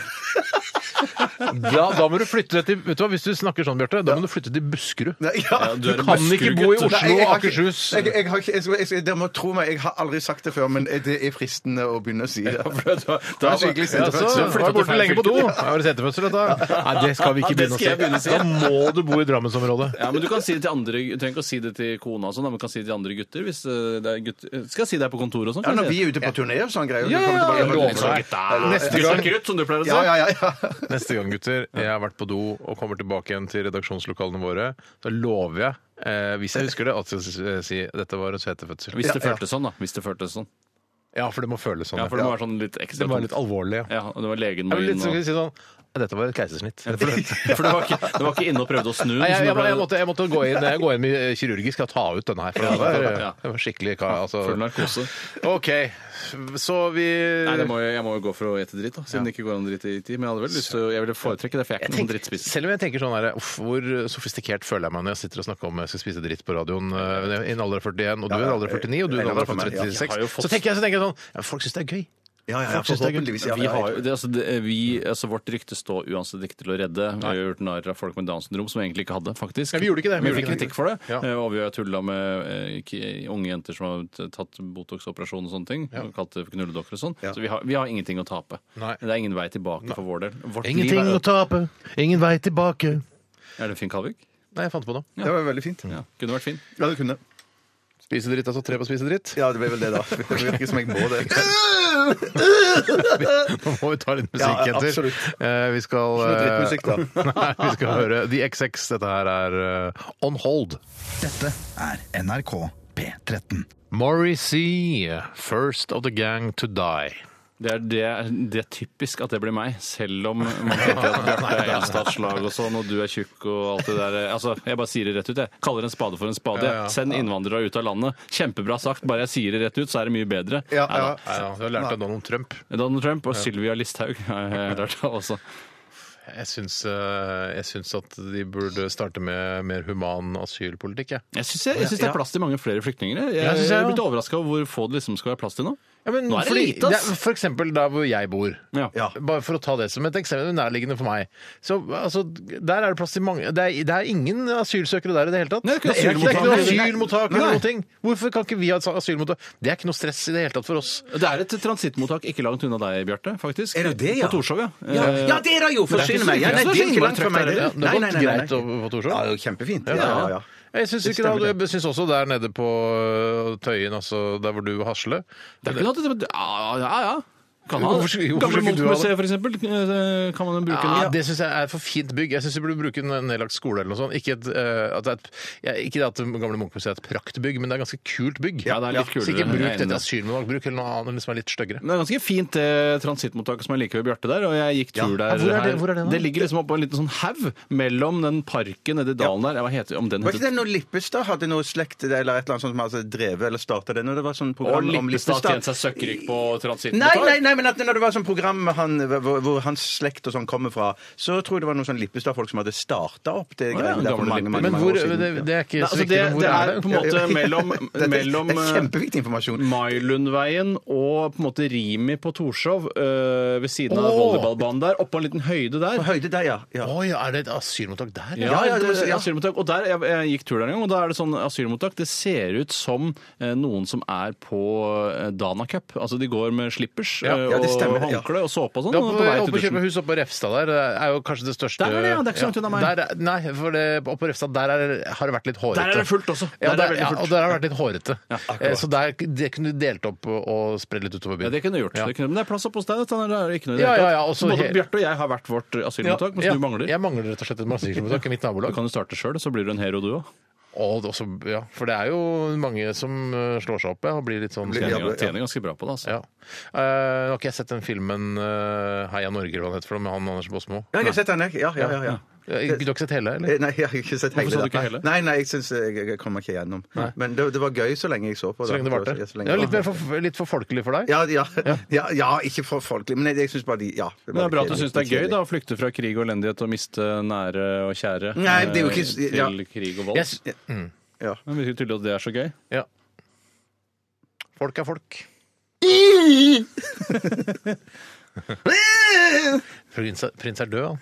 Speaker 3: Da, da må du flytte til Vet du hva, Hvis du snakker sånn, Bjarte, da må du flytte til Buskerud.
Speaker 1: Nei, ja.
Speaker 4: Du er en
Speaker 3: kan ikke bo i
Speaker 4: Buskerud-gutt.
Speaker 3: Oslo.
Speaker 1: Nei, jeg- jeg har ikke-
Speaker 3: Akershus.
Speaker 1: Jeg, jeg, har ikke- jeg, skal- jeg, skal- dere må tro meg, jeg har aldri sagt det før, men det er fristende å begynne å si det.
Speaker 4: Da-
Speaker 1: Det er skikkelig
Speaker 4: Ja, så-
Speaker 1: sentefødsel.
Speaker 4: så flyttet til feil fylke.
Speaker 3: Har du setefødsel, dette? Nei, det skal vi
Speaker 4: Ja,
Speaker 3: ikke
Speaker 4: det
Speaker 3: begynne å
Speaker 4: skal jeg begynne å si.
Speaker 3: si. Da må du bo i Drammensområdet.
Speaker 4: Ja, men Du kan si det til andre Du trenger ikke å si det til kona, og sånn, da, men du kan si det til andre gutter. Hvis eh, det er gutter. Skal jeg si det her på kontoret og sånn?
Speaker 1: Ja,
Speaker 4: kan
Speaker 1: når
Speaker 4: jeg si
Speaker 1: vi er ute på turné og sånn greier.
Speaker 4: Ja,
Speaker 1: kommer
Speaker 4: ja,
Speaker 1: tilbake sånn
Speaker 4: jeg
Speaker 1: og-
Speaker 4: lover deg.
Speaker 1: Eller-
Speaker 4: det.
Speaker 3: Neste
Speaker 4: Vi
Speaker 3: gang,
Speaker 4: snakker ut, som du pleier å si.
Speaker 1: Ja, ja, ja, ja.
Speaker 3: neste gang, gutter, jeg har vært på do og kommer tilbake igjen til redaksjonslokalene våre, så lover jeg, eh, hvis jeg husker det, at jeg skal si dette var en setefødsel.
Speaker 4: Hvis det føltes sånn, da. Hvis det føltes sånn.
Speaker 3: Ja, for det må føles sånn.
Speaker 4: Ja, for det må være sånn litt ekstra
Speaker 3: Det var litt alvorlig. Ja.
Speaker 4: Ja, og det var legen
Speaker 3: Jeg
Speaker 4: må
Speaker 3: vil
Speaker 4: inn
Speaker 3: litt
Speaker 4: og
Speaker 3: si sånn Dette var et keisersnitt.
Speaker 4: For det, for det var ikke, det var ikke inne og prøvde å snu den.
Speaker 3: Nei, jeg,
Speaker 4: som det
Speaker 3: jeg,
Speaker 4: ble-
Speaker 3: jeg, måtte, jeg måtte gå inn, jeg går inn med eh, kirurgisk og ta ut denne her. For det var,
Speaker 4: Ja.
Speaker 3: det var skikkelig ka- altså.
Speaker 4: Full narkose.
Speaker 3: OK, så vi
Speaker 4: Nei, det må jeg, jeg må jo gå for å ete dritt, da, siden det ikke går an å drite i tid. Men jeg hadde vel lyst til å Jeg ville foretrekke det, for jeg er
Speaker 3: Jeg
Speaker 4: ikke noen
Speaker 3: tenker-
Speaker 4: drittspiss.
Speaker 3: selv om jeg tenker sånn her, uff, Hvor sofistikert føler jeg meg når jeg sitter og snakker om jeg skal spise dritt på radioen eh, i en alder av 41, og du er en alder av 49, og du er en alder av
Speaker 1: Ja, jeg
Speaker 3: 36.
Speaker 4: har jo fått-
Speaker 3: Så tenker jeg, så tenker jeg sånn ja, Folk syns det er gøy.
Speaker 1: Ja, ja, ja,
Speaker 3: Folk synes det er gøy.
Speaker 1: forhåpentligvis. Ja,
Speaker 4: Vi
Speaker 1: ja,
Speaker 4: har, jo- det, altså, det, vi, altså, vårt rykte står uansett ikke til å redde. Vi har gjort narr av folk med Downs syndrom som vi egentlig ikke hadde, faktisk.
Speaker 3: Ja, vi gjorde ikke det.
Speaker 4: Vi
Speaker 3: Vi
Speaker 4: fikk
Speaker 3: gjorde ikke det.
Speaker 4: kritikk for det.
Speaker 3: Ja.
Speaker 4: Eh, Og vi har tulla med eh, ki- unge jenter som har t- tatt Botox-operasjon og sånne ting. Og kalt det for knulledokker og sånn. Så vi har, vi har ingenting å tape.
Speaker 3: Nei.
Speaker 4: Det er ingen vei tilbake for vår del. Vårt
Speaker 3: Ingenting
Speaker 4: liv er,
Speaker 3: å tape, ingen vei tilbake.
Speaker 4: er det Finn Kalvik?
Speaker 3: Nei, jeg fant på noe.
Speaker 1: ja. Det var veldig fint.
Speaker 3: Mm.
Speaker 4: Ja. Kunne vært Finn.
Speaker 1: Ja, det kunne.
Speaker 3: Spise dritt, altså. Tre på spise dritt.
Speaker 1: Ja, det ble vel det, da. Det virker som jeg må det.
Speaker 3: Nå må vi ta litt
Speaker 1: Ja,
Speaker 3: musikk, jenter.
Speaker 1: absolutt.
Speaker 3: Eh, vi skal
Speaker 1: Ikke noe drittmusikk, da.
Speaker 3: Nei, vi skal høre The XX. Dette her er eh, On Hold.
Speaker 5: Dette er NRK P13.
Speaker 3: Morrissey, First of the Gang to Die.
Speaker 4: Det er, det, er- det er typisk at det blir meg, selv om man tenker at Bjarte er enstatslag og sånn, og du er tjukk og alt det der. Altså, jeg bare sier det rett ut, jeg. Kaller en spade for en spade.
Speaker 3: Ja, ja.
Speaker 4: Send innvandrere ut av landet. Kjempebra sagt, bare jeg sier det rett ut, så er det mye bedre.
Speaker 3: Ja,
Speaker 4: Nei da.
Speaker 3: ja. Nei, da, Du har lært av Donald Trump.
Speaker 4: Donald Trump og Sylvia Listhaug har jeg lært av også.
Speaker 3: Jeg syns, eh, jeg syns at de burde starte med mer human asylpolitikk. Jeg.
Speaker 4: Jeg syns jeg, jeg synes det er plass til mange flere flyktninger. Jeg,
Speaker 3: Ja,
Speaker 4: jeg,
Speaker 3: synes jeg
Speaker 4: er
Speaker 3: også.
Speaker 4: blitt overraska over hvor få det liksom skal være plass til nå.
Speaker 3: Ja, men,
Speaker 4: Nå er det
Speaker 3: fordi,
Speaker 4: lite, ass.
Speaker 3: det er- For eksempel der hvor jeg bor.
Speaker 4: Ja.
Speaker 1: Ja.
Speaker 3: Bare for å ta det som et eksempel nærliggende for meg. Så altså, Der er det plass til mange Det er, det er ingen asylsøkere der i det hele tatt.
Speaker 4: Nei, det er ikke
Speaker 3: det er ikke noe
Speaker 4: asylmottak.
Speaker 3: asylmottak eller
Speaker 4: Nei.
Speaker 3: noen ting. Hvorfor kan ikke vi ha et asylmottak? Det er ikke noe stress i det hele tatt for oss.
Speaker 4: Det er et transittmottak ikke langt unna deg, Bjarte. faktisk.
Speaker 1: Er det det, ja?
Speaker 4: På Torshov, ja.
Speaker 1: Ja,
Speaker 4: Eh,
Speaker 1: ja, det er det jo! Forsyn meg! Ja, nei, det er ikke langt fra meg. det.
Speaker 3: Ja, det
Speaker 1: Nei,
Speaker 3: har
Speaker 1: nei,
Speaker 3: gått
Speaker 1: nei, nei.
Speaker 3: greit over på Torshov.
Speaker 1: Ja, det er jo kjempefint. Ja, ja, ja.
Speaker 3: Jeg syns
Speaker 1: Det
Speaker 3: ikke det.
Speaker 1: stemmer,
Speaker 3: Jeg syns også der nede på ø, Tøyen, altså der hvor du hasler
Speaker 4: Det er ikke noe at det- Ja, ja. ja. Kan man,
Speaker 3: Hvorfor skulle-
Speaker 4: Gamle
Speaker 3: hvorfor skulle ikke du ha
Speaker 4: Munch-museet, for eksempel, eh, kan man bruke
Speaker 3: Ja,
Speaker 4: nå.
Speaker 3: det syns jeg er for fint bygg. Jeg syns vi burde bruke en nedlagt skole eller noe sånt. Ikke, et, eh, at det er et, ja, ikke det at det Gamle Munch-museet er et praktbygg, men det er ganske kult bygg.
Speaker 4: Ja, det er litt
Speaker 3: så
Speaker 4: kulere.
Speaker 3: ikke
Speaker 4: Jeg er
Speaker 3: bruk
Speaker 4: enig.
Speaker 3: dette asylmottak, bruk heller noe annet som er litt styggere.
Speaker 4: Men Det er ganske fint det transittmottaket som er like ved Bjarte der, og jeg gikk tur der.
Speaker 3: Ja, hvor er det-
Speaker 4: her.
Speaker 3: hvor er det nå?
Speaker 4: ligger liksom oppå en liten sånn haug mellom den parken nedi dalen der. Ja, Hva heter om den
Speaker 1: Var ikke det
Speaker 4: heter
Speaker 1: når Lippestad hadde noe slekt eller et eller annet sånt som altså, drevet eller starta det? Når det var sånn
Speaker 4: Og
Speaker 1: program om
Speaker 4: Lippestad
Speaker 1: Lippestad?
Speaker 4: tjente seg søkkrik på
Speaker 1: Nei,
Speaker 4: transittmottak?
Speaker 1: nei, nei, men at når det var sånn program med han, hvor, hvor hans slekt og sånn kommer fra, så tror jeg det var noen sånn Lippestad-folk som hadde starta opp det
Speaker 4: ja,
Speaker 1: greiene der for
Speaker 4: gamle
Speaker 1: mange,
Speaker 4: Lippe.
Speaker 1: mange,
Speaker 3: Men
Speaker 1: mange
Speaker 3: hvor,
Speaker 1: år siden.
Speaker 3: det, det er ikke
Speaker 4: Nei,
Speaker 3: så
Speaker 4: altså,
Speaker 3: viktig.
Speaker 4: det,
Speaker 3: men hvor
Speaker 4: det
Speaker 3: er,
Speaker 4: er på
Speaker 3: det?
Speaker 4: en måte mellom,
Speaker 1: Det er-
Speaker 4: mellom eh,
Speaker 1: det er kjempeviktig informasjon.
Speaker 4: Mailundveien og på en måte Rimi på Torshov øh, ved siden av
Speaker 3: Åh!
Speaker 4: volleyballbanen der, oppå en liten høyde der.
Speaker 1: På høyde der, ja. ja.
Speaker 3: Oi, er det et asylmottak der?
Speaker 4: Ja,
Speaker 1: Ja, ja,
Speaker 4: det,
Speaker 1: det- ja.
Speaker 4: asylmottak. Og der, jeg, jeg gikk tur der en gang, og da er det sånn asylmottak. Det ser ut som eh, noen som er på eh, Dana Cup. Altså de går med slippers
Speaker 3: Ja.
Speaker 4: eh,
Speaker 1: Ja, det stemmer,
Speaker 4: og
Speaker 1: ja.
Speaker 4: håndkle og såpe og sånn.
Speaker 3: Ja,
Speaker 4: og
Speaker 3: oppe,
Speaker 4: på vei
Speaker 3: oppe
Speaker 4: til
Speaker 3: og kjøpe
Speaker 4: dusjen.
Speaker 3: hus oppe på Refstad der det er jo kanskje det største
Speaker 4: Der er det, ja, det er ikke så langt unna meg.
Speaker 3: Der er- Nei, for det, oppe på Refstad der er, har det vært litt hårete.
Speaker 4: Der er det fullt også.
Speaker 3: Ja,
Speaker 4: Der er
Speaker 3: der,
Speaker 4: det veldig
Speaker 3: ja,
Speaker 4: fullt.
Speaker 3: og der har det vært litt hårete.
Speaker 4: akkurat.
Speaker 3: Eh, så der, det kunne du delt opp og- og spredd litt utover
Speaker 4: Ja,
Speaker 3: byen.
Speaker 4: det kunne du gjort.
Speaker 3: Ja.
Speaker 4: Det kunne, men det er plass oppe hos deg. dette er det ikke noe i det
Speaker 3: Ja,
Speaker 4: hele
Speaker 3: ja,
Speaker 4: tatt.
Speaker 3: ja, og så
Speaker 4: Både
Speaker 3: he-
Speaker 4: Bjarte og jeg har hvert vårt eh, asylmottak, mens
Speaker 3: Ja,
Speaker 4: du mangler.
Speaker 3: Jeg mangler rett og slett et asylmottak i mitt
Speaker 4: Da
Speaker 3: nabolag.
Speaker 4: kan du starte sjøl, så blir du en hero, du òg.
Speaker 3: Og det også, ja, for det er jo mange som eh, slår seg opp ja, og blir litt sånn
Speaker 1: Blir- ja,
Speaker 4: Tjener, tjener ganske bra på det, altså.
Speaker 3: Ja. Eh, har ikke jeg sett den filmen eh, Heia Norge eller hva den heter for noe med han Anders Båsmo?
Speaker 1: Ja, jeg har sett den, jeg. Ja, ja, ja. ja.
Speaker 3: Eh, Du har ikke sett hele, eller?
Speaker 1: Eh, Nei, jeg har ikke sett hele.
Speaker 4: Hvorfor sa du
Speaker 1: da.
Speaker 4: ikke hele?
Speaker 1: Nei, nei, jeg syns jeg jeg kommer ikke gjennom. Men det, det var gøy så lenge jeg så på.
Speaker 3: Så lenge det varte?
Speaker 1: Ja, så lenge
Speaker 3: Ja,
Speaker 1: det
Speaker 3: litt, mer
Speaker 1: varte.
Speaker 3: for, litt for folkelig for deg?
Speaker 1: Ja, ja, ja, ja, ikke for folkelig, men jeg, jeg syns bare de Ja.
Speaker 4: Men det er bra at du syns det er
Speaker 1: da.
Speaker 4: gøy da, å flykte fra krig og elendighet og miste nære og kjære
Speaker 1: Nei, det er jo
Speaker 4: eh,
Speaker 1: ikke- ja.
Speaker 4: til krig og vold.
Speaker 3: Jeg s-
Speaker 1: Ja.
Speaker 4: Men virker det tydelig at det er så gøy?
Speaker 3: ja. Folk er folk. Prins er, prins er død, han.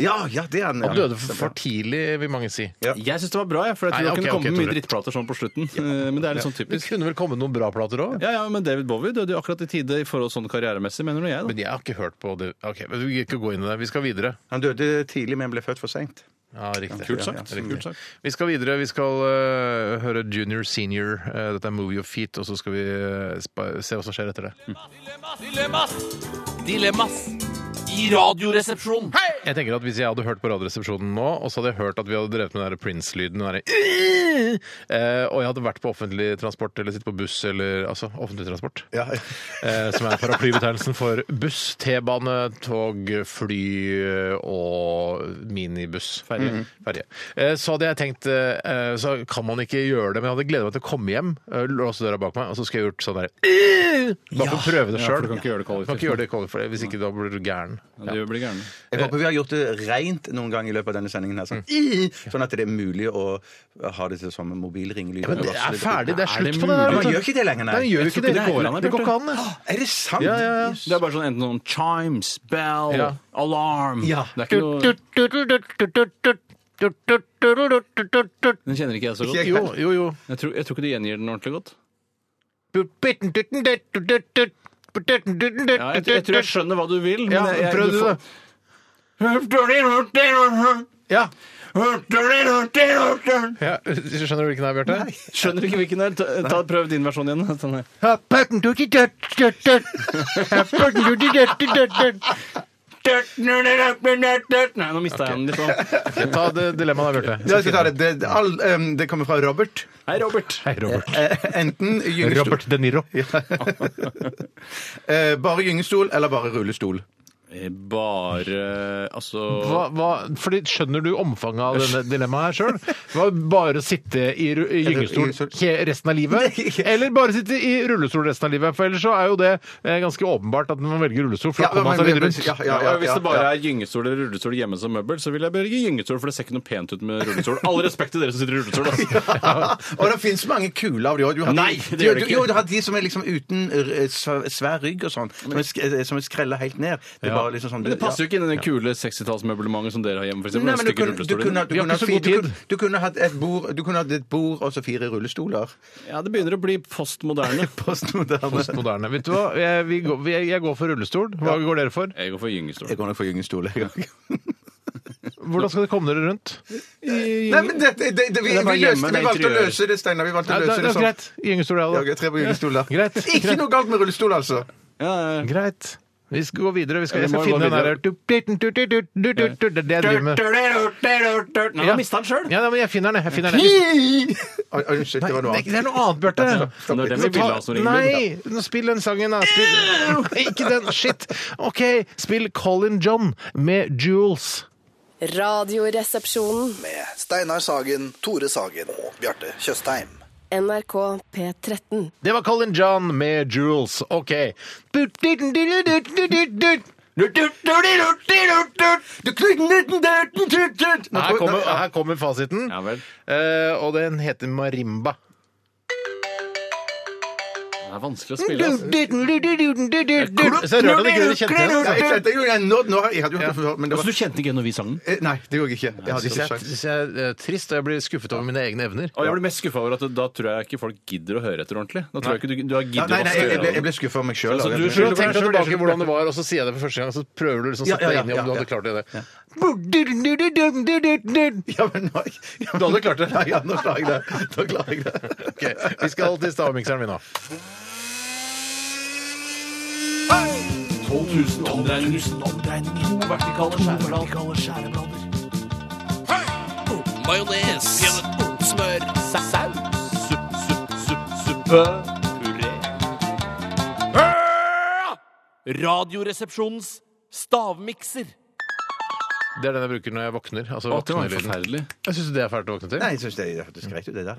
Speaker 1: ja, ja, det er han.
Speaker 3: Han
Speaker 1: ja.
Speaker 3: døde for, for tidlig, vil mange si.
Speaker 1: Ja.
Speaker 4: Jeg syns det var bra, jeg, for jeg tror det
Speaker 3: Nei, ok,
Speaker 4: kunne
Speaker 3: ok,
Speaker 4: komme mye
Speaker 3: Tore.
Speaker 4: drittplater sånn på slutten. Eh, Men det er litt sånn
Speaker 3: Det
Speaker 4: typisk.
Speaker 3: kunne vel komme noen bra plater òg?
Speaker 4: Ja, ja, men David Bowie døde jo akkurat i tide i forhold sånn karrieremessig, mener nå jeg. da.
Speaker 3: Men jeg har ikke hørt på det. Ok, men Vi kan ikke gå inn i det. Vi skal videre.
Speaker 1: Han døde tidlig, men ble født for seint.
Speaker 3: Ja, riktig.
Speaker 4: Kult sagt.
Speaker 3: Ja, ja,
Speaker 4: Kult
Speaker 3: riktig.
Speaker 4: sagt.
Speaker 3: Vi skal videre. Vi skal eh, høre Junior Senior. Eh, dette er Movie of Feet, og så skal vi eh, spa- se hva som skjer etter det.
Speaker 7: Dilemmas! Dilemmas! I Radioresepsjonen.
Speaker 3: Jeg tenker at Hvis jeg hadde hørt på Radioresepsjonen nå, og så hadde jeg hørt at vi hadde drevet med den der Prince-lyden den derre eh, Og jeg hadde vært på offentlig transport eller sittet på buss eller Altså offentlig transport. Eh, som er paraplybetegnelsen for buss, T-bane, tog, fly eh, og minibuss. Ferje. Eh, så hadde jeg tenkt eh, Så kan man ikke gjøre det, men jeg hadde gledet meg til å komme hjem, eh, låse døra bak meg, og så skal jeg gjort sånn der Bare for å prøve det
Speaker 4: Ja,
Speaker 3: sjøl.
Speaker 4: for du kan ikke gjøre det kollektivt.
Speaker 3: for det, hvis ikke da blir du gæren.
Speaker 4: Ja, det blir gærne.
Speaker 1: Jeg håper vi har gjort det reint noen gang i løpet av denne sendingen. her, sånn, sånn at det er mulig å ha det til som mobilringelyd.
Speaker 3: Men det er ferdig, det er
Speaker 4: Er det
Speaker 3: slutt på det
Speaker 4: mulig?
Speaker 3: der. vet du.
Speaker 1: Man gjør ikke det lenger, nei.
Speaker 3: Nei, man gjør
Speaker 1: Jeg
Speaker 3: jo
Speaker 4: tror
Speaker 3: ikke det.
Speaker 4: ikke det går an,
Speaker 3: det går ikke an, det.
Speaker 1: Er det sant?
Speaker 3: Ja, ja, ja.
Speaker 4: Det er bare sånn enten sånn chimes, bell,
Speaker 3: Ja.
Speaker 4: alarm
Speaker 1: Ja.
Speaker 4: Det er ikke noe, Den kjenner ikke jeg så godt.
Speaker 1: Ikke jeg.
Speaker 3: Jo, jo, jo.
Speaker 4: Jeg tror, jeg tror ikke de gjengir den ordentlig godt. Ja, jeg, jeg tror jeg skjønner hva du vil, men
Speaker 3: Ja,
Speaker 4: jeg, jeg,
Speaker 3: prøv du det. Ja. ja. Skjønner du hvilken det er, Bjarte?
Speaker 4: Skjønner ikke hvilken det er. Ta, ta, prøv din versjon igjen. Sånn her.
Speaker 3: Ja,
Speaker 4: Nei, nå mista jeg den litt sånn.
Speaker 3: Ta det dilemmaet der, Bjarte.
Speaker 1: Jeg skal ta det. Det, det- all, em, det kommer fra Robert.
Speaker 4: Hei, Robert.
Speaker 3: Hei, Robert.
Speaker 1: Eh, Enten gyngestol
Speaker 3: Robert De Niro.
Speaker 1: eh, Bare gyngestol eller bare rullestol.
Speaker 4: Bare Altså
Speaker 3: Hva, hva, fordi Skjønner du omfanget av denne dilemmaet her sjøl? Var det bare å sitte i, ru- i gyngestol he- resten av livet? Eller bare sitte i rullestol resten av livet? For ellers så er jo det eh, ganske åpenbart at man velger rullestol. for da kommer man seg videre rundt.
Speaker 1: Ja, ja, ja, ja,
Speaker 4: Hvis det bare
Speaker 1: ja.
Speaker 4: er gyngestol eller rullestol hjemme som møbel, så vil jeg velge gyngestol, for det ser ikke noe pent ut med rullestol. All respekt til dere som sitter i rullestol. Altså.
Speaker 1: Og det finnes mange kule av de òg.
Speaker 4: Nei, det gjør det ikke.
Speaker 1: Jo, du har de som er liksom uten eh, sv- svær rygg og sånn, som er sk- eh, som er skrella helt ned. Det er bare liksom sånn
Speaker 4: Men det passer jo ikke inn i det kule 60-tallsmøblementet som dere har hjemme. For eksempel,
Speaker 1: Nei,
Speaker 4: med
Speaker 1: men du
Speaker 4: stygge
Speaker 1: kunne, du,
Speaker 4: rullestoler.
Speaker 1: kunne, du,
Speaker 3: Vi har
Speaker 1: kunne,
Speaker 3: ikke så
Speaker 1: fi-
Speaker 3: god
Speaker 1: du,
Speaker 3: tid.
Speaker 1: kunne, du kunne hatt et bord Du kunne hatt et bord og så fire rullestoler.
Speaker 4: Ja, det begynner å bli postmoderne.
Speaker 1: Postmoderne.
Speaker 3: Postmoderne. Vet du hva? Jeg, vi går, vi- jeg går for rullestol. Hva går dere for?
Speaker 4: Jeg går for gyngestol.
Speaker 1: Jeg går nok for gyngestol. jeg òg.
Speaker 3: Hvordan skal dere komme dere rundt?
Speaker 1: Nei, men det, det, det, det, vi,
Speaker 4: Det er bare
Speaker 1: vi, løste,
Speaker 4: hjemme,
Speaker 1: vi
Speaker 4: det er
Speaker 1: valgte å
Speaker 4: interiør.
Speaker 1: løse det, Steinar. Vi valgte å
Speaker 3: Ja, det,
Speaker 1: løse
Speaker 3: det
Speaker 1: det
Speaker 3: er
Speaker 1: sånn.
Speaker 3: greit. Gyngestol,
Speaker 1: Ja,
Speaker 3: jeg
Speaker 1: ok,
Speaker 3: òg.
Speaker 1: tre på gyngestol, da.
Speaker 3: Greit.
Speaker 1: Ikke noe galt med rullestol, altså.
Speaker 4: Ja, ja, ja.
Speaker 3: Greit. Vi skal gå videre. Vi skal,
Speaker 4: Ja, vi
Speaker 3: jeg skal
Speaker 4: må gå
Speaker 3: finne den
Speaker 4: videre.
Speaker 3: der Det er det jeg driver med.
Speaker 4: Nei,
Speaker 3: Ja.
Speaker 4: nå mista han sjøl!
Speaker 3: Ja, nei, men jeg finner den. Jeg finner den.
Speaker 1: Oi, oi, Unnskyld, det var noe
Speaker 3: Nei,
Speaker 1: annet.
Speaker 3: det er noe annet, Bjarte.
Speaker 4: Det er den altså, vi ville ha som ringelyd.
Speaker 3: Nei, nå spill den sangen, da. Spill. Nei, Ikke den. Shit. OK, spill Colin John med Jewels.
Speaker 2: Radioresepsjonen.
Speaker 8: med Steinar Sagen, Tore Sagen og Bjarte Tjøstheim.
Speaker 2: NRK P13.
Speaker 3: Det var Colin John med Jewels. OK. Her kommer, her kommer fasiten.
Speaker 4: Ja vel.
Speaker 3: Eh, og den heter marimba.
Speaker 4: Det er vanskelig å
Speaker 3: Så
Speaker 4: spille. Altså.
Speaker 3: jeg rørte at ikke dere
Speaker 1: Nei,
Speaker 3: kjente den.
Speaker 1: jeg kjente jo jeg nådd nå. Jeg hadde jo hørt det før, men det var
Speaker 4: Altså, du kjente ikke igjen når vi sang den?
Speaker 1: Eh, Nei, det gjorde jeg ikke. Jeg hadde
Speaker 3: Så
Speaker 1: ikke
Speaker 3: jeg-
Speaker 1: sjans.
Speaker 3: så jeg er trist, og jeg blir skuffet over mine egne evner.
Speaker 4: Og jeg blir mest skuffa over at da tror jeg ikke folk gidder å høre etter ordentlig. Da tror jeg ikke du, du har
Speaker 1: Ja,
Speaker 4: giddet
Speaker 1: Nei, nei, jeg
Speaker 4: å
Speaker 1: ble, jeg ble skuffa av meg sjøl.
Speaker 4: Ja, så du
Speaker 3: Prøv å
Speaker 4: skylder på deg
Speaker 3: tenke
Speaker 4: selv,
Speaker 3: tilbake
Speaker 4: jeg skylder på
Speaker 3: hvordan det var, og så sier jeg det for første gang, så prøver du liksom å
Speaker 1: Ja,
Speaker 3: sette
Speaker 1: ja,
Speaker 3: deg inn i
Speaker 1: ja, ja,
Speaker 3: om du
Speaker 1: ja.
Speaker 3: hadde klart det.
Speaker 1: Ja. Ja,
Speaker 3: Ok,
Speaker 1: men nå ja,
Speaker 3: Du hadde klart det.
Speaker 1: Nei, ja, nå klarer jeg det. Nå klarer jeg det.
Speaker 3: vi skal til stavmikseren min nå.
Speaker 7: 12 000 omdreininger. To vertikale skjæreblader. Majones. Smør. Saus. Supp, supp, supp, suppe. Puré. Radioresepsjonens stavmikser.
Speaker 3: Det er den jeg bruker når jeg våkner. Altså,
Speaker 4: Å, det var
Speaker 3: våknelyden.
Speaker 4: forferdelig.
Speaker 3: Jeg syns det er fælt å våkne til.
Speaker 1: Nei, jeg syns det hørtes greit ut, det der.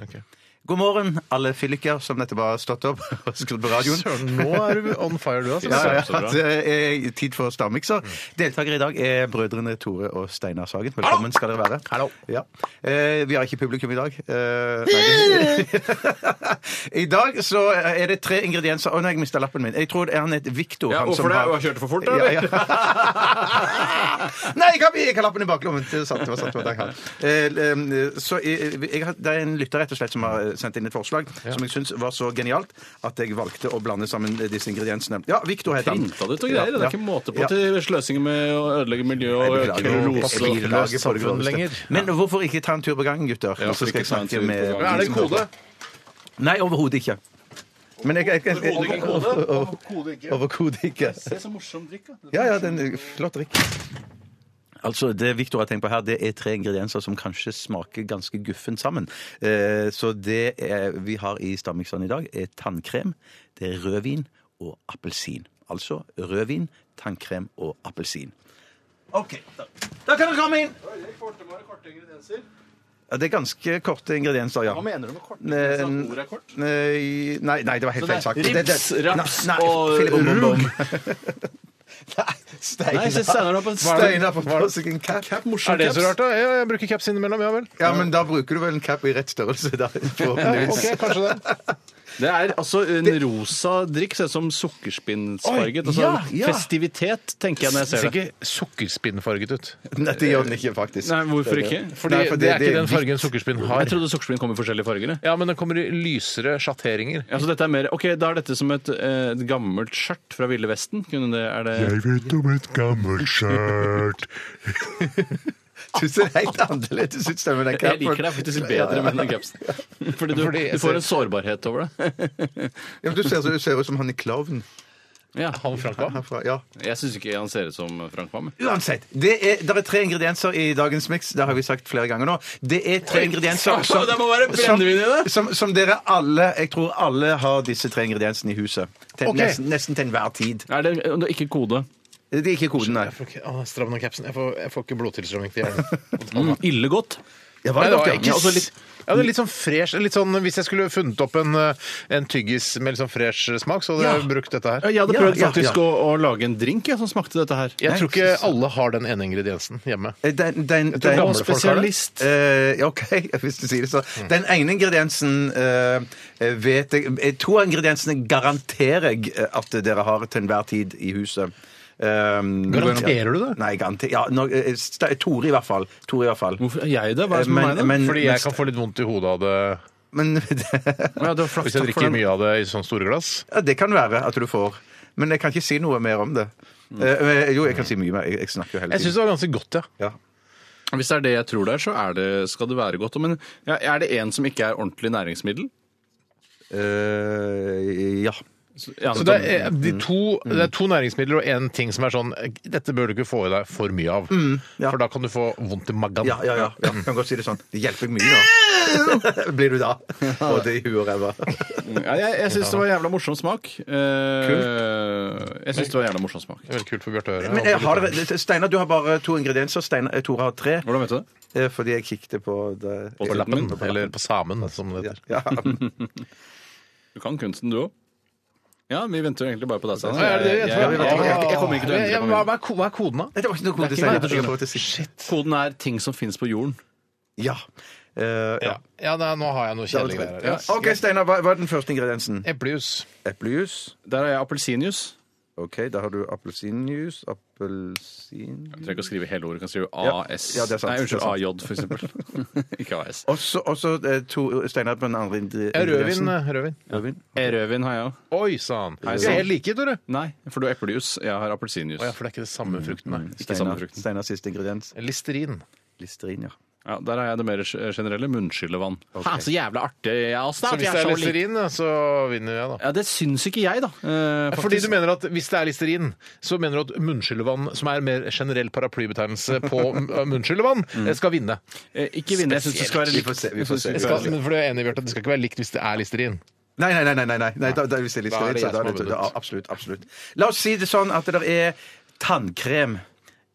Speaker 1: God morgen, alle fylliker som nettopp har stått opp og skrudd på radioen.
Speaker 3: Søren, nå er du on fire, du, altså.
Speaker 1: Ja, ja,
Speaker 4: Så bra.
Speaker 1: ja. Det er tid for stavmikser. Deltakere i dag er brødrene Tore og Steinar Sagen. Velkommen skal dere være.
Speaker 3: Hallo.
Speaker 1: Ja. Eh, vi har ikke publikum i dag. Eh, nei, det- I dag så er det tre ingredienser Å nei, jeg mista lappen min. Jeg tror det er han het Victor.
Speaker 4: Ja,
Speaker 1: han
Speaker 4: hvorfor
Speaker 1: som
Speaker 4: det?
Speaker 1: har-
Speaker 4: Og jeg kjørte for fort,
Speaker 1: Ja,
Speaker 4: eller?
Speaker 1: ja. nei, jeg har, jeg har lappen i baklommen. Det er sant, det var sant. Det var det jeg hadde. Eh, eh, så jeg, jeg, har- det er en lytter rett og slett som har eh, sendt inn et forslag som jeg syns var så genialt at jeg valgte å blande sammen eh, disse ingrediensene. Ja, Victor heter han.
Speaker 4: Printa det ut og greier. Det er ikke måte på til sløsing med å ødelegge miljø
Speaker 1: Jeg
Speaker 4: og
Speaker 1: beklager.
Speaker 4: øke rose.
Speaker 1: Jeg beklager
Speaker 3: Samfunn
Speaker 1: for det groveste.
Speaker 3: lenger.
Speaker 1: Men hvorfor ikke ta en tur på gangen, gutter?
Speaker 4: hvorfor
Speaker 1: Og så skal jeg
Speaker 4: ikke ta en
Speaker 1: snakke
Speaker 4: tur på
Speaker 1: med
Speaker 4: gangen? Er
Speaker 3: det en kode?
Speaker 1: Nei, overhodet ikke. Men jeg, jeg, jeg, jeg, Overhodet ikke.
Speaker 4: Det er så morsom drikk, da.
Speaker 1: Ja, ja, det er en flott drikk. Altså, Det Victor har tenkt på her, det er tre ingredienser som kanskje smaker ganske guffen sammen. Eh, så det er, vi har i stavmikseren i dag, er tannkrem, det er rødvin og appelsin. Altså rødvin, tannkrem og appelsin. OK. Da, da kan dere komme inn! Ja, det er ganske korte ingredienser, ja.
Speaker 4: Hva mener du med kort?
Speaker 1: Eh,
Speaker 4: At ordet er kort?
Speaker 1: Nei, nei, nei, det var helt feil sagt. Det-
Speaker 4: Rips,
Speaker 1: det-
Speaker 4: raps
Speaker 1: Nei, nei,
Speaker 4: og
Speaker 1: Philip, bom, bom.
Speaker 4: rug.
Speaker 1: Nei,
Speaker 4: Nei, jeg synes
Speaker 1: Steinar.
Speaker 4: Steinar har på en
Speaker 1: Steinar får på seg en cap.
Speaker 4: morsom
Speaker 3: Er det
Speaker 4: caps.
Speaker 3: så rart, da? Ja, jeg bruker caps innimellom, ja vel.
Speaker 1: Ja, men da bruker du vel en cap i rett størrelse, da.
Speaker 3: Ok,
Speaker 1: forhåpentligvis.
Speaker 3: kanskje det.
Speaker 4: Det er altså en rosa drikk, ser ut som sukkerspinnsfarget.
Speaker 1: Oi,
Speaker 4: Altså
Speaker 1: ja, ja.
Speaker 4: festivitet, tenker jeg når jeg
Speaker 3: Ser
Speaker 4: ser det.
Speaker 3: ikke sukkerspinnfarget ut.
Speaker 1: Nei, det gjør den ikke, faktisk.
Speaker 4: Nei, hvorfor ikke?
Speaker 3: Fordi
Speaker 1: Nei, for
Speaker 3: det,
Speaker 1: det-
Speaker 3: er ikke
Speaker 1: det-
Speaker 3: den fargen sukkerspinn har.
Speaker 4: Jeg trodde sukkerspinn kom i forskjellige farger. jeg.
Speaker 3: Ja, men den kommer i lysere sjatteringer.
Speaker 4: Altså, dette er mer, ok, Da er dette som et, eh, et gammelt skjørt fra Ville Vesten. Kunne det, er det
Speaker 9: Jeg vet om et gammelt skjørt.
Speaker 1: Syns det er helt annerledes ut, stemmer den
Speaker 4: Jeg
Speaker 1: capen.
Speaker 4: liker deg faktisk bedre med den capsen. Fordi du,
Speaker 3: Fordi jeg
Speaker 4: du får en sårbarhet over det.
Speaker 1: Ja, men du ser, du ser ut som han i Klovn.
Speaker 4: Ja.
Speaker 3: Han Frank Hvam?
Speaker 1: Herfra, ja.
Speaker 4: Jeg syns ikke han ser ut som Frank Hvam.
Speaker 1: Uansett. Det er, der er tre ingredienser i dagens miks. Det har vi sagt flere ganger nå. Det er tre ingredienser som,
Speaker 4: det må være brennevin i det.
Speaker 1: som, som dere alle Jeg tror alle har disse tre ingrediensene i huset. Til,
Speaker 3: Ok.
Speaker 1: nesten, nesten til enhver tid.
Speaker 4: Er det det er ikke kode?
Speaker 1: Det er ikke koden, nei.
Speaker 3: Jeg får ikke, ah, Stram den capsen. Jeg får, jeg får ikke blodtilstrømning til hjernen.
Speaker 4: Mm, ille godt.
Speaker 1: Det
Speaker 3: Nei,
Speaker 1: var
Speaker 3: det
Speaker 1: godt,
Speaker 3: var
Speaker 1: ja.
Speaker 3: ikke
Speaker 1: Ja, altså litt-
Speaker 3: s- ja, det er litt sånn fresh. Litt sånn, hvis jeg skulle funnet opp en, eh, en tyggis med litt sånn fresh smak, så hadde jeg brukt dette her.
Speaker 4: Jeg hadde
Speaker 1: Ja,
Speaker 4: prøvd
Speaker 1: ja,
Speaker 4: faktisk
Speaker 1: ja.
Speaker 4: Å, å lage en drink jeg, som smakte dette her.
Speaker 3: Jeg tror ikke alle har den ene ingrediensen hjemme.
Speaker 1: Den, den, den,
Speaker 3: tror gamle folk har det.
Speaker 4: spesialist.
Speaker 1: Eh, ja, OK, hvis du sier det så. Den ene ingrediensen eh, vet jeg eh, To av ingrediensene garanterer jeg eh, at dere har til enhver tid i huset. Um,
Speaker 3: Garanterer du det?
Speaker 1: Nei, garanter, ja, nå, eh, Sta- Tore i hvert fall. Tore i hvert fall. Eh,
Speaker 4: Hvorfor er jeg det? Hva er det som
Speaker 1: Men-
Speaker 4: er meg, da?
Speaker 1: men-
Speaker 3: Fordi jeg kan få litt vondt i hodet av det
Speaker 1: Men
Speaker 4: Å, ja, det var flaks,
Speaker 3: hvis jeg
Speaker 4: takk for
Speaker 3: drikker
Speaker 4: den.
Speaker 3: mye av det i sånne store glass.
Speaker 1: ja, det kan være at du får. Men jeg kan ikke si noe mer om det. Eh, jo, jeg kan si mye mer. Jeg, jeg snakker jo hele
Speaker 3: Jeg syns
Speaker 1: tiden.
Speaker 3: det var ganske godt, ja.
Speaker 1: Ja.
Speaker 4: Hvis det er det jeg tror det er, så er det, skal det være godt. Men ja, er det en som ikke er ordentlig næringsmiddel?
Speaker 1: Eh, ja.
Speaker 4: Så, ja,
Speaker 3: Så det er, de to, det er to næringsmidler og én ting som er sånn Dette bør du ikke få i deg for mye av.
Speaker 1: ja.
Speaker 3: For da kan du få vondt i magen.
Speaker 1: Ja, ja, ja. ja. Kan godt si det sånn. Det hjelper meg mye, da. Blir du da. Og det i huet og ræva.
Speaker 4: ja, jeg jeg syns det var jævla morsom smak. Eh, Jeg syns det var jævla morsom smak.
Speaker 3: Det er Veldig kult for Bjarte Øre.
Speaker 1: Men jeg har det, Steinar, du har bare to ingredienser. Steinar, eh, Tore har tre.
Speaker 4: Hvordan vet du det?
Speaker 1: eh, Fordi jeg kikket på det.
Speaker 3: På lappen,
Speaker 4: min.
Speaker 3: sånn- eller på samen, som det
Speaker 1: Ja.
Speaker 3: heter.
Speaker 1: Ja.
Speaker 4: Du kan kunsten, du òg. Ja, vi venter jo egentlig bare på deg, Steinar.
Speaker 3: Ja, er det det?
Speaker 4: Jeg-
Speaker 3: Jeg tror-
Speaker 4: jeg- jeg- jeg- jeg kommer ikke til å endre
Speaker 3: Ja, hva,
Speaker 4: på min.
Speaker 3: hva er ko- hva er koden, da?
Speaker 1: Det var ikke noe kode,
Speaker 3: Det er ikke
Speaker 1: Steinar.
Speaker 3: verdt å
Speaker 1: Jeg får til sist.
Speaker 4: Koden er 'ting som fins på jorden'.
Speaker 1: Ja. Eh, ja.
Speaker 3: Ja, nei, nå har jeg noe kjedelig greier. her.
Speaker 1: OK, Steinar, hva, hva er den første ingrediensen?
Speaker 3: Eplejus.
Speaker 1: Eplejus.
Speaker 4: Der er jeg appelsinjuice.
Speaker 1: OK, da har du appelsinjuice. Appelsin...
Speaker 4: Jeg trenger ikke å skrive hele ordet. Jeg kan skrive
Speaker 1: Ja.
Speaker 4: AS.
Speaker 1: Ja, det er sant.
Speaker 4: Nei, unnskyld.
Speaker 1: Det er sant.
Speaker 4: AJ, for eksempel. ikke AS.
Speaker 1: Og så- og så eh, to- Steinar på den andre ingre-
Speaker 3: Ja,
Speaker 1: ingrediensen.
Speaker 3: Rødvin. eh, rødvin.
Speaker 1: Rødvin.
Speaker 4: E Rødvin har jeg òg.
Speaker 3: Oi sann! Vi
Speaker 4: sann.
Speaker 3: er helt like, Tore.
Speaker 4: Nei, for du har eplejus. Jeg har appelsinjuice.
Speaker 3: Å ja, for det er ikke det samme frukten, nei.
Speaker 4: Ikke samme
Speaker 1: Steinar-
Speaker 4: frukten.
Speaker 1: Steinars siste ingrediens.
Speaker 3: Mm. Listerin.
Speaker 1: Listerin, ja.
Speaker 4: Ja, Der har jeg det mer ge- generelle. Munnskyllevann. Ha, så jævla artig av oss, da.
Speaker 3: Så
Speaker 4: at vi
Speaker 3: hvis
Speaker 4: er
Speaker 3: det er
Speaker 4: så like.
Speaker 3: listerin, ja, så vinner jeg, da.
Speaker 4: Ja, Det syns ikke jeg, da. Eh,
Speaker 3: Fordi
Speaker 4: faktisk.
Speaker 3: du mener at hvis det er listerin, så mener du at munnskyllevann, som er en mer generell paraplybetegnelse på m- munnskyllevann, eh, skal vinne.
Speaker 4: Eh, ikke vinne. Jeg syns det skal være
Speaker 1: Vi
Speaker 4: likt.
Speaker 1: får se, vi får se.
Speaker 4: Jeg synes det
Speaker 3: Skal,
Speaker 4: skal være likt.
Speaker 3: men for du er enig, Bjarte, at det skal ikke være likt hvis det er listerin.
Speaker 1: Nei, nei, nei. nei, nei, nei. nei da, da, hvis det er litt
Speaker 3: Da er
Speaker 1: stedet, så
Speaker 3: det jeg som
Speaker 1: da er
Speaker 3: har
Speaker 1: det,
Speaker 3: vunnet.
Speaker 1: ja, absolutt, absolutt. La oss si det sånn at det er tannkrem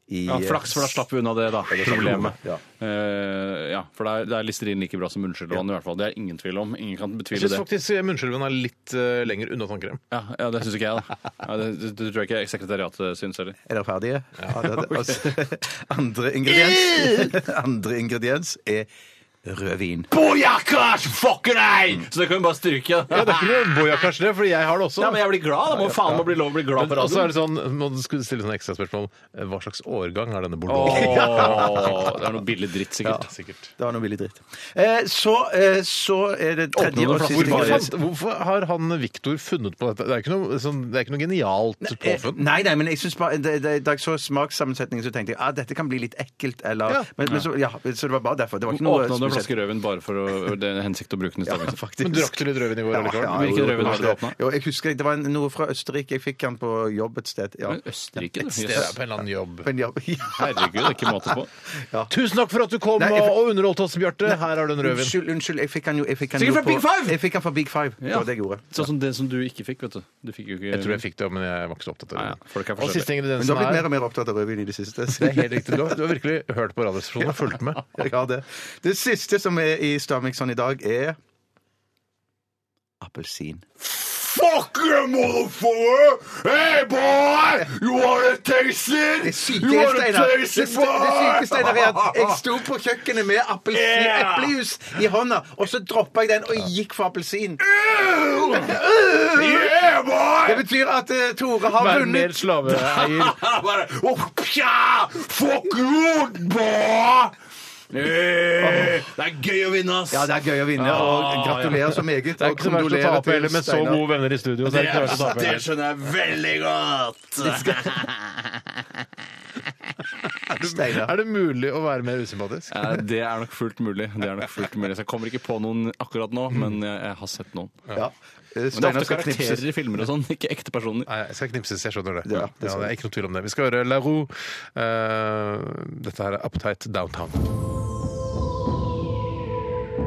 Speaker 1: i
Speaker 4: Ja, Flaks, for da slapp vi unna det, da. Problemet.
Speaker 1: Ja.
Speaker 4: Eh, ja, for det er, det er Listerin like bra som munnskyllevann, i hvert fall. Det er ingen tvil om. Ingen kan
Speaker 3: Jeg
Speaker 4: betvile
Speaker 3: syns
Speaker 4: det.
Speaker 3: faktisk munnskyllevann er litt eh, lenger unna tannkrem.
Speaker 4: Ja, ja, Det syns ikke jeg, da. Ja, det, det, det tror jeg ikke sekretariatet syns heller.
Speaker 1: Er dere ferdige? Ja, det, det, altså, andre ingrediens Andre ingrediens er rødvin.
Speaker 4: Bojakas! Fucker nei! Så det kan vi bare stryke.
Speaker 3: Ja, det er ikke noe bojakas, det, fordi jeg har det også.
Speaker 4: Ja, men jeg blir glad. Da må faen meg bli lov å bli glad
Speaker 3: Men
Speaker 4: på
Speaker 3: også er
Speaker 4: radioen.
Speaker 3: det sånn, må du skulle stille sånn ekstra spørsmål eh, Hva slags årgang er denne
Speaker 4: Åh,
Speaker 3: bolognesen?
Speaker 4: det er noe billig dritt, sikkert.
Speaker 3: Sikkert.
Speaker 1: Det var noe billig dritt. Eh, så, eh, så er det tredje
Speaker 4: Åpne
Speaker 1: og
Speaker 4: noen
Speaker 1: siste
Speaker 4: flasker.
Speaker 3: Hvorfor,
Speaker 1: ingrediens.
Speaker 3: fant, hvorfor har han Viktor funnet på dette? Det er ikke noe, sånn, det er ikke noe genialt påfunn.
Speaker 1: Eh, Nei, nei, men jeg synes bare, det, det, da jeg så smakssammensetningen, så tenkte jeg at ah, dette kan bli litt ekkelt. Eller,
Speaker 3: Ja.
Speaker 1: Men, men så, ja, så det var bare derfor. Det var ikke noe
Speaker 4: Åpna du en
Speaker 1: spesielt.
Speaker 4: flaske rødvin bare for å, det er hensikt å bruke den i
Speaker 1: Ja,
Speaker 4: stavmiksen?
Speaker 1: faktisk.
Speaker 3: Men drakk du litt rødvin i går? eller
Speaker 1: Ja,
Speaker 3: hva?
Speaker 1: jo, jo,
Speaker 4: Hvilken rødvin
Speaker 1: kanskje
Speaker 4: var det du åpnet?
Speaker 1: Jo, jeg husker Det var en- noe fra Østerrike. Jeg fikk den på jobb et sted. Ja.
Speaker 4: Men Østerrike, du.
Speaker 3: Det er
Speaker 4: Yes.
Speaker 3: på en eller annen jobb.
Speaker 1: Men jobb. Ja.
Speaker 4: Herregud, det er ikke måte på.
Speaker 3: Tusen takk for at du kom
Speaker 1: Nei, jeg-
Speaker 3: og- og underholdt oss, Bjarte. Her har du en rødvin.
Speaker 1: Unnskyld, unnskyld, jeg fikk den jo jeg fikk den jo
Speaker 4: Sikkert fra Big Five!
Speaker 1: Jeg fikk den fra Big Five. Det
Speaker 4: Ja.
Speaker 1: var det jeg gjorde.
Speaker 4: Sånn som det som du ikke fikk, vet du. Du fikk jo ikke
Speaker 3: Jeg tror jeg fikk det, men jeg var ikke så opptatt av
Speaker 4: Ja, ja. Folk er
Speaker 3: det. Og siste
Speaker 1: Men du
Speaker 3: ingrediensen
Speaker 1: har blitt mer
Speaker 3: er
Speaker 1: og mer opptatt av rødvin i det siste.
Speaker 3: det er helt riktig. Du har, du har virkelig hørt på Radioresepsjonen og fulgt med.
Speaker 1: Jeg har det. Det siste som er i Stamikson i dag, er appelsin.
Speaker 7: Fuck you, motherfucker! Hey, boy! You wanna taste it?
Speaker 1: Det syke,
Speaker 7: you wanna
Speaker 1: Steinar, det,
Speaker 7: taste
Speaker 1: det
Speaker 7: it, boy?
Speaker 1: syke, Steinar, er at jeg sto på kjøkkenet med appelsin,
Speaker 7: Yeah!
Speaker 1: eplejus i hånda, og så droppa jeg den og gikk for appelsin.
Speaker 7: Yeah, boy!
Speaker 1: Det betyr at eh, Tore har
Speaker 3: Vær mer
Speaker 1: vunnet.
Speaker 3: slaveeier.
Speaker 7: Bare, oh, pja! Fuck you, boy! Eh, det er gøy å vinne, ass!
Speaker 1: Ja, det er gøy å vinne, og gratulerer så meget.
Speaker 3: Det er ikke så verst å tape heller, med så gode venner i studio. Så er det ikke verst å tape
Speaker 7: det
Speaker 3: heller.
Speaker 7: skjønner jeg veldig godt.
Speaker 3: Er det,
Speaker 1: Steinar.
Speaker 3: er det mulig å være mer usympatisk?
Speaker 4: Eh, Det er nok fullt mulig. Det er nok fullt mulig. Så jeg kommer ikke på noen akkurat nå, men jeg, jeg har sett noen.
Speaker 1: Ja.
Speaker 4: Men det er
Speaker 1: Steinar
Speaker 4: ofte
Speaker 1: skal knipses.
Speaker 4: karakterer i filmer og sånn, ikke ekte personer.
Speaker 3: Nei, jeg skal knipses. Jeg skjønner det. Ja,
Speaker 1: Ja,
Speaker 3: det, er ikke noe tvil om det. Vi skal høre La Roux. Eh, dette her er Uptight Downtown.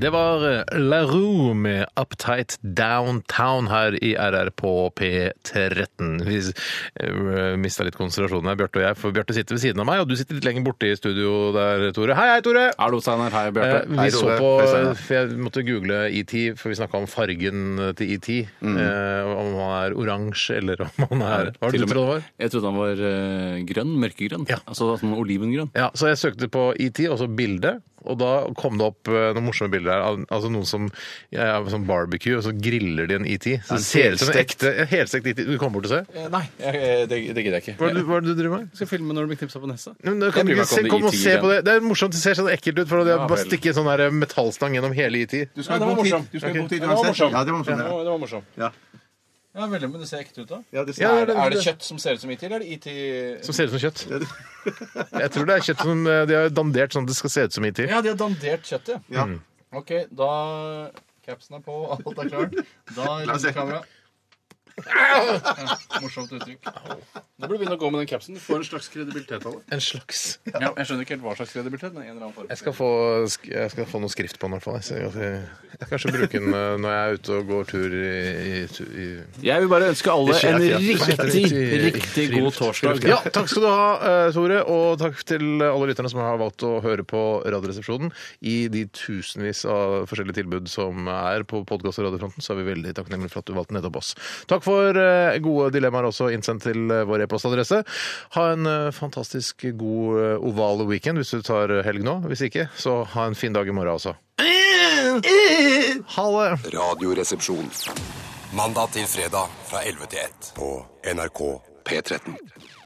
Speaker 3: Det var eh, La Roux med Uptight Downtown her i RR på P13. Vi uh, mista litt konsentrasjonen her, Bjarte og jeg, for Bjarte sitter ved siden av meg, og du sitter litt lenger borte i studio der, Tore. Hei, hei, Tore!
Speaker 4: Hallo, Steinar. Hei,
Speaker 3: Eh,
Speaker 4: Bjarte.
Speaker 3: vi
Speaker 1: Hei,
Speaker 3: så
Speaker 1: Tore.
Speaker 3: på
Speaker 1: Hei, Steinar.
Speaker 3: for Jeg måtte google ET, for vi snakka om fargen til ET.
Speaker 4: Mm.
Speaker 3: eh, om han er oransje eller om han er
Speaker 4: Til
Speaker 3: Hva var det
Speaker 4: og
Speaker 3: du
Speaker 4: med-
Speaker 3: trodde det var?
Speaker 4: Jeg trodde han var eh, grønn. Mørkegrønn.
Speaker 3: Ja.
Speaker 4: Altså sånn olivengrønn.
Speaker 3: Ja, så jeg søkte på ET, altså bilde, og da kom det opp eh, noen morsomme bilder her. al- Altså noen som ja, ja, sånn barbecue, og så griller de en ET. Så det ser ut som en
Speaker 1: helstekt.
Speaker 3: ekte en helstekt ET. Du kommer bort og ser.
Speaker 4: Eh, Nei, det, gidder jeg ikke.
Speaker 3: Hva er det, hva er det du driver med?
Speaker 4: skal filme når du blir knipsa på nesa.
Speaker 3: Men da
Speaker 4: Jeg
Speaker 3: kan
Speaker 4: bryr
Speaker 3: du
Speaker 4: meg ikke om
Speaker 3: se,
Speaker 4: det
Speaker 3: kom og
Speaker 4: ET
Speaker 3: se på
Speaker 4: igjen.
Speaker 3: det. Det er morsomt, det ser sånn ekkelt ut, for det er
Speaker 4: Ja,
Speaker 3: bare
Speaker 4: vel.
Speaker 3: stikke en sånn her metallstang gjennom hele E ET.
Speaker 1: Du skal ha god tid. Du skal ha god tid
Speaker 4: Ja, det var
Speaker 1: uansett.
Speaker 4: morsomt.
Speaker 1: Ja, det var morsomt. ja.
Speaker 4: det var morsomt.
Speaker 1: Ja.
Speaker 4: veldig, Men det ser ekte ut, da.
Speaker 1: Ja, det-
Speaker 3: Ja, det-
Speaker 4: Er det kjøtt som ser ut som IT, eller er det IT
Speaker 3: Som ser ut som kjøtt. Jeg tror det er kjøtt som eh, de har dandert sånn at det skal se ut som ET.
Speaker 4: Ja, de har dandert kjøttet.
Speaker 1: Ja.
Speaker 4: OK, da Capsen er på, alt er klart. Da
Speaker 1: se.
Speaker 4: runder kamera. Ja, morsomt uttrykk. Nå burde du begynne å gå med den capsen. Du får en slags kredibilitet av det.
Speaker 3: En slags
Speaker 4: Ja, jeg skjønner ikke helt hva slags kredibilitet, men en eller annen form.
Speaker 3: Jeg skal, få, sk- jeg skal få noe skrift på den, i hvert fall. Jeg skal- Jeg skal kanskje bruke den eh, når jeg er ute og går tur i, i, tu- i
Speaker 4: Jeg vil bare ønske alle
Speaker 3: Det skjer
Speaker 4: en
Speaker 3: ikke, ja.
Speaker 4: riktig,
Speaker 3: Riktig-
Speaker 4: riktig god torsdag.
Speaker 3: Ja, takk skal du ha, eh, Tore, og takk til alle lytterne som har valgt å høre på Radioresepsjonen. I de tusenvis av forskjellige tilbud som er på podkast- og radiofronten, så er vi veldig takknemlige for at du valgte nettopp oss. Takk for eh, gode dilemmaer også innsendt til eh, vår e-postadresse. Ha en eh, fantastisk god eh, oval weekend hvis du tar eh, helg nå. Hvis ikke, så ha en fin dag i morgen også. Ha det!
Speaker 6: Radioresepsjon. Mandag til fredag fra 11 til 1 på NRK P13.